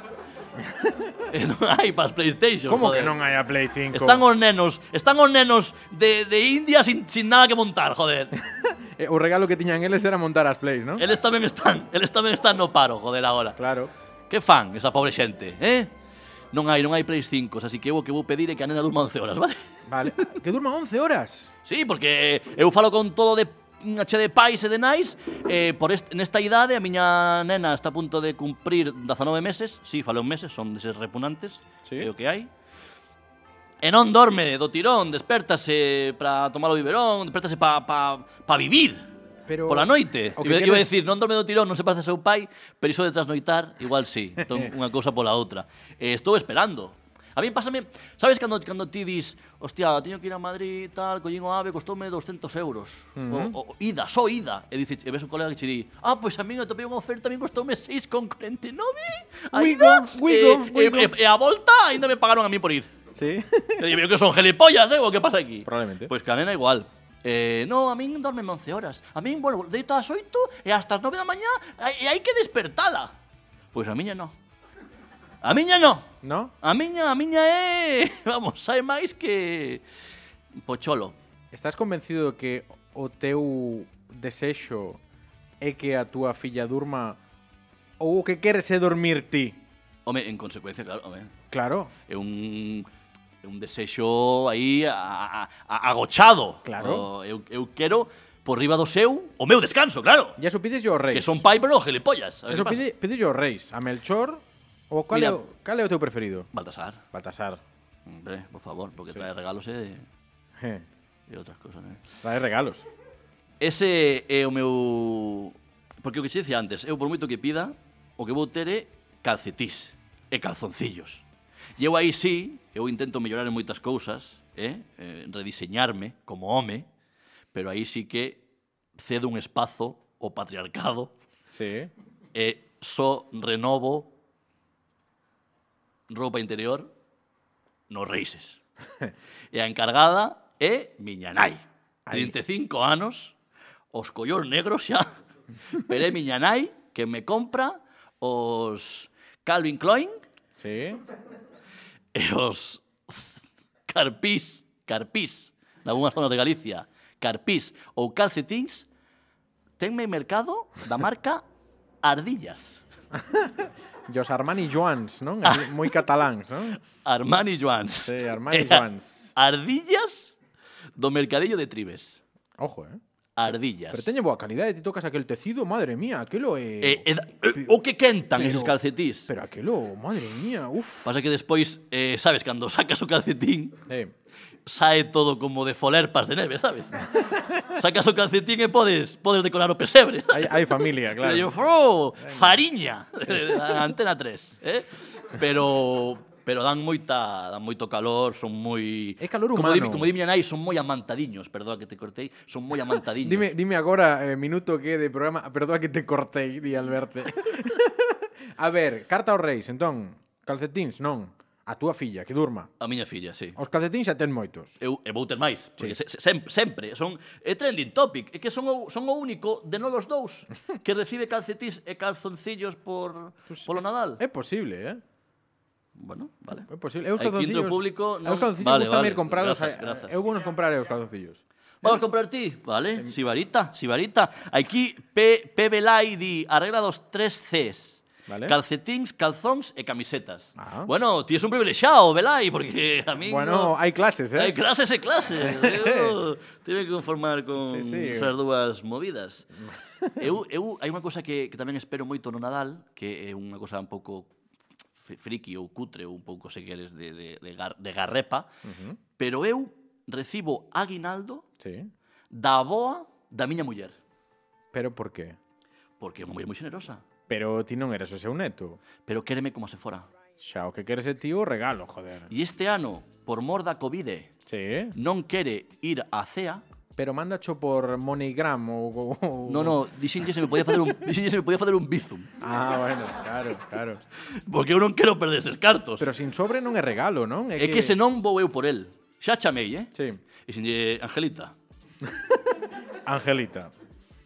S3: E non hai para as Playstation
S2: Como que
S3: joder.
S2: non hai a Play 5?
S3: Están os nenos, están os nenos de, de India sin, sin nada que montar, joder
S2: Eh, o regalo que tiñan eles era montar as Plays, non?
S3: Eles tamén están, eles tamén están no paro, joder, agora
S2: Claro.
S3: Que fan esa pobre xente, eh? Non hai, non hai Play 5, así que eu o que vou pedir é que a nena durma 11 horas, vale?
S2: Vale. que durma 11 horas.
S3: Sí, porque eu falo con todo de unha che de pais e de nais eh, por est, nesta idade a miña nena está a punto de cumprir 19 meses sí, falo en meses, son deses repunantes
S2: Sí.
S3: é o que hai e non dorme do tirón, despertase para tomar o biberón, despertase para pa, pa vivir
S2: Pero
S3: pola noite.
S2: o que
S3: Iba,
S2: quero
S3: iba a
S2: es-
S3: decir, non dorme do tirón, non se parece a seu pai, pero iso de trasnoitar, igual sí. Entón, unha cousa pola outra. Eh, estou esperando. A mí pásame, sabes cando, cando ti dis, hostia, teño que ir a Madrid, tal, collín o ave, costoume 200 euros. o, o, ida, só ida. E, dices, e ves un colega que che di, ah, pois a mí eu topei unha oferta, a mí costoume 6,49. A
S2: Wigo,
S3: ida,
S2: wigo,
S3: e,
S2: wigo.
S3: e, Eh, e, a volta aínda me pagaron a mí por ir.
S2: Sí.
S3: Eu digo, que son gelipollas, eh, o que pasa aquí?
S2: Probablemente.
S3: Pois que a nena igual. Eh, no, a min dorme 11 horas. A min, bueno, deito ás 8 e hasta as 9 da mañá hai- e hai que despertala. Pois a miña non. A miña non.
S2: ¿No?
S3: A miña, a miña é, vamos, sai máis que pocholo.
S2: Estás convencido de que o teu desexo é que a túa filla durma ou o que queres é dormir ti?
S3: Home, en consecuencia, claro, home,
S2: Claro.
S3: é un é un desexo aí a, a, a, agochado.
S2: Claro.
S3: O, eu, eu quero por riba do seu o meu descanso, claro.
S2: E eso pides yo reis.
S3: Que son pai, pero gelipollas. A ver
S2: Eso
S3: que pasa.
S2: pide, pide yo reis. A Melchor ou cal, é,
S3: Mira.
S2: o, cal é o teu preferido?
S3: Baltasar.
S2: Baltasar.
S3: Hombre, por favor, porque trae regalos e,
S2: Je,
S3: e outras cosas, né?
S2: Trae regalos.
S3: Ese é o meu... Porque o que che dicía antes, eu por moito que pida, o que vou ter é calcetís e calzoncillos. E eu aí sí, eu intento mellorar en moitas cousas, eh? eh rediseñarme como home, pero aí sí que cedo un espazo ao patriarcado
S2: Sí.
S3: e só Eh, renovo roupa interior nos reixes. e a encargada é miña nai. 35 anos, os collóns negros xa, pero é miña nai que me compra os Calvin Klein
S2: Sí.
S3: e os carpís, carpís, nalgúnas zonas de Galicia, carpís ou calcetins, tenme mercado da marca Ardillas.
S2: E os Armani Joans, non?
S3: Ah.
S2: Así, Moi cataláns, non?
S3: Armani Joans.
S2: Sí, Armani
S3: Era
S2: Joans.
S3: Ardillas do mercadillo de Tribes.
S2: Ojo, eh?
S3: Ardillas.
S2: Pero teño boa calidade, ti tocas aquel tecido, madre mía, aquilo é...
S3: E- e da- e- Eh, o que quentan
S2: Pero-
S3: esos calcetís.
S2: Pero aquilo, madre mía, uf.
S3: Pasa que despois, eh, sabes, cando sacas o calcetín,
S2: Eh,
S3: sae todo como de folerpas de neve, sabes? sacas o calcetín e podes, podes decorar o pesebre.
S2: hai, hai familia,
S3: Claro. Yo,
S2: claro.
S3: "Fro, ¡oh! fariña, Antena 3, eh? Pero pero dan moita, dan moito calor, son moi
S2: É calor
S3: Como di,
S2: humano.
S3: como di miña nai, son moi amantadiños, perdoa que te cortei, son moi amantadiños.
S2: Dime, dime agora, eh, minuto que de programa... Perdoa que te cortei, di Alberto. a ver, carta aos reis, entón. Calcetins, non. A túa filla, que durma.
S3: A miña filla, sí.
S2: Os calcetins xa ten moitos.
S3: Eu, e vou ter máis, porque se, se, sempre, sempre son é trending topic, é que son o, son o único de non os dous que recibe calcetís e calzoncillos por polo Nadal.
S2: É posible, eh?
S3: Bueno, vale.
S2: É posible. Eu os
S3: Aquí entre
S2: calzoncillos...
S3: o público,
S2: non...
S3: non-
S2: Os calzoncillos
S3: Vale,
S2: vale, gustame
S3: vale,
S2: ir compralos.
S3: grazas,
S2: eh,
S3: grazas.
S2: Eu vou nos comprar eh, os calzoncillos.
S3: Vamos a comprar ti, vale? Sibarita, Sibarita. Aquí P, P Belay di arregla dos tres Cs.
S2: Vale.
S3: calcetins, calzóns e camisetas.
S2: Ah.
S3: Bueno, ti es un privilexiado, velai, porque a mí
S2: Bueno, hai clases, eh?
S3: Hai clases e clases. Eu tive que conformar con
S2: Sí, sí.
S3: esas dúas movidas. Eu, eu hai unha cousa que, que tamén espero moito no Nadal, que é unha cousa un pouco fri- friki ou cutre ou un pouco, se queres, de, de, de, gar, de garrepa, uh -huh. pero eu recibo aguinaldo
S2: Sí.
S3: da boa da miña muller,
S2: Pero por qué?
S3: porque é unha muller moi xenerosa,
S2: Pero ti non eras o seu neto.
S3: pero quéreme como se fora.
S2: Xa, o que queres é ti o regalo, joder.
S3: E este ano, por mor da Covid,
S2: Sí.
S3: non quere ir á CEA,
S2: Pero mándacho por MoneyGram ou... ou...
S3: No, no, dixenlle se me podía facer un, dixenlle se me podía facer un bizum.
S2: Ah, bueno, claro, claro.
S3: Porque eu non quero perder eses cartos.
S2: Pero sin sobre non é regalo, non?
S3: é que se non vou eu por el. Xa chamei, eh?
S2: Sí.
S3: Dixenlle, Angelita,
S2: Angelita.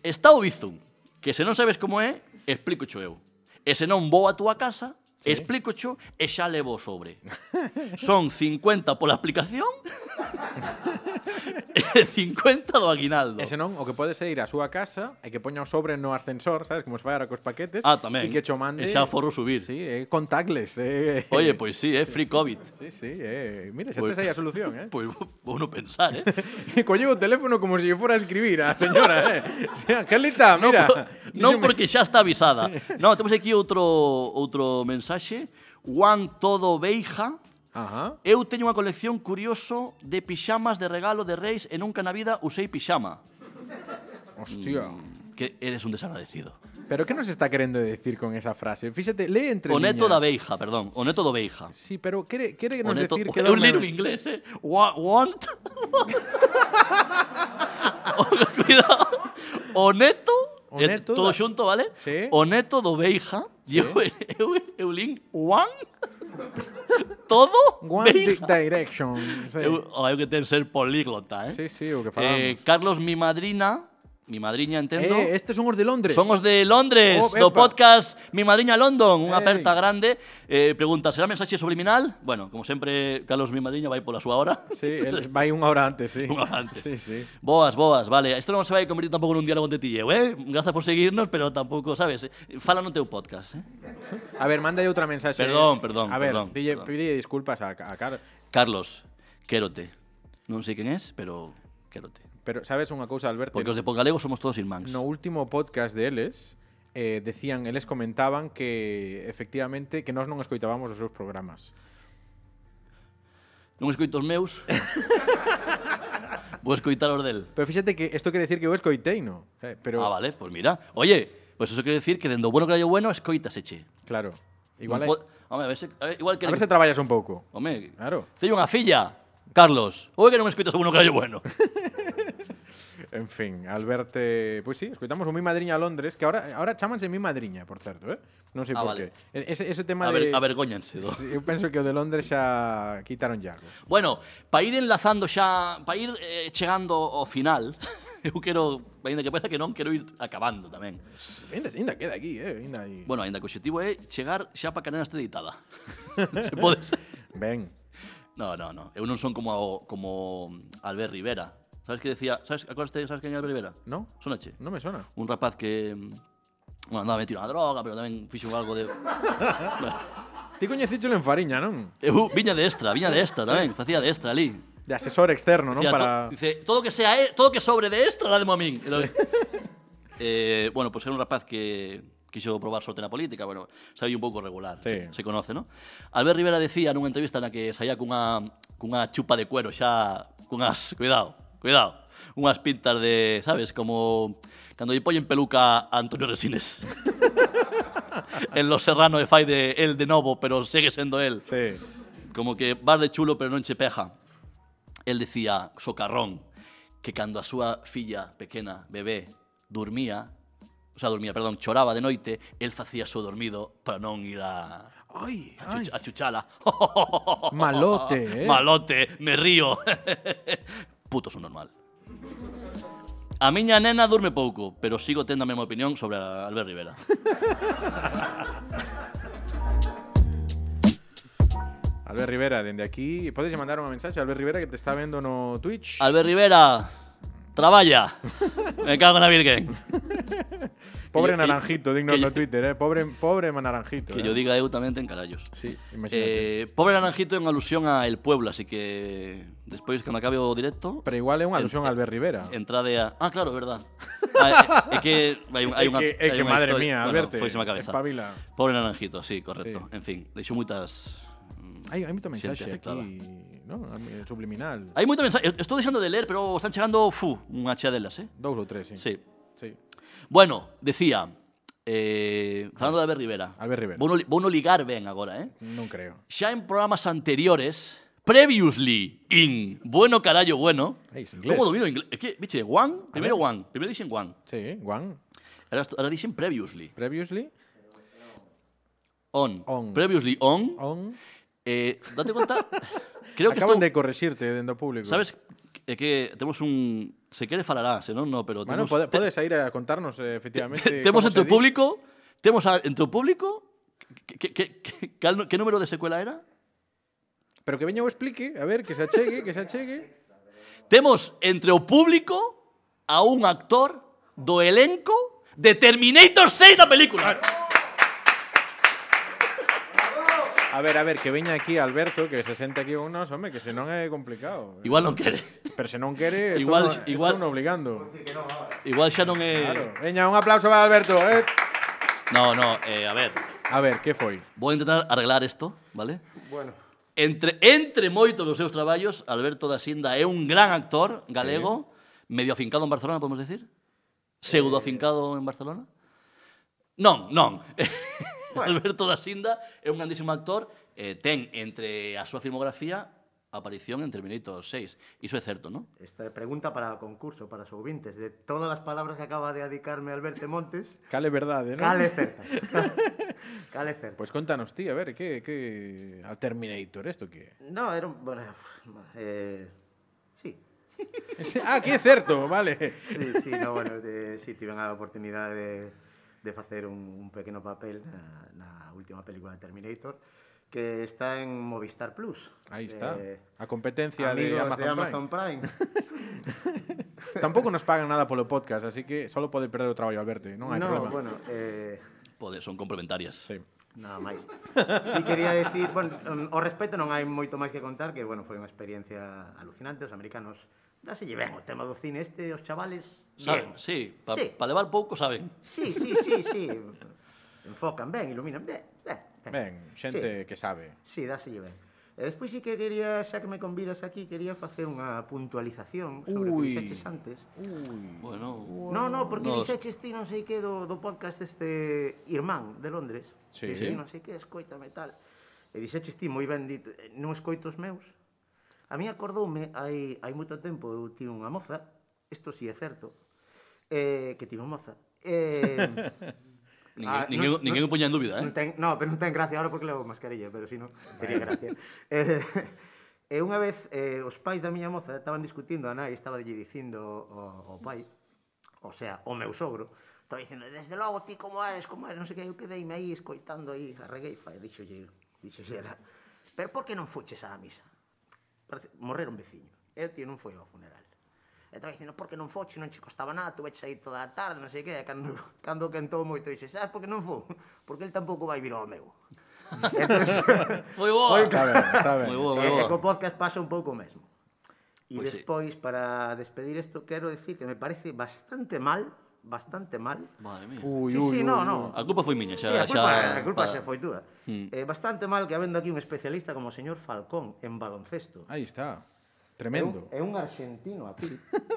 S3: está o bizum, que se non sabes como é, explico eu. E se non vou a túa casa, sí. explico e xa levo o sobre. Son 50 pola aplicación e 50 do aguinaldo.
S2: E senón, o que podes é ir á súa casa e que poña o sobre no ascensor, sabes, como se fai ahora cos paquetes.
S3: Ah,
S2: E
S3: tamén.
S2: que cho mande...
S3: E xa forro subir.
S2: Sí, eh, contactless. Eh.
S3: Oye, pois sí, é eh, free covid.
S2: Sí, sí, eh. Mira, xa
S3: Pois-
S2: tes aí a solución, eh.
S3: Pois vou non pensar, eh?
S2: Colleu o teléfono como se lle fora a escribir a señora, eh. Sí, Angelita,
S3: No,
S2: mira.
S3: por- non
S2: díxome-
S3: porque xa está avisada. No, temos aquí outro outro mensaxe. Juan Todo Beija.
S2: Ajá.
S3: Eu teño unha colección curioso de pixamas de regalo de reis e nunca na vida usei pixama.
S2: Hostia.
S3: Mm. Que eres un desagradecido.
S2: Pero que nos está querendo decir con esa frase? Fíxate, lee entre
S3: O neto da
S2: liñas.
S3: Beija, perdón. O neto do Beija.
S2: Sí, pero quere, quere
S3: O
S2: nos
S3: neto,
S2: decir que
S3: eu
S2: dona-
S3: leiro en inglés, eh? Wa- Want... Cuidado. O neto...
S2: O
S3: eh,
S2: neto
S3: todo
S2: da-
S3: xunto, vale?
S2: Sí.
S3: O neto do Beija. E eu, eu, eu lin... One... todo
S2: One di-
S3: Beija.
S2: Direction. Sí.
S3: Eu, o hai que ten ser políglota, eh?
S2: sí, sí, o que falamos.
S3: eh
S2: Eh,
S3: Carlos, mi madrina... Mi madriña, entendo...
S2: estes eh, son os de Londres.
S3: Son os de Londres,
S2: Oh,
S3: do
S2: epa.
S3: podcast Mi Madriña London,
S2: Ei.
S3: unha aperta grande. Eh, pregunta, será mensaxe subliminal? Bueno, como sempre, Carlos Mi Madriña vai pola súa hora.
S2: Sí, el, vai unha hora antes, sí.
S3: Unha hora antes.
S2: Sí, sí.
S3: Boas, boas, vale. Isto non se vai convertir tampouco nun diálogo entre ti e eu, eh? Grazas por seguirnos, pero tampouco, sabes, eh, fala no teu podcast, eh?
S2: A ver, manda aí outra mensaxe.
S3: Perdón, perdón,
S2: A ver,
S3: perdón,
S2: dille,
S3: perdón.
S2: pide disculpas a, a Car...
S3: Carlos, quérote. Non sei quen es, pero quérote.
S2: Pero sabes unha cousa, Alberto?
S3: Porque os de Pongalego somos todos irmáns.
S2: No último podcast de eles, eh, decían, eles comentaban que efectivamente que nós non escoitábamos os seus programas.
S3: Non escoito os meus. Vou escoitar os del.
S2: Pero fíxate que isto quere decir que eu escoitei, no? Eh, pero,
S3: Ah, vale, pois pues mira. Oye, pois pues eso quere decir que dendo bueno que hallo bueno, escoitas eche.
S2: Claro. Igual,
S3: Non
S2: hai-
S3: po- Home, a ver se, a ver, igual que...
S2: a ver se traballas un pouco.
S3: Home,
S2: Claro.
S3: teño unha filla, Carlos. Oye que non me escoitas a uno que hallo bueno.
S2: En fin, Alberto, pois sí, escoitamos o Mi Madriña a Londres, que ahora ahora chámanse Mi Madriña, por certo, eh? Non sei
S3: Ah,
S2: por
S3: vale.
S2: qué. E- Ese, ese tema
S3: A ver,
S2: de
S3: avergóñanse do.
S2: Sí, Eu penso que o de Londres xa quitaron yargo.
S3: Bueno, para ir enlazando xa, para ir eh, chegando ao final, eu quero, ainda que parece que non, quero ir acabando tamén.
S2: Ainda, ainda queda aquí, eh? Ainda aí.
S3: Bueno, ainda que o objetivo é chegar xa para que a nena este editada. Se pode ser.
S2: Ben.
S3: No, no, no. Eu non son como ao- como Albert Rivera. Sabes que decía, sabes, acordaste, sabes quen é Albert Rivera?
S2: No,
S3: Sonache.
S2: non me sona.
S3: un rapaz que mm, bueno, andaba metido na droga, pero tamén fixo algo de
S2: Ti coñecíchelo en Fariña, non?
S3: Eu viña de extra, viña de extra tamén, facía de extra ali.
S2: De asesor externo, non?
S3: Dicía,
S2: Para...
S3: to, dice, todo que sea, e- todo que sobre de extra, dádemo a min. Era- eh, bueno, pois pues era un rapaz que quixo probar sorte na política, bueno, sabe un pouco regular,
S2: Sí.
S3: se, se conoce, ¿no? Albert Rivera decía nunha entrevista na que saía cunha cunha chupa de cuero xa cunhas, cuidado, cuidado, unhas pintas de, sabes, como cando lle poñen peluca a Antonio Resines. en Los Serrano e fai de el de novo, pero segue sendo el.
S2: Sí.
S3: Como que vas de chulo pero non che peja. El decía, socarrón, que cando a súa filla pequena, bebé, dormía, o sea, dormía, perdón, choraba de noite, el facía o seu dormido para non ir a,
S2: Ai,
S3: a, chuch- a chuchala. "Oh,
S2: Malote, eh?
S3: Malote, me río. Puto son normal. A miña nena durme pouco, pero sigo tendo a mesma opinión sobre a Albert Rivera.
S2: Albert
S3: Ah,
S2: Rivera, dende aquí, podes mandar unha mensaxe a Albert Rivera que te está vendo no Twitch.
S3: Albert Rivera, Traballa. Me cago en la virgen.
S2: Pobre
S3: que-
S2: naranjito, digno
S3: que yo-
S2: en Twitter, ¿eh? Pobre, pobre naranjito.
S3: Que
S2: ¿eh?
S3: yo diga EU también ten carallos.
S2: Sí, imagínate.
S3: Eh, pobre Naranjito en alusión a El Pueblo, así que despois cando acabe o directo,
S2: Pero igual es una alusión
S3: en-
S2: al Albert Rivera.
S3: entrade a Ah, claro, é verdad. Ah, é, é que hai, un- hai
S2: Eh,
S3: unha
S2: que, eh,
S3: hai
S2: que
S3: unha
S2: madre
S3: historia-
S2: mía,
S3: bueno,
S2: Alberto.
S3: foise má cabeza.
S2: Espabila.
S3: Pobre Naranjito, sí, correcto.
S2: Sí.
S3: En fin, deixou moitas
S2: Hay, hay mucho
S3: Xente
S2: mensaje
S3: afectada.
S2: aquí, ¿no? Subliminal.
S3: Hai moita mensaxe, estou deixando de ler, pero están chegando, fu, unha chea delas, eh?
S2: Dos o tres, sí.
S3: Sí.
S2: Sí.
S3: Bueno, decía, eh, falando de Albert Rivera.
S2: Albert Rivera.
S3: Vou no, li- vou no ligar ben agora, eh?
S2: No creo.
S3: Xa en programas anteriores, previously in Bueno Carallo Bueno.
S2: Ay, es inglés.
S3: ¿Cómo domino inglés? Es que, biche, one, primero one, primero dicen one.
S2: Sí, Juan.
S3: Ahora, esto- ahora dicen previously.
S2: Previously,
S3: On.
S2: On.
S3: Previously on.
S2: on.
S3: Eh, date cuenta. creo que
S2: Acaban
S3: esto,
S2: de corregirte dentro público.
S3: ¿Sabes? Es que tenemos un. Se quiere falará, se no, no, pero.
S2: Bueno,
S3: tenemos-
S2: pode-
S3: te-
S2: podes ir a contarnos eh, efectivamente. cómo
S3: Tenemos entre
S2: se
S3: el
S2: di-
S3: público. Tenemos a- entre el público. ¿qué- qué- qué- qué- cal- ¿Qué número de secuela era?
S2: Pero que veña o explique, a ver, que se achegue, que se achegue.
S3: Temos entre o público a un actor do elenco de Terminator 6 da película.
S2: A ver, a ver, que veña aquí Alberto, que se sente aquí con nós, home, que se non é complicado.
S3: Igual non quere.
S2: Pero se non quere,
S3: Igual-
S2: igual,
S3: igual-
S2: igual, obligando.
S3: Igual xa non é...
S2: Claro. Veña, un aplauso para Alberto. eh.
S3: No, no, eh, a ver.
S2: A ver, que foi?
S3: Vou intentar arreglar isto, vale? Bueno. Entre, entre moitos dos seus traballos, Alberto da Hacienda é un gran actor galego, medio afincado en Barcelona, podemos decir?
S5: Eh.
S3: Pseudo afincado en Barcelona? Non, non. Alberto da Hacienda é un grandísimo actor, eh, ten entre a súa filmografía aparición en Terminator 6. Iso é certo, non?
S5: Esta pregunta para o concurso, para os ouvintes. De todas as palabras que acaba de adicarme Alberto Montes,
S2: Cale verdade, non?
S5: cale certa. cale certa.
S2: Pois contanos ti, a ver, que que a Terminator isto que é?
S5: No, era un... Bueno, eh, sí,
S2: Ese- Ah, que é certo, vale.
S5: Sí, sí, no, bueno, de, sí, tiven a oportunidade de, de facer un, un pequeno papel na, na última película de Terminator que está en Movistar Plus.
S2: Aí está.
S5: Eh,
S2: A competencia de
S5: amigos
S2: Amazon,
S5: de Amazon Prime.
S2: Prime. Tampouco nos pagan nada polo podcast, así que solo pode perder o traballo, Alberto, non hai
S5: no,
S2: problema.
S5: bueno, eh,
S3: Pode, son complementarias.
S2: Sí.
S5: nada máis. Sí quería decir, bueno, mm, ao respecto non hai moito máis que contar que, bueno, foi unha experiencia alucinante. Os americanos dáselle ben o tema do cine este, os chavales,
S3: Saben,
S5: ben.
S3: sí, para
S5: Sí.
S3: levar pouco saben.
S5: Sí, sí, sí, sí. Enfocan ben, iluminan ben. Ben,
S2: Ben, xente que sabe.
S5: Sí, dáselle ben. E despois sí que quería, xa que me convidas aquí, quería facer unha puntualización sobre o
S2: Ui.
S5: que dixeches antes.
S3: Bueno,
S5: No, no, porque
S3: Nos-
S5: dixeches ti non sei que do, do podcast este Irmán de Londres.
S2: Sí.
S5: Que
S2: Sí.
S5: di non sei que, escoítame tal. E dixeches ti moi ben, dito, "Eh, non escoito os meus. A mí acordoume hai, hai moito tempo eu tive unha moza, isto si é certo, eh, que tive unha moza. Eh,
S3: ninguén,
S5: Ah,
S3: ninguén,
S5: non-
S3: ninguén o poña en dúbida, eh?
S5: Non, ten, no, pero non ten gracia ahora porque levo mascarilla, pero si non, tería gracia. eh, e unha vez eh, os pais da miña moza estaban discutindo, a nai estaba lle dicindo o, o pai, o sea, o meu sogro, estaba dicindo, desde logo ti como eres, como eres, non sei que, eu quedeime aí escoitando aí a regueifa, e dixolle, dixolle ela, pero por que non fuches á misa? Parece, morrera un veciño, e o tío non foi ao funeral. E estaba dicindo, por que non foche, non che costaba nada, tu veches aí toda a tarde, non sei que, e cando, cando quentou moito, dixo, sabes por que non vou? Porque el tampouco vai vir ao meu. Entón,
S3: Moi boa.
S2: Está ben, está ben.
S3: Moi boa, moi
S5: e, e
S3: boa.
S5: co podcast pasa un pouco o mesmo. E
S3: Pois sí.
S5: despois, para despedir isto, quero decir que me parece bastante mal, bastante mal.
S3: Madre mía.
S2: Ui,
S5: sí,
S2: ui,
S5: sí,
S2: ui,
S5: no,
S2: ui.
S5: no.
S3: A culpa Hmm. foi miña, Ah. xa,
S5: Uh. Sí, a culpa,
S3: xa-
S5: a culpa
S3: pa-
S5: se foi túa. Eh, bastante mal que habendo aquí un especialista como o señor Falcón en baloncesto.
S2: Aí está. Tremendo.
S5: É un, é un argentino aquí.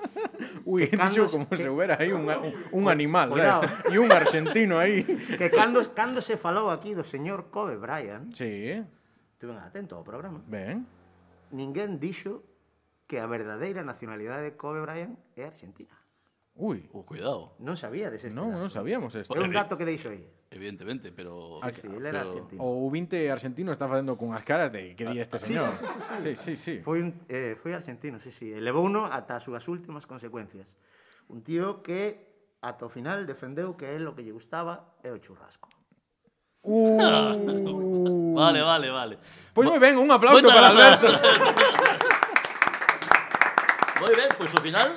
S2: Ui,
S5: que
S2: dixo
S5: Carlos-
S2: como
S5: eh, que-
S2: se houbera aí un, un animal,
S5: Cuidado.
S2: sabes? E un argentino aí.
S5: que cando, cando se falou aquí do señor Kobe Bryant,
S2: Sí,
S5: estuve atento ao programa,
S2: ben.
S5: ninguén dixo que a verdadeira nacionalidade de Kobe Bryant é argentina.
S2: Ui,
S3: Oh, cuidado,
S5: Non sabía dese
S2: non, non sabíamos isto.
S5: É un dato que deixo aí.
S3: evidentemente, pero...
S5: Sí, sí, él
S3: Ah,
S5: era
S3: pero-
S5: argentino.
S2: O 20 argentino está facendo con as caras de que di este
S5: sí,
S2: señor. Sí,
S5: sí,
S2: sí, sí.
S5: Foi, un, eh, foi argentino, sí, sí. Elevou uno ata as súas últimas consecuencias. Un tío que ata o final defendeu que é o que lle gustaba é o churrasco.
S2: Uh.
S3: Vale, vale, vale.
S2: Pois moi ben, un aplauso
S3: Moitas
S2: para
S3: grazas.
S2: Alberto.
S3: Moi ben, pois ao final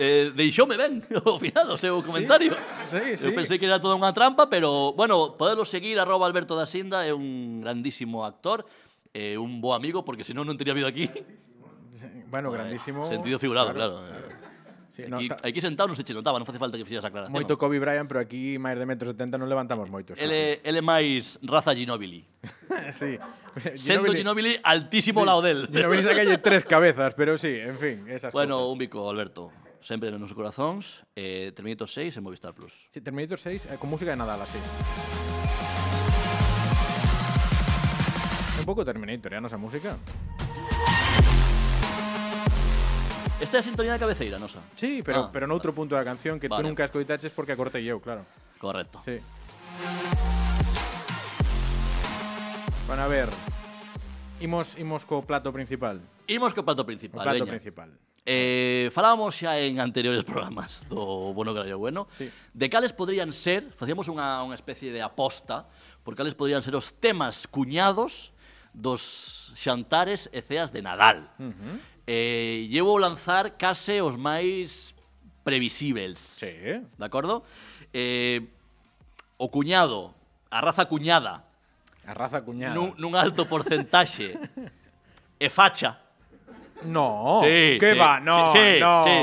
S3: eh, deixoume ben ao final o seu comentario.
S2: sí, sí.
S3: Eu pensei que era toda unha trampa, pero, bueno, podelo seguir, arroba Alberto da Sinda, é un grandísimo actor, é un bo amigo, porque senón non tería habido aquí.
S2: Bueno, grandísimo.
S3: Sentido figurado, claro.
S5: Eh,
S2: Sí, no,
S3: Aquí,
S2: ta-
S3: aquí sentado non se che notaba, non face falta que fixeras a aclaración.
S2: moito Kobe Bryant, pero aquí máis de 1,70 non levantamos moitos.
S3: Ele, ele é máis raza Ginobili.
S2: sí.
S3: Sento Ginobili altísimo
S2: Eh, Sí,
S3: ao lado del.
S2: Ginobili sacalle tres cabezas, pero sí, en fin, esas
S3: Bueno,
S2: cosas.
S3: un bico, Alberto. Sempre nos nosos corazóns, eh, Terminator 6 en Movistar Plus.
S2: Sí, Terminator 6 eh, con música de Nadal así. Un pouco Terminator, ya, non esa música?
S3: Esta é a sintonía da cabeceira, nosa.
S2: Sí, pero,
S3: Ah,
S2: pero noutro punto da canción que tú
S3: Vale.
S2: nunca escoitaches porque acortei eu, claro.
S3: Correcto.
S2: Sí. Bueno, a ver. Imos, imos co plato principal.
S3: Imos co plato
S2: O
S3: principal,
S2: plato
S3: veña.
S2: principal.
S3: Eh, falábamos xa en anteriores programas do Bueno Carallo Bueno
S2: Sí.
S3: de cales podrían ser, facíamos unha, unha especie de aposta por cales podrían ser os temas cuñados dos xantares e ceas de Nadal. Uh -huh. eh, e eu vou lanzar case os máis previsíveis.
S2: Sí, eh?
S3: De acordo? Eh, o cuñado, a raza cuñada,
S2: A raza cuñada.
S3: nun, nun alto porcentaxe e facha.
S2: No.
S3: Sí,
S2: que
S3: sí,
S2: Oh, va? No,
S3: sí, sí,
S2: no.
S3: sí.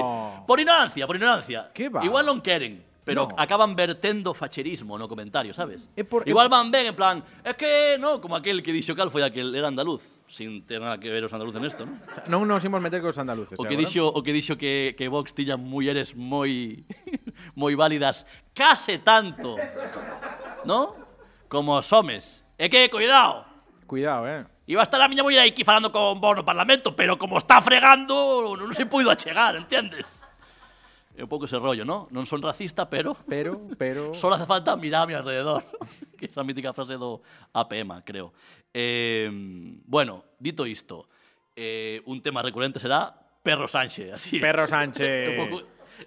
S3: Por ignorancia, por ignorancia.
S2: Que va?
S3: Igual non queren,
S2: No.
S3: pero acaban vertendo facherismo no comentario, sabes?
S2: É por- é
S3: Igual van ben en plan, es que no, como aquel que dixo cal foi aquel era andaluz, sin ter nada que ver os andaluces nesto, ¿no?
S2: O sea, non nos imos meter cos andaluces.
S3: O que
S2: agora.
S3: dixo, o que dixo que que Vox tiña mulleres moi moi válidas case tanto. ¿No? Como os homes. É que cuidado.
S2: Cuidado, eh.
S3: Iba a estar a miña muller aquí falando con vos no Parlamento, pero como está fregando, non se puido achegar, entendes? É un pouco ese rollo, ¿no? Non son racista, pero
S2: Pero, pero...
S3: só hace falta mirar a mi alrededor. que esa mítica frase do APM, creo. Eh, bueno, dito isto, eh, un tema recurrente será Perro Sánchez, así.
S2: Perro
S3: É
S2: Sánchez.
S3: un pouco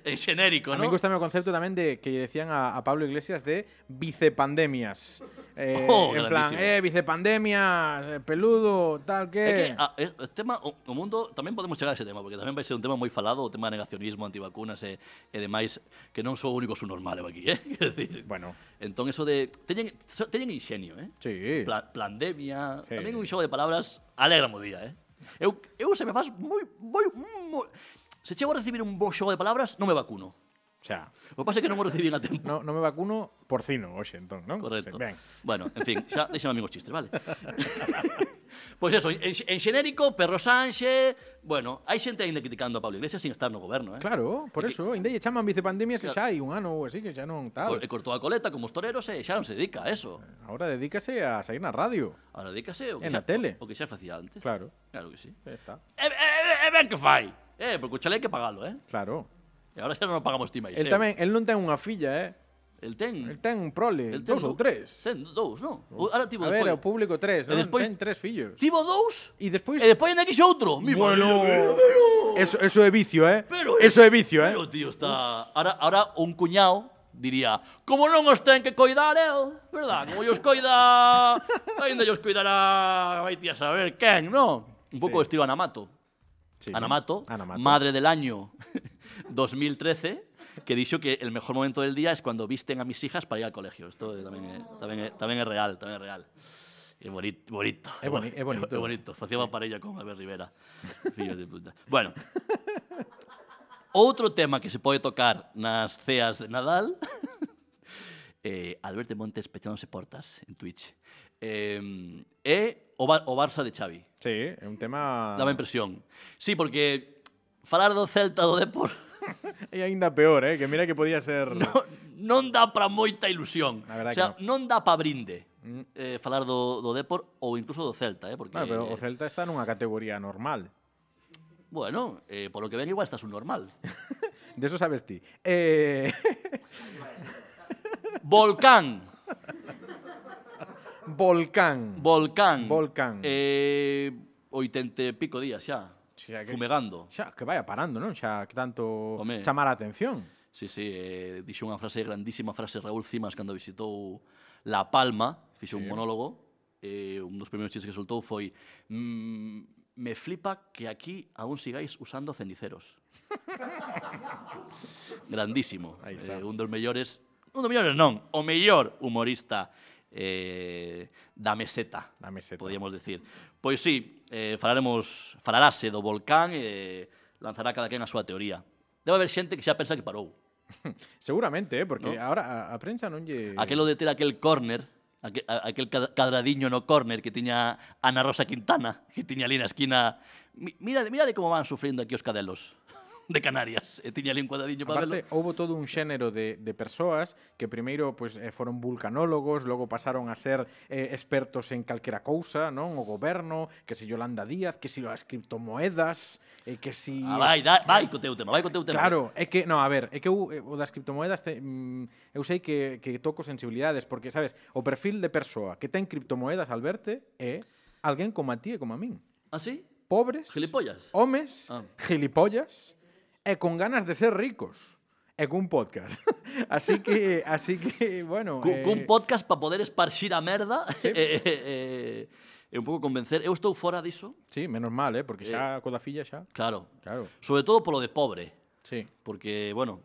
S3: eh, xenérico,
S2: A
S3: ¿no?
S2: mí gusta o concepto tamén de que lle decían a, a Pablo Iglesias de vicepandemias. Eh,
S3: Oh,
S2: en plan,
S3: grandísimo.
S2: eh, vicepandemias, eh, peludo, tal que...
S3: É que ah. a, es- o tema, o, o mundo tamén podemos chegar a ese tema, porque tamén vai ser un tema moi falado, o tema negacionismo, antivacunas e, e demais, que non sou o único subnormal eu aquí, eh? Quero decir,
S2: Bueno,
S3: entón eso de teñen so- teñen ingenio, eh?
S2: sí.
S3: Pla, pandemia,
S2: Sí.
S3: tamén un xogo de palabras, alegra o día, eh? Eu, eu se me faz moi, moi, moi... Se chego a recibir un bo xogo de palabras, non me vacuno.
S2: O sea,
S3: O que pasa é que non o recibí a tempo.
S2: no, no me vacuno porcino hoxe, entón, non?
S3: Correcto.
S2: Sí, ben.
S3: Bueno, en fin, xa deixame amigos chistes, vale? pois eso, en, en xenérico, Perro Sánchez... Bueno, hai xente ainda criticando a Pablo Iglesias sin estar no goberno, eh?
S2: Claro, por
S3: Porque-
S2: eso, ainda lle chaman vicepandemias e
S3: Claro. eh.
S2: xa hai un ano ou así que xa non tal.
S3: Co- E cortou a coleta como os toreros e xa non se dedica a eso.
S2: Ahora dedícase a sair na radio.
S3: Ahora dedícase o que,
S2: En a
S3: xa,
S2: tele.
S3: o que xa facía antes.
S2: Claro.
S3: Claro que sí.
S2: Xa
S3: Eh,
S2: está.
S3: E, e, e, e ben que fai. Eh, porque o chalé hai que pagalo, eh?
S2: Claro.
S3: E agora xa non o pagamos ti máis.
S2: El
S3: eh?
S2: tamén, el non ten unha filla, eh?
S3: El ten...
S2: El ten un prole,
S3: el Mm. ten
S2: dos ou
S3: dou-
S2: tres.
S3: Ten dous, non? O- Ahora
S2: A
S3: tivo
S2: ver, o
S3: despois-
S2: público tres,
S3: E
S2: non?
S3: despois-
S2: Ten tres fillos.
S3: Tivo dous?
S2: E despois
S3: E despois ainda quixo outro. Mi
S2: Bueno,
S3: madre,
S2: eso, eso é vicio, eh?
S3: Pero,
S2: eso é vicio, eh?
S3: Pero, tío, está... Ahora, ahora un cuñado diría como non os ten que coidar eu, verdad? Como os coida... Ainda os coidará... Vai a saber quen, non? Un pouco
S2: Sí.
S3: estilo Anamato.
S2: Sí.
S3: Anamato,
S2: Anamato.
S3: madre del año 2013, que dixo que el mejor momento del día es cuando visten a mis hijas para ir al colegio. Esto tamén é, tamén é, tamén é real, tamén é real. É bonito. bonito.
S2: É boni- é bonito.
S3: É bonito. Facía unha parella con Albert Rivera. Fillos de puta. Bueno. Outro tema que se pode tocar nas ceas de Nadal eh, Alberto Montes pechándose portas en Twitch. Eh, e o, Bar- o Barça de Xavi.
S2: Sí, é un tema...
S3: Daba impresión. Sí, porque falar do Celta do Depor
S2: É aínda peor, eh? Que mira que podía ser...
S3: non, non dá para moita ilusión.
S2: A verdade
S3: o sea,
S2: que Mm.
S3: non dá para brinde eh, falar do, do Depor ou incluso do Celta, eh, porque
S2: Bueno, pero o Celta está nunha categoría normal.
S3: bueno, eh, por lo que ven igual está un normal.
S2: De eso sabes ti. Eh,
S3: Volcán,
S2: volcán.
S3: Volcán.
S2: Volcán.
S3: Eh, 80 e pico días xa.
S2: Sí, aquel-
S3: Fumegando.
S2: Xa, que vaya parando, non? Xa que tanto
S3: Home.
S2: chamar a atención.
S3: Sí, sí, eh, dixo unha frase, grandísima frase Raúl Cimas cando visitou La Palma, fixo un monólogo, eh, un dos primeiros chistes que soltou foi mm, me flipa que aquí aún sigáis usando ceniceros. Grandísimo.
S2: Ahí está.
S3: Eh, un dos mellores... Un dos mellores non, o mellor humorista eh, da meseta.
S2: Da meseta.
S3: Podíamos decir. Pois sí, eh, falaremos, falarase do volcán e lanzará cada quen a súa teoría. Debe haber xente que xa pensa que parou.
S2: Seguramente, eh, porque
S3: No.
S2: ahora a, a prensa non lle...
S3: Aquelo de ter aquel córner, aquel, aquel cad- cadradiño no córner que tiña Ana Rosa Quintana, que tiña ali na esquina. Mi- Mira, mira de como van sufriendo aquí os cadelos de Canarias. E tiña ali un cuadradiño para
S2: Aparte,
S3: verlo.
S2: houbo todo un xénero de, de persoas que primeiro pues, eh, foron vulcanólogos, logo pasaron a ser eh, expertos en calquera cousa, non? O goberno, que si Yolanda Díaz, que si as criptomoedas, eh, que si...
S3: Ah, vai, da, vai co teu tema, vai co teu tema.
S2: eh, Claro, é que, no, a ver, é que eu, eh, o das criptomoedas te, mm, eu sei que, que toco sensibilidades, porque, sabes, o perfil de persoa que ten criptomoedas al verte é alguén como a ti e como a min.
S3: Ah, sí?
S2: Eh, pobres,
S3: Gilipollas.
S2: homes,
S3: Ah.
S2: gilipollas e con ganas de ser ricos. E cun podcast. así que, así que, bueno, eh,
S3: Cu- Cun podcast para poder esparxir a merda Eh,
S2: Sí.
S3: e, e, e, e un pouco convencer. Eu estou fora diso,
S2: Sí, menos mal, eh, porque xa coa da filla xa.
S3: claro.
S2: Claro.
S3: Sobre todo polo de pobre,
S2: Sí.
S3: Pues porque, bueno,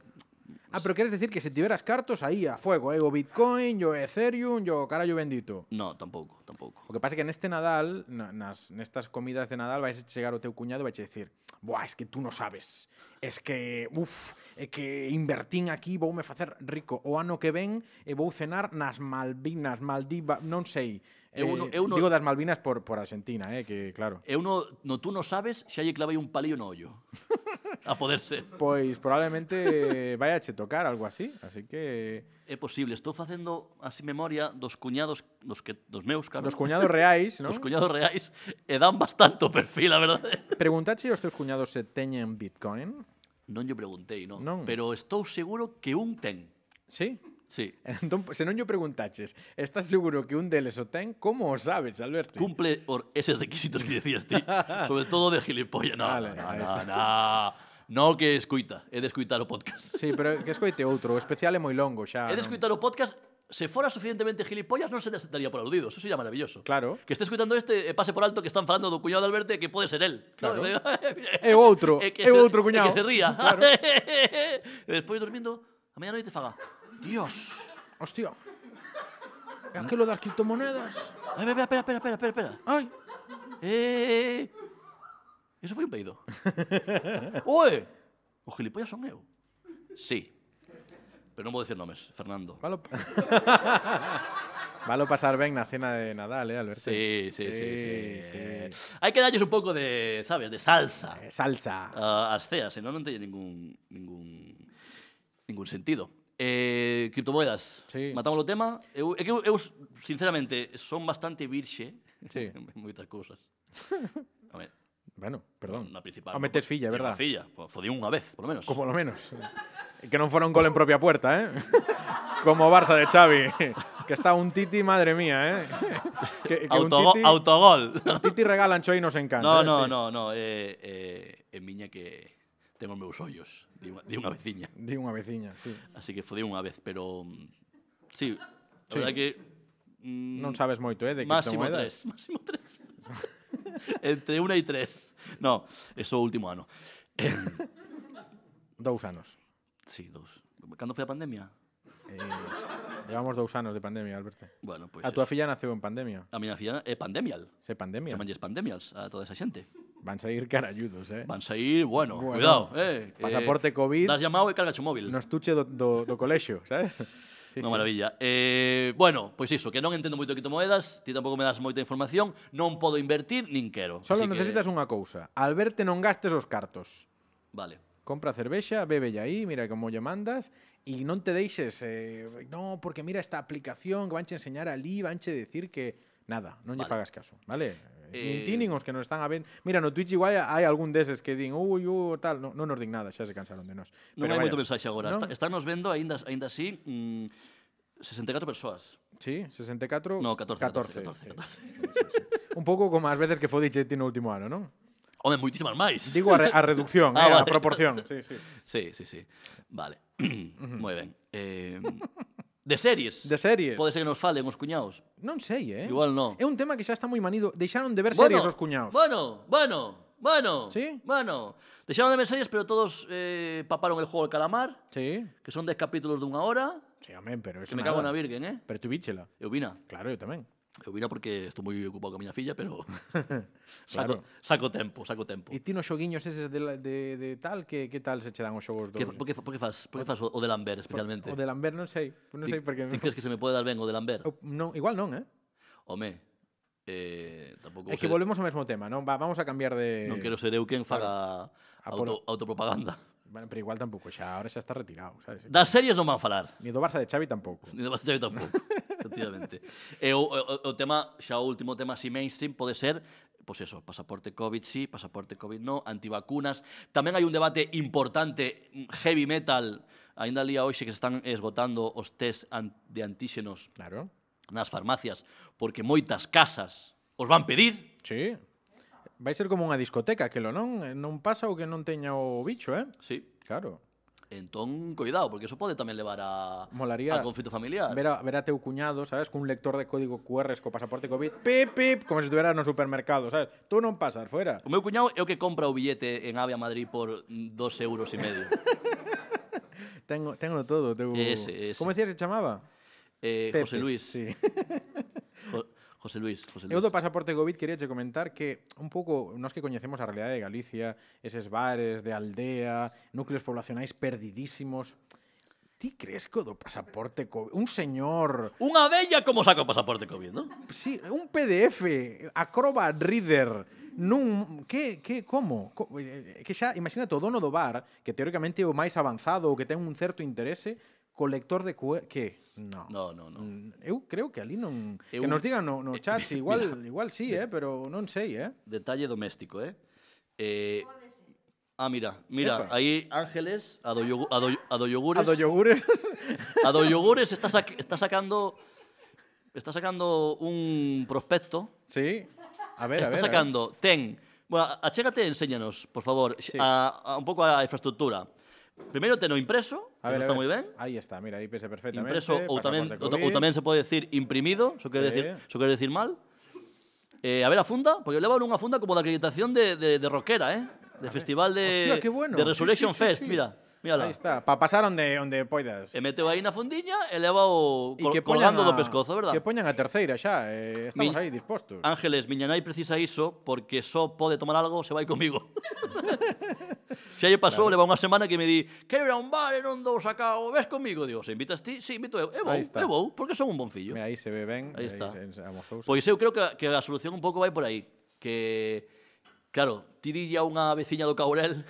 S2: Ah, pero queres decir que se tiveras cartos aí a fuego, eh, o Bitcoin, o Ethereum, o carallo bendito.
S3: no, tampouco, tampouco.
S2: O que pasa é que neste Nadal, na- nas, nestas comidas de Nadal, vais chegar o teu cuñado e vais dicir Buah, es que tú non sabes. Es que, uf, é que invertín aquí, voume facer rico. O ano que ven e vou cenar nas Malvinas, Maldiva, non sei. Eh,
S3: Eu non- eu non-
S2: Digo das Malvinas por, por Argentina, eh, que claro.
S3: Eu no, no tú no sabes xa lle clavei un palillo no ollo. A poder ser.
S2: Pois probablemente vai a che tocar algo así, así que...
S3: É posible, estou facendo así memoria dos cuñados dos que dos meus, claro.
S2: Dos cuñados reais, non?
S3: Dos cuñados reais e dan bastante o perfil, a verdade.
S2: Preguntaxe aos teus cuñados se teñen Bitcoin?
S3: Non lle preguntei, non.
S2: Non.
S3: Pero estou seguro que un ten.
S2: Sí?
S3: Sí.
S2: Entón, se non pues, yo preguntaches, estás seguro que un deles o ten? Como o sabes, Alberto?
S3: Cumple or eses requisitos que decías ti, sobre todo de gilipollas. No,
S2: Vale,
S3: no,
S2: ahí
S3: no, no, no, que escuita, he de escuitar o podcast.
S2: Sí, pero que escoite outro, o especial é moi longo xa.
S3: he de
S2: non?
S3: escuitar o podcast, se fora suficientemente gilipollas non se te sentaría por aludido, eso sería maravilloso.
S2: Claro.
S3: Que esté escuchando este e pase por alto que están falando do cuñado de Alberto e que pode ser él.
S2: Claro. É
S3: É
S2: o outro, é o outro
S3: E
S2: cuñado.
S3: que se ría.
S2: Claro.
S3: e despois dormindo, a media noite faga. Dios.
S2: Hostia. É
S3: ¿Eh?
S2: aquilo das criptomonedas.
S3: Ai, espera, espera, espera, espera, espera.
S2: Ai,
S3: Eh, eh, eh. Eso foi un peido. Oe, os gilipollas son eu. Sí. Pero non vou dicir nomes, Fernando.
S2: valo... valo pasar ben na cena de Nadal, eh, Alberto?
S3: Sí, sí, sí, sí.
S2: sí.
S3: Hai que darlles un pouco de, sabes, de salsa.
S2: Eh, Salsa.
S3: a- as ceas, senón non teñe ningún ningún ningún sentido. Eh, criptomoedas.
S2: Sí.
S3: Matamos o tema. Eu, é que eu, eu, sinceramente, son bastante virxe
S2: Sí.
S3: en moitas cousas. A ver,
S2: Bueno, perdón.
S3: na principal.
S2: A metes filla,
S3: Tiene
S2: verdad?
S3: unha Filla, Pois fodí unha vez, por lo menos.
S2: Como lo menos. Que non fora un gol en propia puerta, eh? Como o Barça de Xavi. Que está un titi, madre mía, eh? Que, que un
S3: Autogo-
S2: titi,
S3: Autogol.
S2: un titi regalan choinos en cancha. eh,
S3: no, no,
S2: sí.
S3: no, no, eh, eh, en miña que tengo meus ollos de unha, de unha veciña.
S2: Di unha veciña, sí.
S3: Así que fodí unha vez, pero... mm, Sí, a verdad que... mm,
S2: Non sabes moito, eh, de
S3: máximo
S2: criptomoedas.
S3: tres. Máximo tres. Entre una y tres. No, eso último ano.
S2: Dous anos.
S3: Sí, dos. ¿Cuándo fue la pandemia?
S2: Eh, llevamos dous anos de pandemia, Alberto.
S3: Bueno, pues.
S2: a túa
S3: eso.
S2: filla naceu en pandemia.
S3: A miña filla é pandemial.
S2: Se pandemia.
S3: Se manches pandemials a toda esa xente.
S2: Van sair carayudos, eh.
S3: Van sair, bueno,
S2: Bueno.
S3: cuidado, eh.
S2: Pasaporte
S3: eh,
S2: COVID.
S3: Das llamado e carga o móvil.
S2: No estuche do, do, do colexio, sabes? Sí,
S3: Unha maravilla. Eh, bueno, pois iso, que non entendo moito de criptomoedas, ti tampouco me das moita información, non podo invertir, nin quero.
S2: Solo
S3: Así que-
S2: necesitas unha cousa. Alberto non gastes os cartos.
S3: Vale.
S2: Compra cervexa, bébella aí, mira como lle mandas e non te deixes eh, no, porque mira esta aplicación que vanche enseñar ali, vanche decir que nada, non lle
S3: Vale.
S2: fagas caso, vale? Eh... Nin
S3: Eh,
S2: ti, nin os que nos están a ver. Mira, no Twitch igual hai algún deses que din, ui, ui, tal, non, non nos din nada, xa se cansaron de nós.
S3: Non hai
S2: vaya,
S3: moito mensaxe agora.
S2: non?
S3: Está, están nos vendo, aínda, aínda así, mm, 64 persoas.
S2: Sí, 64.
S3: No, 14, 14, 14,
S2: 14, sí. Un pouco como as veces que foi Dichetti no último ano, non?
S3: Home, moitísimas máis.
S2: Digo a, re a reducción,
S3: Ah,
S2: eh, a
S3: vale.
S2: proporción. Sí, sí.
S3: Sí, sí, sí. Vale. Moi ben. Eh, De series.
S2: De series.
S3: Pode ser que nos falen os cuñados.
S2: Non sei, eh?
S3: Igual non.
S2: É un tema que xa está moi manido. Deixaron de ver
S3: Bueno,
S2: series os cuñados.
S3: Bueno, bueno, bueno.
S2: Sí?
S3: Bueno. Deixaron de ver series, pero todos eh, paparon el juego del calamar,
S2: Sí.
S3: que son 10 capítulos dunha hora,
S2: Sí, amén, pero eso
S3: que me
S2: nada.
S3: cago na virgen, eh?
S2: Pero tú víchela.
S3: Eu vina.
S2: Claro, eu tamén.
S3: Eu vina porque estou moi ocupado con a miña filla, pero saco, saco tempo, saco tempo.
S2: E ti nos xoguiños eses de, la- de, de tal, que, que tal se che dan os xogos dos?
S3: Que, por, que, por, que fas, por que fas o, o de Lambert especialmente?
S2: O de Lambert non sei. Pois Non sei
S3: Ti-
S2: porque...
S3: Ti crees que se me pode dar ben o de Lambert?
S2: Eu- Non, igual non, eh?
S3: Home, eh, tampouco
S2: É que eh,
S3: ser-
S2: volvemos ao mesmo tema, non? Va, vamos a cambiar de...
S3: non quero ser eu quen faga
S2: Apolo.
S3: auto, autopropaganda.
S2: Bueno, pero igual tampouco, xa ahora xa está retirado, sabes?
S3: Das series non van falar.
S2: Ni do Barça de Xavi tampouco.
S3: Ni de Barcelona tampouco, efectivamente. E o, o, o tema, xa o último tema así mainstream pode ser pois eso, pasaporte COVID sí, pasaporte COVID no, antivacunas. Tamén hai un debate importante, mm, heavy metal, ainda lía hoxe que se están esgotando os test an- de antíxenos
S2: Claro.
S3: nas farmacias, porque moitas casas os van pedir,
S2: Sí. Vai ser como unha discoteca, que lo non, eh, non pasa o que non teña o bicho, eh?
S3: sí,
S2: Claro.
S3: entón, cuidado, porque eso pode tamén levar a,
S2: Molaría
S3: a conflito familiar.
S2: Ver a, ver a teu cuñado, sabes, cun lector de código QR co pasaporte COVID, pip, pip, como se estuvera no supermercado, sabes? Tú non pasas, fuera.
S3: O meu cuñado é o que compra o billete en Ave a Madrid por mm, dos euros e medio.
S2: Tengo, tengo todo, teu...
S3: Ese, ese.
S2: Como decías que chamaba?
S3: Eh,
S2: Pepe,
S3: José Luis.
S2: Sí.
S3: Jo- José Luis, José Luis.
S2: Eu do pasaporte Covid quería che comentar que un pouco nós que coñecemos a realidade de Galicia, eses bares de aldea, núcleos poblacionais perdidísimos, ti crees que o do pasaporte Covid, un señor,
S3: Unha bella como saca o pasaporte COVID, non?
S2: sí, un PDF, Acrobat Reader, nun que que como? Co- eh, Que xa imagínate o dono do bar, que teóricamente é o máis avanzado, o que ten un certo interese, co lector de QR, que? No.
S3: No, no, no.
S2: Mm, Eu creo que ali non
S3: Eu-
S2: que nos digan no, no chat, si igual
S3: mira.
S2: igual sí, eh, pero non sei, eh.
S3: Detalle doméstico, eh? eh ah, mira, mira,
S2: Epa.
S3: aí Ángeles, a do, yogu, a, do, a do
S2: A
S3: yogures,
S2: do yogures.
S3: a do yogures está, sac, está sacando está sacando un prospecto,
S2: sí. A ver, a ver. a ver.
S3: está sacando, ten, bueno, a- achégate e enséñanos, por favor, a, a, un pouco a infraestructura. Primeiro teno impreso,
S2: A ver, a ver.
S3: eso está moi ben.
S2: Aí está, mira, aí pese perfectamente.
S3: impreso ou tamén,
S2: pasaporte
S3: ou, ta- ou
S2: COVID.
S3: tamén se pode decir imprimido, eso quere
S2: Sí.
S3: decir, eso quere decir mal. Eh, a ver a funda, porque eu levo unha funda como de acreditación de, de, de rockera, eh? De festival de,
S2: Hostia, qué bueno.
S3: de
S2: Sí,
S3: Resurrection
S2: sí, sí,
S3: Fest,
S2: sí.
S3: mira, mírala.
S2: Aí está, pa pasar onde onde poidas.
S3: E meteu aí na fundiña e leva o col,
S2: poñan
S3: colgando
S2: a-
S3: do pescozo, verdad?
S2: Que poñan a terceira xa, eh, estamos
S3: Mi- Ah,
S2: aí dispostos.
S3: Ángeles, miña nai precisa iso porque só pode tomar algo se vai comigo. Xa lle pasou, leva unha semana que me di quero ir a un bar e non dou sacao, ves comigo? Digo, se invitas ti? Si, invito eu. E vou,
S2: Aí está.
S3: e vou, porque son un bon fillo.
S2: Mira, aí se ve ben.
S3: Aí está.
S2: se- se amosouse.
S3: Pois eu creo que, a- que a solución un pouco vai por aí. Que, claro, ti dille a unha veciña do Caurel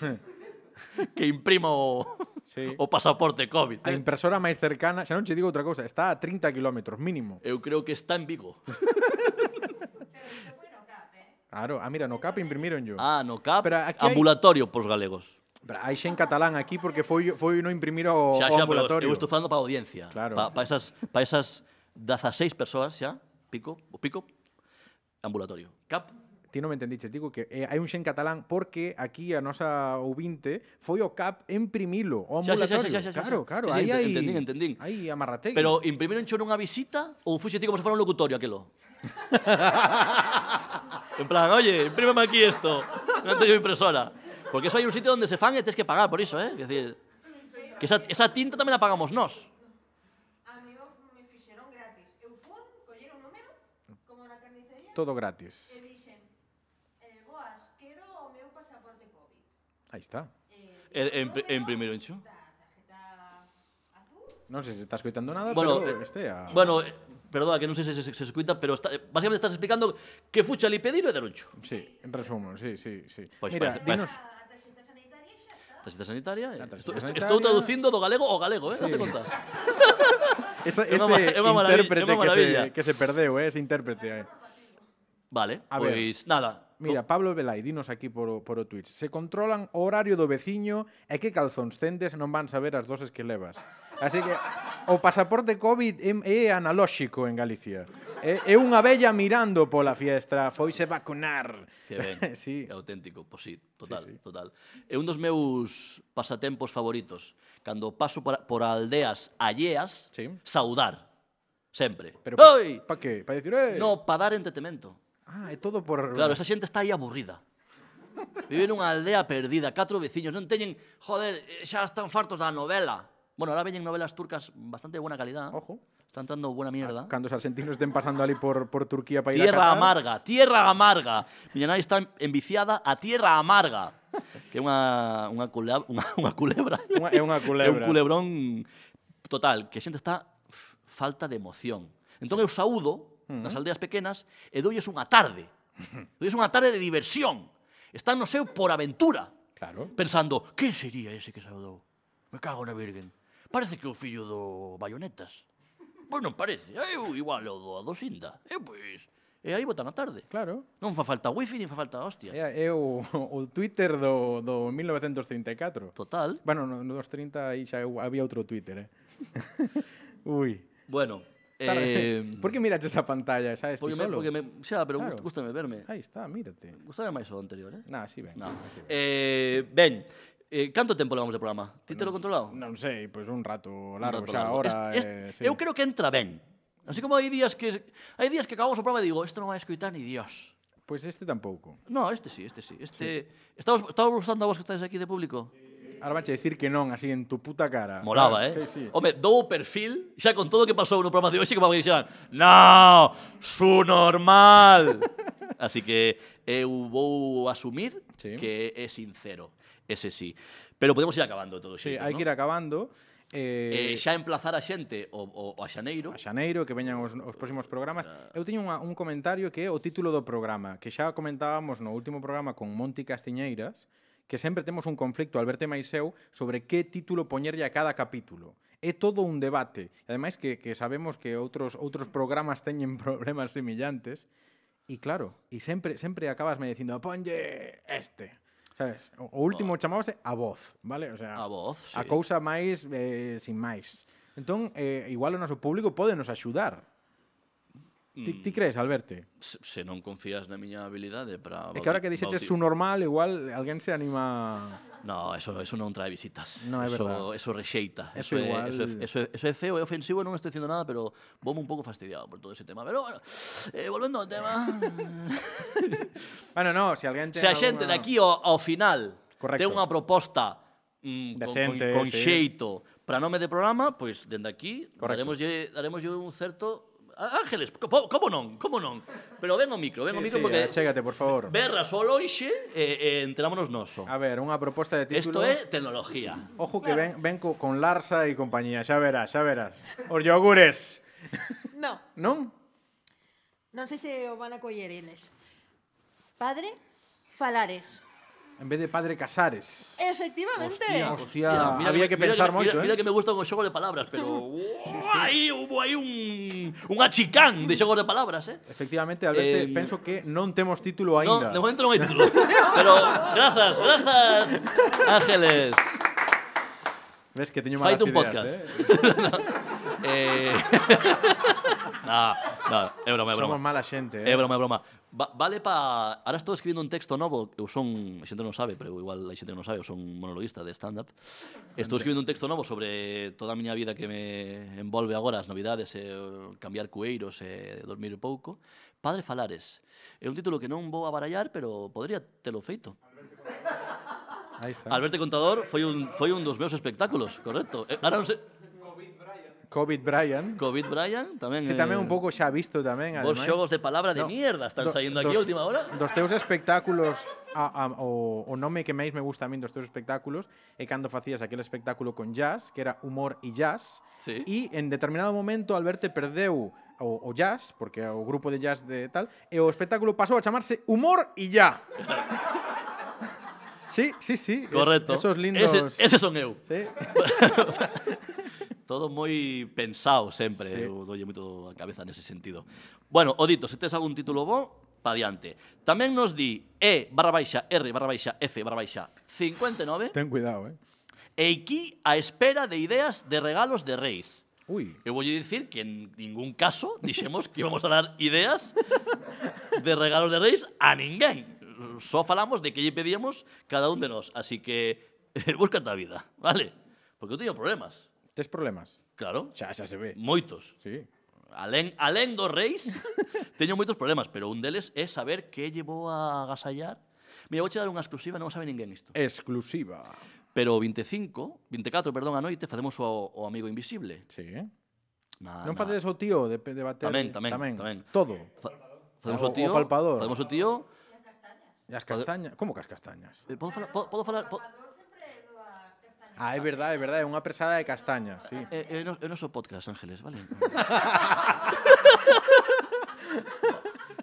S3: que imprima o,
S2: Sí.
S3: o pasaporte COVID.
S2: A
S3: eh.
S2: impresora máis cercana, xa non che digo outra cousa, está a 30 km mínimo.
S3: Eu creo que está en Vigo.
S2: Claro, ah, mira, no CAP imprimiron yo.
S3: Ah, no CAP,
S2: Pero aquí hai-
S3: ambulatorio pros galegos.
S2: Pero hai xe en catalán aquí porque foi foi no imprimir o,
S3: xa,
S2: o
S3: xa, pero
S2: ambulatorio.
S3: eu estou falando para a audiencia.
S2: Claro.
S3: Pa, pa esas, pa esas 16 persoas xa, pico, o pico, ambulatorio. CAP,
S2: Ti non me entendiches, digo que eh, hai un xen catalán porque aquí a nosa ouvinte foi o CAP en primilo, o
S3: Xa, xa, xa,
S2: ambulatorio.
S3: xa, xa, xa, xa.
S2: Claro, claro,
S3: Sí,
S2: aí
S3: sí, ente-
S2: hai...
S3: entendín, entendín.
S2: Aí amarrategui.
S3: Pero imprimieron chon unha visita ou fuxe ti como se fora un locutorio aquilo? en plan, oye, imprímeme aquí esto. Non teño impresora. Porque eso hai un sitio onde se fan e tens que pagar por iso, eh? Quer decir, que esa, esa tinta tamén a pagamos nós.
S4: A mí me fixeron gratis. Eu fun, colleron o número, como na carnicería,
S2: Todo gratis.
S4: e dixen, eh, boas, quero o meu pasaporte COVID.
S2: Aí está.
S3: E, e, impri- e imprimieron xo.
S2: Non sei se estás coitando nada,
S3: Bueno,
S2: pero
S3: eh,
S2: este a...
S3: Bueno, eh, perdona, que non sei se se, se escuita, pero está, eh, basicamente estás explicando que fuxe ali pedir e deroncho.
S2: Sí, en resumo, sí, sí, sí.
S3: Pois
S2: mira,
S3: parece-
S2: dinos...
S3: parece-
S4: A tarxeta sanitaria xa
S2: A
S3: Tarxeta sanitaria. eh.
S4: está.
S2: tarxeta
S3: Estou, estou-
S2: sanitaria.
S3: estou traducindo do galego ao galego, eh? Sí.
S2: Sí.
S3: conta?
S2: Esa,
S3: É
S2: ese
S3: unha ma- é unha maravilla,
S2: intérprete
S3: é unha
S2: que,
S3: maravilla.
S2: se, que se perdeu, eh, ese intérprete. Eh.
S3: Vale,
S2: A ver.
S3: pois nada.
S2: Mira, Pablo Velay, dinos aquí por, o- por o Twitch. Se controlan o horario do veciño e que calzóns tendes non van saber as doses que levas. Así que o pasaporte COVID em- é analóxico en Galicia. É, é unha vella mirando pola fiestra, foise vacunar.
S3: Que ben,
S2: sí.
S3: é auténtico, pois sí, total,
S2: Sí,
S3: sí, sí. total. É un dos meus pasatempos favoritos, cando paso por, por aldeas alleas,
S2: Sí.
S3: saudar, sempre.
S2: Pero pa,
S3: Oi!
S2: pa que? Pa dicir, eh,
S3: No, para dar entretemento.
S2: Ah, é todo por
S3: Claro, esa xente está aí aburrida. Vive nunha aldea perdida, catro veciños, non teñen, joder, eh, xa están fartos da novela. Bueno, ahora veñen novelas turcas bastante de buena calidad.
S2: Ojo.
S3: Está entrando buena mierda.
S2: Cando os argentinos estén pasando ali por, por Turquía para ir a
S3: Tierra
S2: Qatar.
S3: amarga, tierra amarga. Miña nai está enviciada a tierra amarga. Que é unha, unha, culebra, unha, unha culebra.
S2: Unha- é unha
S3: É un
S2: culebra.
S3: culebrón total, que a xente está f- falta de emoción. Entón eu saúdo nas aldeas pequenas e doulles unha tarde. Doulles unha tarde de diversión. Están no seu por aventura.
S2: Claro.
S3: Pensando, quen sería ese que saudou? Me cago na virgen. Parece que é o fillo do Bayonetas. Pois non parece. Eu igual o do Adosinda. Eu pois... E aí botan a tarde.
S2: Claro.
S3: Non fa falta wifi, nin fa falta hostias.
S2: É, é o, o Twitter do, do 1934.
S3: Total.
S2: Bueno, no, nos 30 aí xa eu- había outro Twitter, eh. Ui.
S3: Bueno.
S2: Eh,
S3: Eh,
S2: por que miraches a pantalla, sabes? ti
S3: porque me,
S2: solo?
S3: porque me, xa, pero
S2: Claro.
S3: claro. gustame verme.
S2: Aí está, mírate.
S3: Gustame máis o anterior, eh?
S2: Nah, sí, ben.
S3: No. Eh, ben, eh, canto tempo levamos de programa? Títelo controlado?
S2: Non sei, pois un rato largo,
S3: Un rato
S2: xa
S3: largo.
S2: agora.
S3: Es- es-
S2: eh, sí.
S3: Eu creo que entra ben. Así como hai días que hai días que acabamos o programa e digo, isto non vai escoitar ni Dios.
S2: Pois este tampouco.
S3: No, este sí, este sí. Este estamos estamos gustando a vos que estáis aquí de público.
S2: Ahora vache dicir que non, así en tu puta cara.
S3: Molaba,
S2: Claro, Sí,
S3: eh?
S2: sí.
S3: Home, dou o perfil, xa con todo o que pasou no programa de hoxe que me dixeran, "No, su normal." Así que eu vou asumir
S2: Sí.
S3: que é sincero. Ese sí. Pero podemos ir acabando de todo
S2: Sí,
S3: xeito,
S2: hai
S3: ¿no?
S2: que ir acabando. Eh,
S3: eh, xa emplazar a xente o, o, o a Xaneiro.
S2: a Xaneiro, que veñan os, os próximos programas. Eu teño unha, un comentario que é o título do programa, que xa comentábamos no último programa con Monti Castiñeiras, que sempre temos un conflicto, Alberto e Maiseu, sobre que título poñerlle a cada capítulo. É todo un debate. E ademais que, que sabemos que outros outros programas teñen problemas semillantes. E claro, e sempre sempre acabas me dicindo, ponlle este. Sabes? O, o último chamábase a voz, vale? O sea,
S3: Ah. A voz,
S2: a
S3: sí.
S2: cousa máis eh, sin máis. Entón, eh, igual o noso público pode nos axudar. Ti,
S3: Mm.
S2: ti crees, Alberto?
S3: se, se non confías na miña habilidade para
S2: É que ahora que dixeches su normal, igual alguén se anima...
S3: No, eso, eso non trae visitas.
S2: No, é
S3: eso,
S2: verdad.
S3: eso rexeita.
S2: Eso
S3: Eso, é-
S2: igual-
S3: eso, é, eso, é, eso é feo, é ofensivo, non estou dicindo nada, pero vome un pouco fastidiado por todo ese tema. Pero bueno, eh, volvendo ao tema...
S2: Bueno, no, se alguén ten
S3: se a xente de
S2: alguna-
S3: aquí ao, ao final
S2: Correcto.
S3: ten unha proposta mm,
S2: Decente,
S3: con, con, con
S2: sí.
S3: xeito para nome de programa, pois dende aquí
S2: Correcto.
S3: daremoslle, daremoslle un certo... Á- Ángeles, como, como non? Como non? Pero ven o micro, ven o
S2: Sí,
S3: micro
S2: sí,
S3: porque...
S2: achégate, por favor.
S3: Berra solo hoxe e, e enterámonos noso.
S2: A ver, unha proposta de título...
S3: Isto é tecnología.
S2: Ojo que ven, ven co, con Larsa e compañía, xa verás, xa verás. Os yogures,
S4: No,
S2: non?
S4: non sei se o van a coller eles. Padre Falares.
S2: En vez de Padre Casares.
S4: Efectivamente.
S2: Hostia, había que pensar
S3: mira,
S2: moito,
S3: mira,
S2: eh.
S3: mira que me gusta con xogo de palabras, pero aí hubo aí un un achicán de xogos de palabras, eh?
S2: Efectivamente, Alberto,
S3: Em,
S2: penso que non temos título
S3: No,
S2: aínda.
S3: de momento non hai título. Pero grazas, grazas, Ángeles.
S2: Ves que teño malas
S3: Faite un
S2: ideas,
S3: podcast.
S2: eh?
S3: Eh... nah, nah, é broma, é broma.
S2: Somos mala xente, eh?
S3: É broma, é broma. Va, vale pa... Ahora estou escribindo un texto novo, eu son, a xente non sabe, pero igual a xente non sabe, eu son monologuista de stand-up. Estou escribindo un texto novo sobre toda a miña vida que me envolve agora, as novidades, e o cambiar cueiros e dormir pouco. Padre Falares. É un título que non vou a barallar, pero podría telo feito.
S2: Aí está.
S3: Alberto Contador foi un, foi un dos meus espectáculos, correcto. Eh, Ahora non sei...
S2: COVID Brian.
S3: Covid Brian tamén...
S2: Si tamén
S3: eh,
S2: un pouco xa visto tamén, ademais.
S3: Vos xogos de palabra de
S2: No,
S3: mierda están
S2: do-
S3: saindo aquí a
S2: dos-
S3: última hora.
S2: Dos teus espectáculos, a, a, o, o nome que máis me gusta a min dos teus espectáculos é cando facías aquel espectáculo con jazz, que era humor e jazz,
S3: Sí.
S2: e en determinado momento Alberto perdeu o, o jazz, porque o grupo de jazz de tal, e o espectáculo pasou a chamarse Humor e ya. sí, sí, sí. es-
S3: Correcto.
S2: esos lindos...
S3: Ese, ese son eu.
S2: Sí.
S3: Todo moi pensado sempre,
S2: Sí.
S3: sí. eu dolle moito a cabeza nese sentido. Bueno, Odito, se tes algún título bo, pa diante. Tamén nos di E barra baixa R barra baixa F barra baixa 59
S2: Ten cuidado, eh.
S3: E aquí a espera de ideas de regalos de reis.
S2: Ui.
S3: Eu voulle dicir que en ningún caso dixemos que íbamos a dar ideas de regalos de reis a ninguén. Só falamos de que lle pedíamos cada un de nós. Así que búscate a vida, vale? Porque eu teño problemas,
S2: Tes problemas?
S3: claro.
S2: Xa, xa se ve.
S3: Mm. Moitos.
S2: Sí.
S3: Alén, alén dos reis, teño moitos problemas, pero un deles é saber que lle vou a agasallar. Mira, vouche dar unha exclusiva, non sabe ninguén isto.
S2: Exclusiva.
S3: Pero o 25, 24, perdón, a noite facemos o, o amigo invisible.
S2: Sí, eh?
S3: Na,
S2: Non
S3: na-
S2: facedes o tío de, de bater...
S3: Tamén, tamén, tamén.
S2: Todo.
S3: fa- Facemos
S2: O- o
S3: o tío,
S2: palpador.
S3: facemos o tío,
S2: E as castañas. Como que as castañas?
S3: eh, podo falar, podo, podo falar, po-
S2: Ah, é verdade, é verdade. É unha presada de castañas, sí.
S3: Eh, eh, no, eu non sou podcast, Ángeles, vale?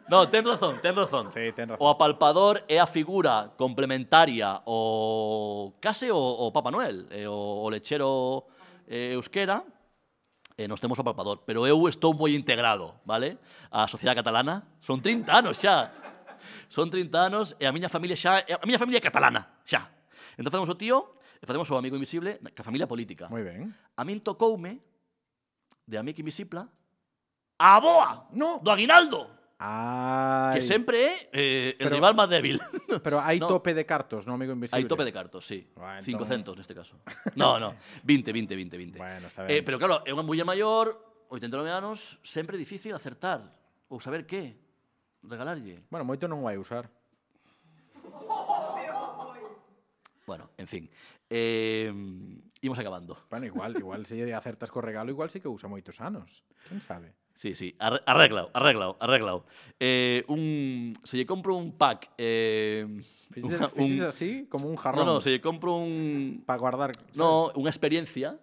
S3: no, ten razón, ten razón.
S2: Sí, ten razón.
S3: O apalpador é a figura complementaria o case o, o Papa Noel, eh, o, o lechero eh, euskera, eh, nos temos o apalpador. Pero eu estou moi integrado, vale? A sociedade catalana. Son 30 anos xa. Son 30 anos e a miña familia xa... e A miña familia é catalana, xa. Entón facemos o tío e facemos o amigo invisible ca familia política.
S2: Moi ben.
S3: A min tocoume de Amic Invisipla a boa
S2: No.
S3: do Aguinaldo,
S2: Ai.
S3: que sempre é eh, el
S2: Pero-
S3: rival máis débil.
S2: Pero hai
S3: No.
S2: tope de cartos, no, amigo invisible?
S3: Hai tope de cartos, sí.
S2: Buah, entón-
S3: 500 neste caso. No, no, 20, 20, 20, 20.
S2: Bueno, está ben.
S3: eh, pero claro, é unha muller maior, 89 anos, sempre difícil acertar ou saber que regalarlle.
S2: Bueno, moito non vai usar.
S3: Bueno, en fin. Eh, imos acabando.
S2: Bueno, igual, igual se lle acertas co regalo, igual sí que usa moitos anos. Quen sabe?
S3: Sí, sí, ar- arréglao, arréglao, arréglao. Eh, un, se lle compro un pack... Eh,
S2: Fixes,
S3: unha-
S2: fixes así, como un jarrón,
S3: No, no, se lle compro un...
S2: para guardar.
S3: No, unha experiencia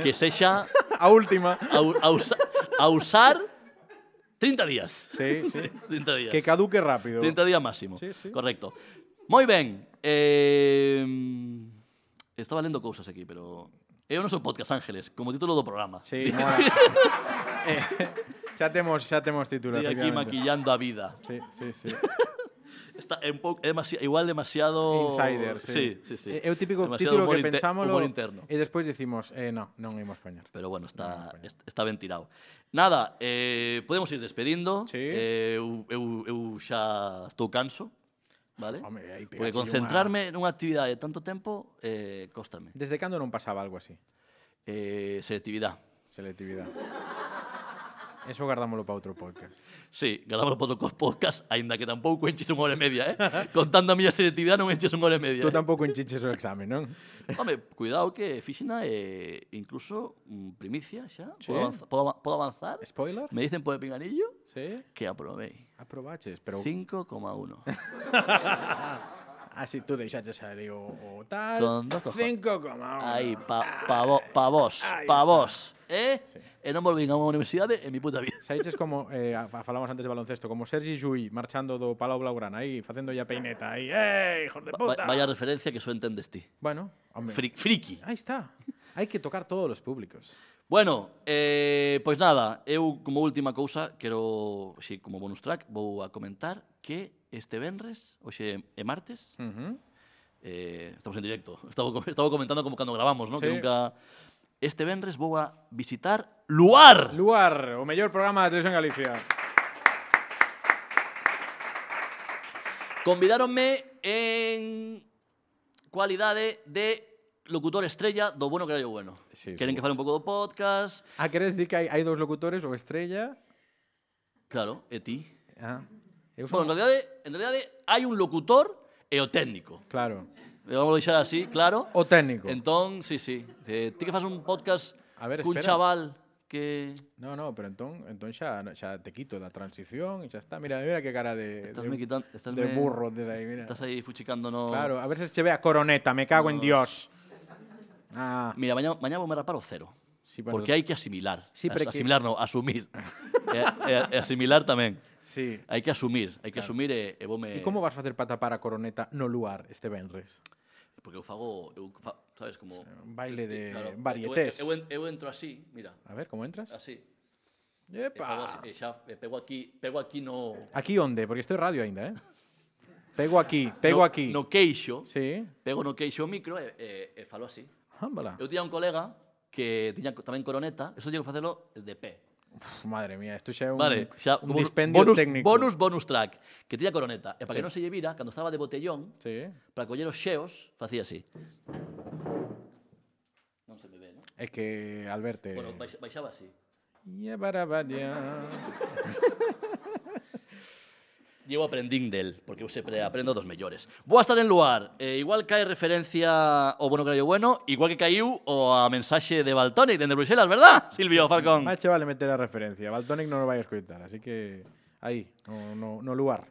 S3: que sexa
S2: A última.
S3: a, u- a, usa, a usar 30 días.
S2: Sí, sí.
S3: 30 días.
S2: Que caduque rápido.
S3: 30 días máximo.
S2: Sí, sí.
S3: Correcto. Moi ben. Eh, estaba lendo cousas aquí, pero... Eu non sou podcast Ángeles, como título do programa.
S2: Sí, mola. eh, xa temos, xa temos título,
S3: Estoy aquí
S2: efectivamente.
S3: maquillando a vida.
S2: Sí, sí, sí.
S3: Está é un pouco é demasi- igual demasiado
S2: Insider, sí.
S3: Sí, sí, sí.
S2: É é o típico
S3: Demasiado
S2: título
S3: humor
S2: que
S3: inte-
S2: pensámoslo
S3: humor interno.
S2: e despois dicimos, eh, no, non imos poñer.
S3: Pero bueno, está, est- está ben tirado. Nada, eh, podemos ir despedindo.
S2: Sí.
S3: Eh, eu, eu, eu xa estou canso, vale?
S2: Home, aí
S3: Porque
S2: pegache
S3: concentrarme nunha actividade de tanto tempo eh, cóstame.
S2: Desde cando non pasaba algo así?
S3: Eh, selectividade.
S2: Selectividade. Eso guardámolo para outro podcast.
S3: Sí, grabamos o podcast, podcast, aínda que tampouco enches unha hora e media, eh? Contando a miña selectividade non enches unha hora e media.
S2: Tú
S3: eh?
S2: tampouco enchiches o exame, non?
S3: Home, cuidado que Fixina é incluso mm, primicia xa.
S2: Sí.
S3: Podo, avanzar, podo, ava- podo avanzar.
S2: Spoiler?
S3: Me dicen por el pinganillo
S2: Sí.
S3: que aprobei.
S2: Aprobaches, pero
S3: 5,1.
S2: así tú deixaches salir o, o tal.
S3: Con dos cojones.
S2: 5,1.
S3: Aí, pa, pa, vo, pa vos,
S2: Ahí está.
S3: pa vos. Eh? E non volvín a unha universidade en mi puta vida.
S2: Saíches como, eh, a- a- falamos antes de baloncesto, como Sergi Juí marchando do Palau Blaugrana aí, facendo ya peineta aí, eh, hijos de
S3: Va,
S2: puta.
S3: vaya referencia que só entendes ti.
S2: Bueno, hombre.
S3: Fri, friki.
S2: Ahí está. Hai que tocar todos os públicos.
S3: Bueno, eh, pois nada, eu como última cousa quero, si como bonus track, vou a comentar que este venres, hoxe é martes,
S2: Uh -huh.
S3: eh, estamos en directo, estaba, co- estaba comentando como cando gravamos, ¿no?
S2: Sí.
S3: que nunca... Este venres vou a visitar Luar.
S2: Luar, o mellor programa da televisión Galicia.
S3: Convidáronme en cualidade de locutor estrella do Bueno Carallo Bueno.
S2: Sí,
S3: Queren que
S2: somos.
S3: fale un pouco do podcast,
S2: Ah, queres dicir que hai, hai dous locutores, o Estrella...
S3: claro, e ti.
S2: Ah, eu son...
S3: Bueno, en realidade, en realidade hai un locutor e o técnico.
S2: Claro.
S3: E Vamos a deixar así, claro.
S2: O técnico.
S3: Entón, sí, sí. Eh, ti que fas un podcast
S2: A ver,
S3: cun
S2: espera.
S3: chaval que...
S2: No, no, pero entón, entón xa, xa te quito da transición e xa está. Mira, mira que cara de,
S3: Estás
S2: de,
S3: me quitando- estás
S2: de
S3: me-
S2: burro desde aí, mira.
S3: Estás aí fuchicando no...
S2: Claro, a ver se che ve a coroneta, me cago en Dios. Ah,
S3: Mira, mañá, mañá vou me rapar o cero.
S2: Sí, bueno.
S3: porque hai que asimilar.
S2: Sí, pero que-
S3: asimilar non, asumir. e, e, e asimilar tamén.
S2: sí.
S3: Hai que asumir, hai que asumir e, e vou
S2: E
S3: me...
S2: como vas facer para tapar a coroneta no luar este venres?
S3: Porque eu fago, eu fa, sabes, como...
S2: un baile de
S3: eu-
S2: varietés.
S3: Eu, eu, eu entro así, mira,
S2: A ver, como entras?
S3: así. E, fago
S2: Epa.
S3: así, e xa e pego aquí, pego aquí no...
S2: Aquí onde? Porque estoy radio aínda, eh? Pego aquí, pego
S3: no,
S2: aquí.
S3: No queixo,
S2: Sí.
S3: pego no queixo o micro e, e, e falo así.
S2: Ámbala.
S3: Eu tiña un colega que tiña co- tamén coroneta, eso tiña que facelo de pé.
S2: Uf, madre mía, isto xa é un,
S3: Vale, xa,
S2: un
S3: bonu-
S2: dispendio
S3: bonus,
S2: técnico.
S3: Bonus, bonus track, que tiña coroneta. E
S2: Sí.
S3: para que non se lle vira, cando estaba de botellón,
S2: Sí.
S3: para coller os xeos, facía así. Non se me ve, non?
S2: É que, Alberto...
S3: Bueno, baix- baixaba así. Llevo aprendín del, porque eu sempre aprendo dos mellores. Vou a estar en luar. Eh, igual cae referencia ao Bono Carallo Bueno, igual que caiu o a mensaxe de Baltonic dende Bruxelas, verdad, Silvio Falcón?
S2: Más che vale meter a referencia. Baltonic non o vai a escoitar, así que... Aí, no, no, no lugar.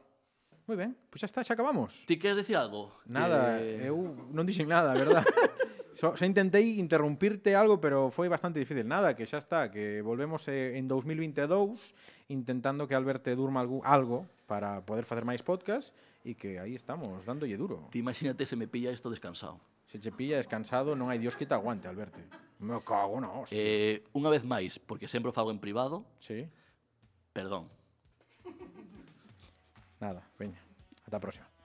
S2: Moi ben, pois xa pues está, xa acabamos.
S3: Ti queres dicir algo?
S2: Nada,
S3: Que-
S2: eu non dixen nada, verdad? Eh, So, xa intentei interrumpirte algo, pero foi bastante difícil. Nada, que xa está, que volvemos eh, en 2022 intentando que Alberto durma algo, algo para poder facer máis podcast e que aí estamos, dándolle duro.
S3: Ti imagínate se me pilla isto descansado.
S2: Se che pilla descansado, non hai dios que te aguante, Alberto. Me cago na hostia.
S3: Eh, unha vez máis, porque sempre o fago en privado,
S2: Sí,
S3: perdón.
S2: nada, veña. Ata a próxima.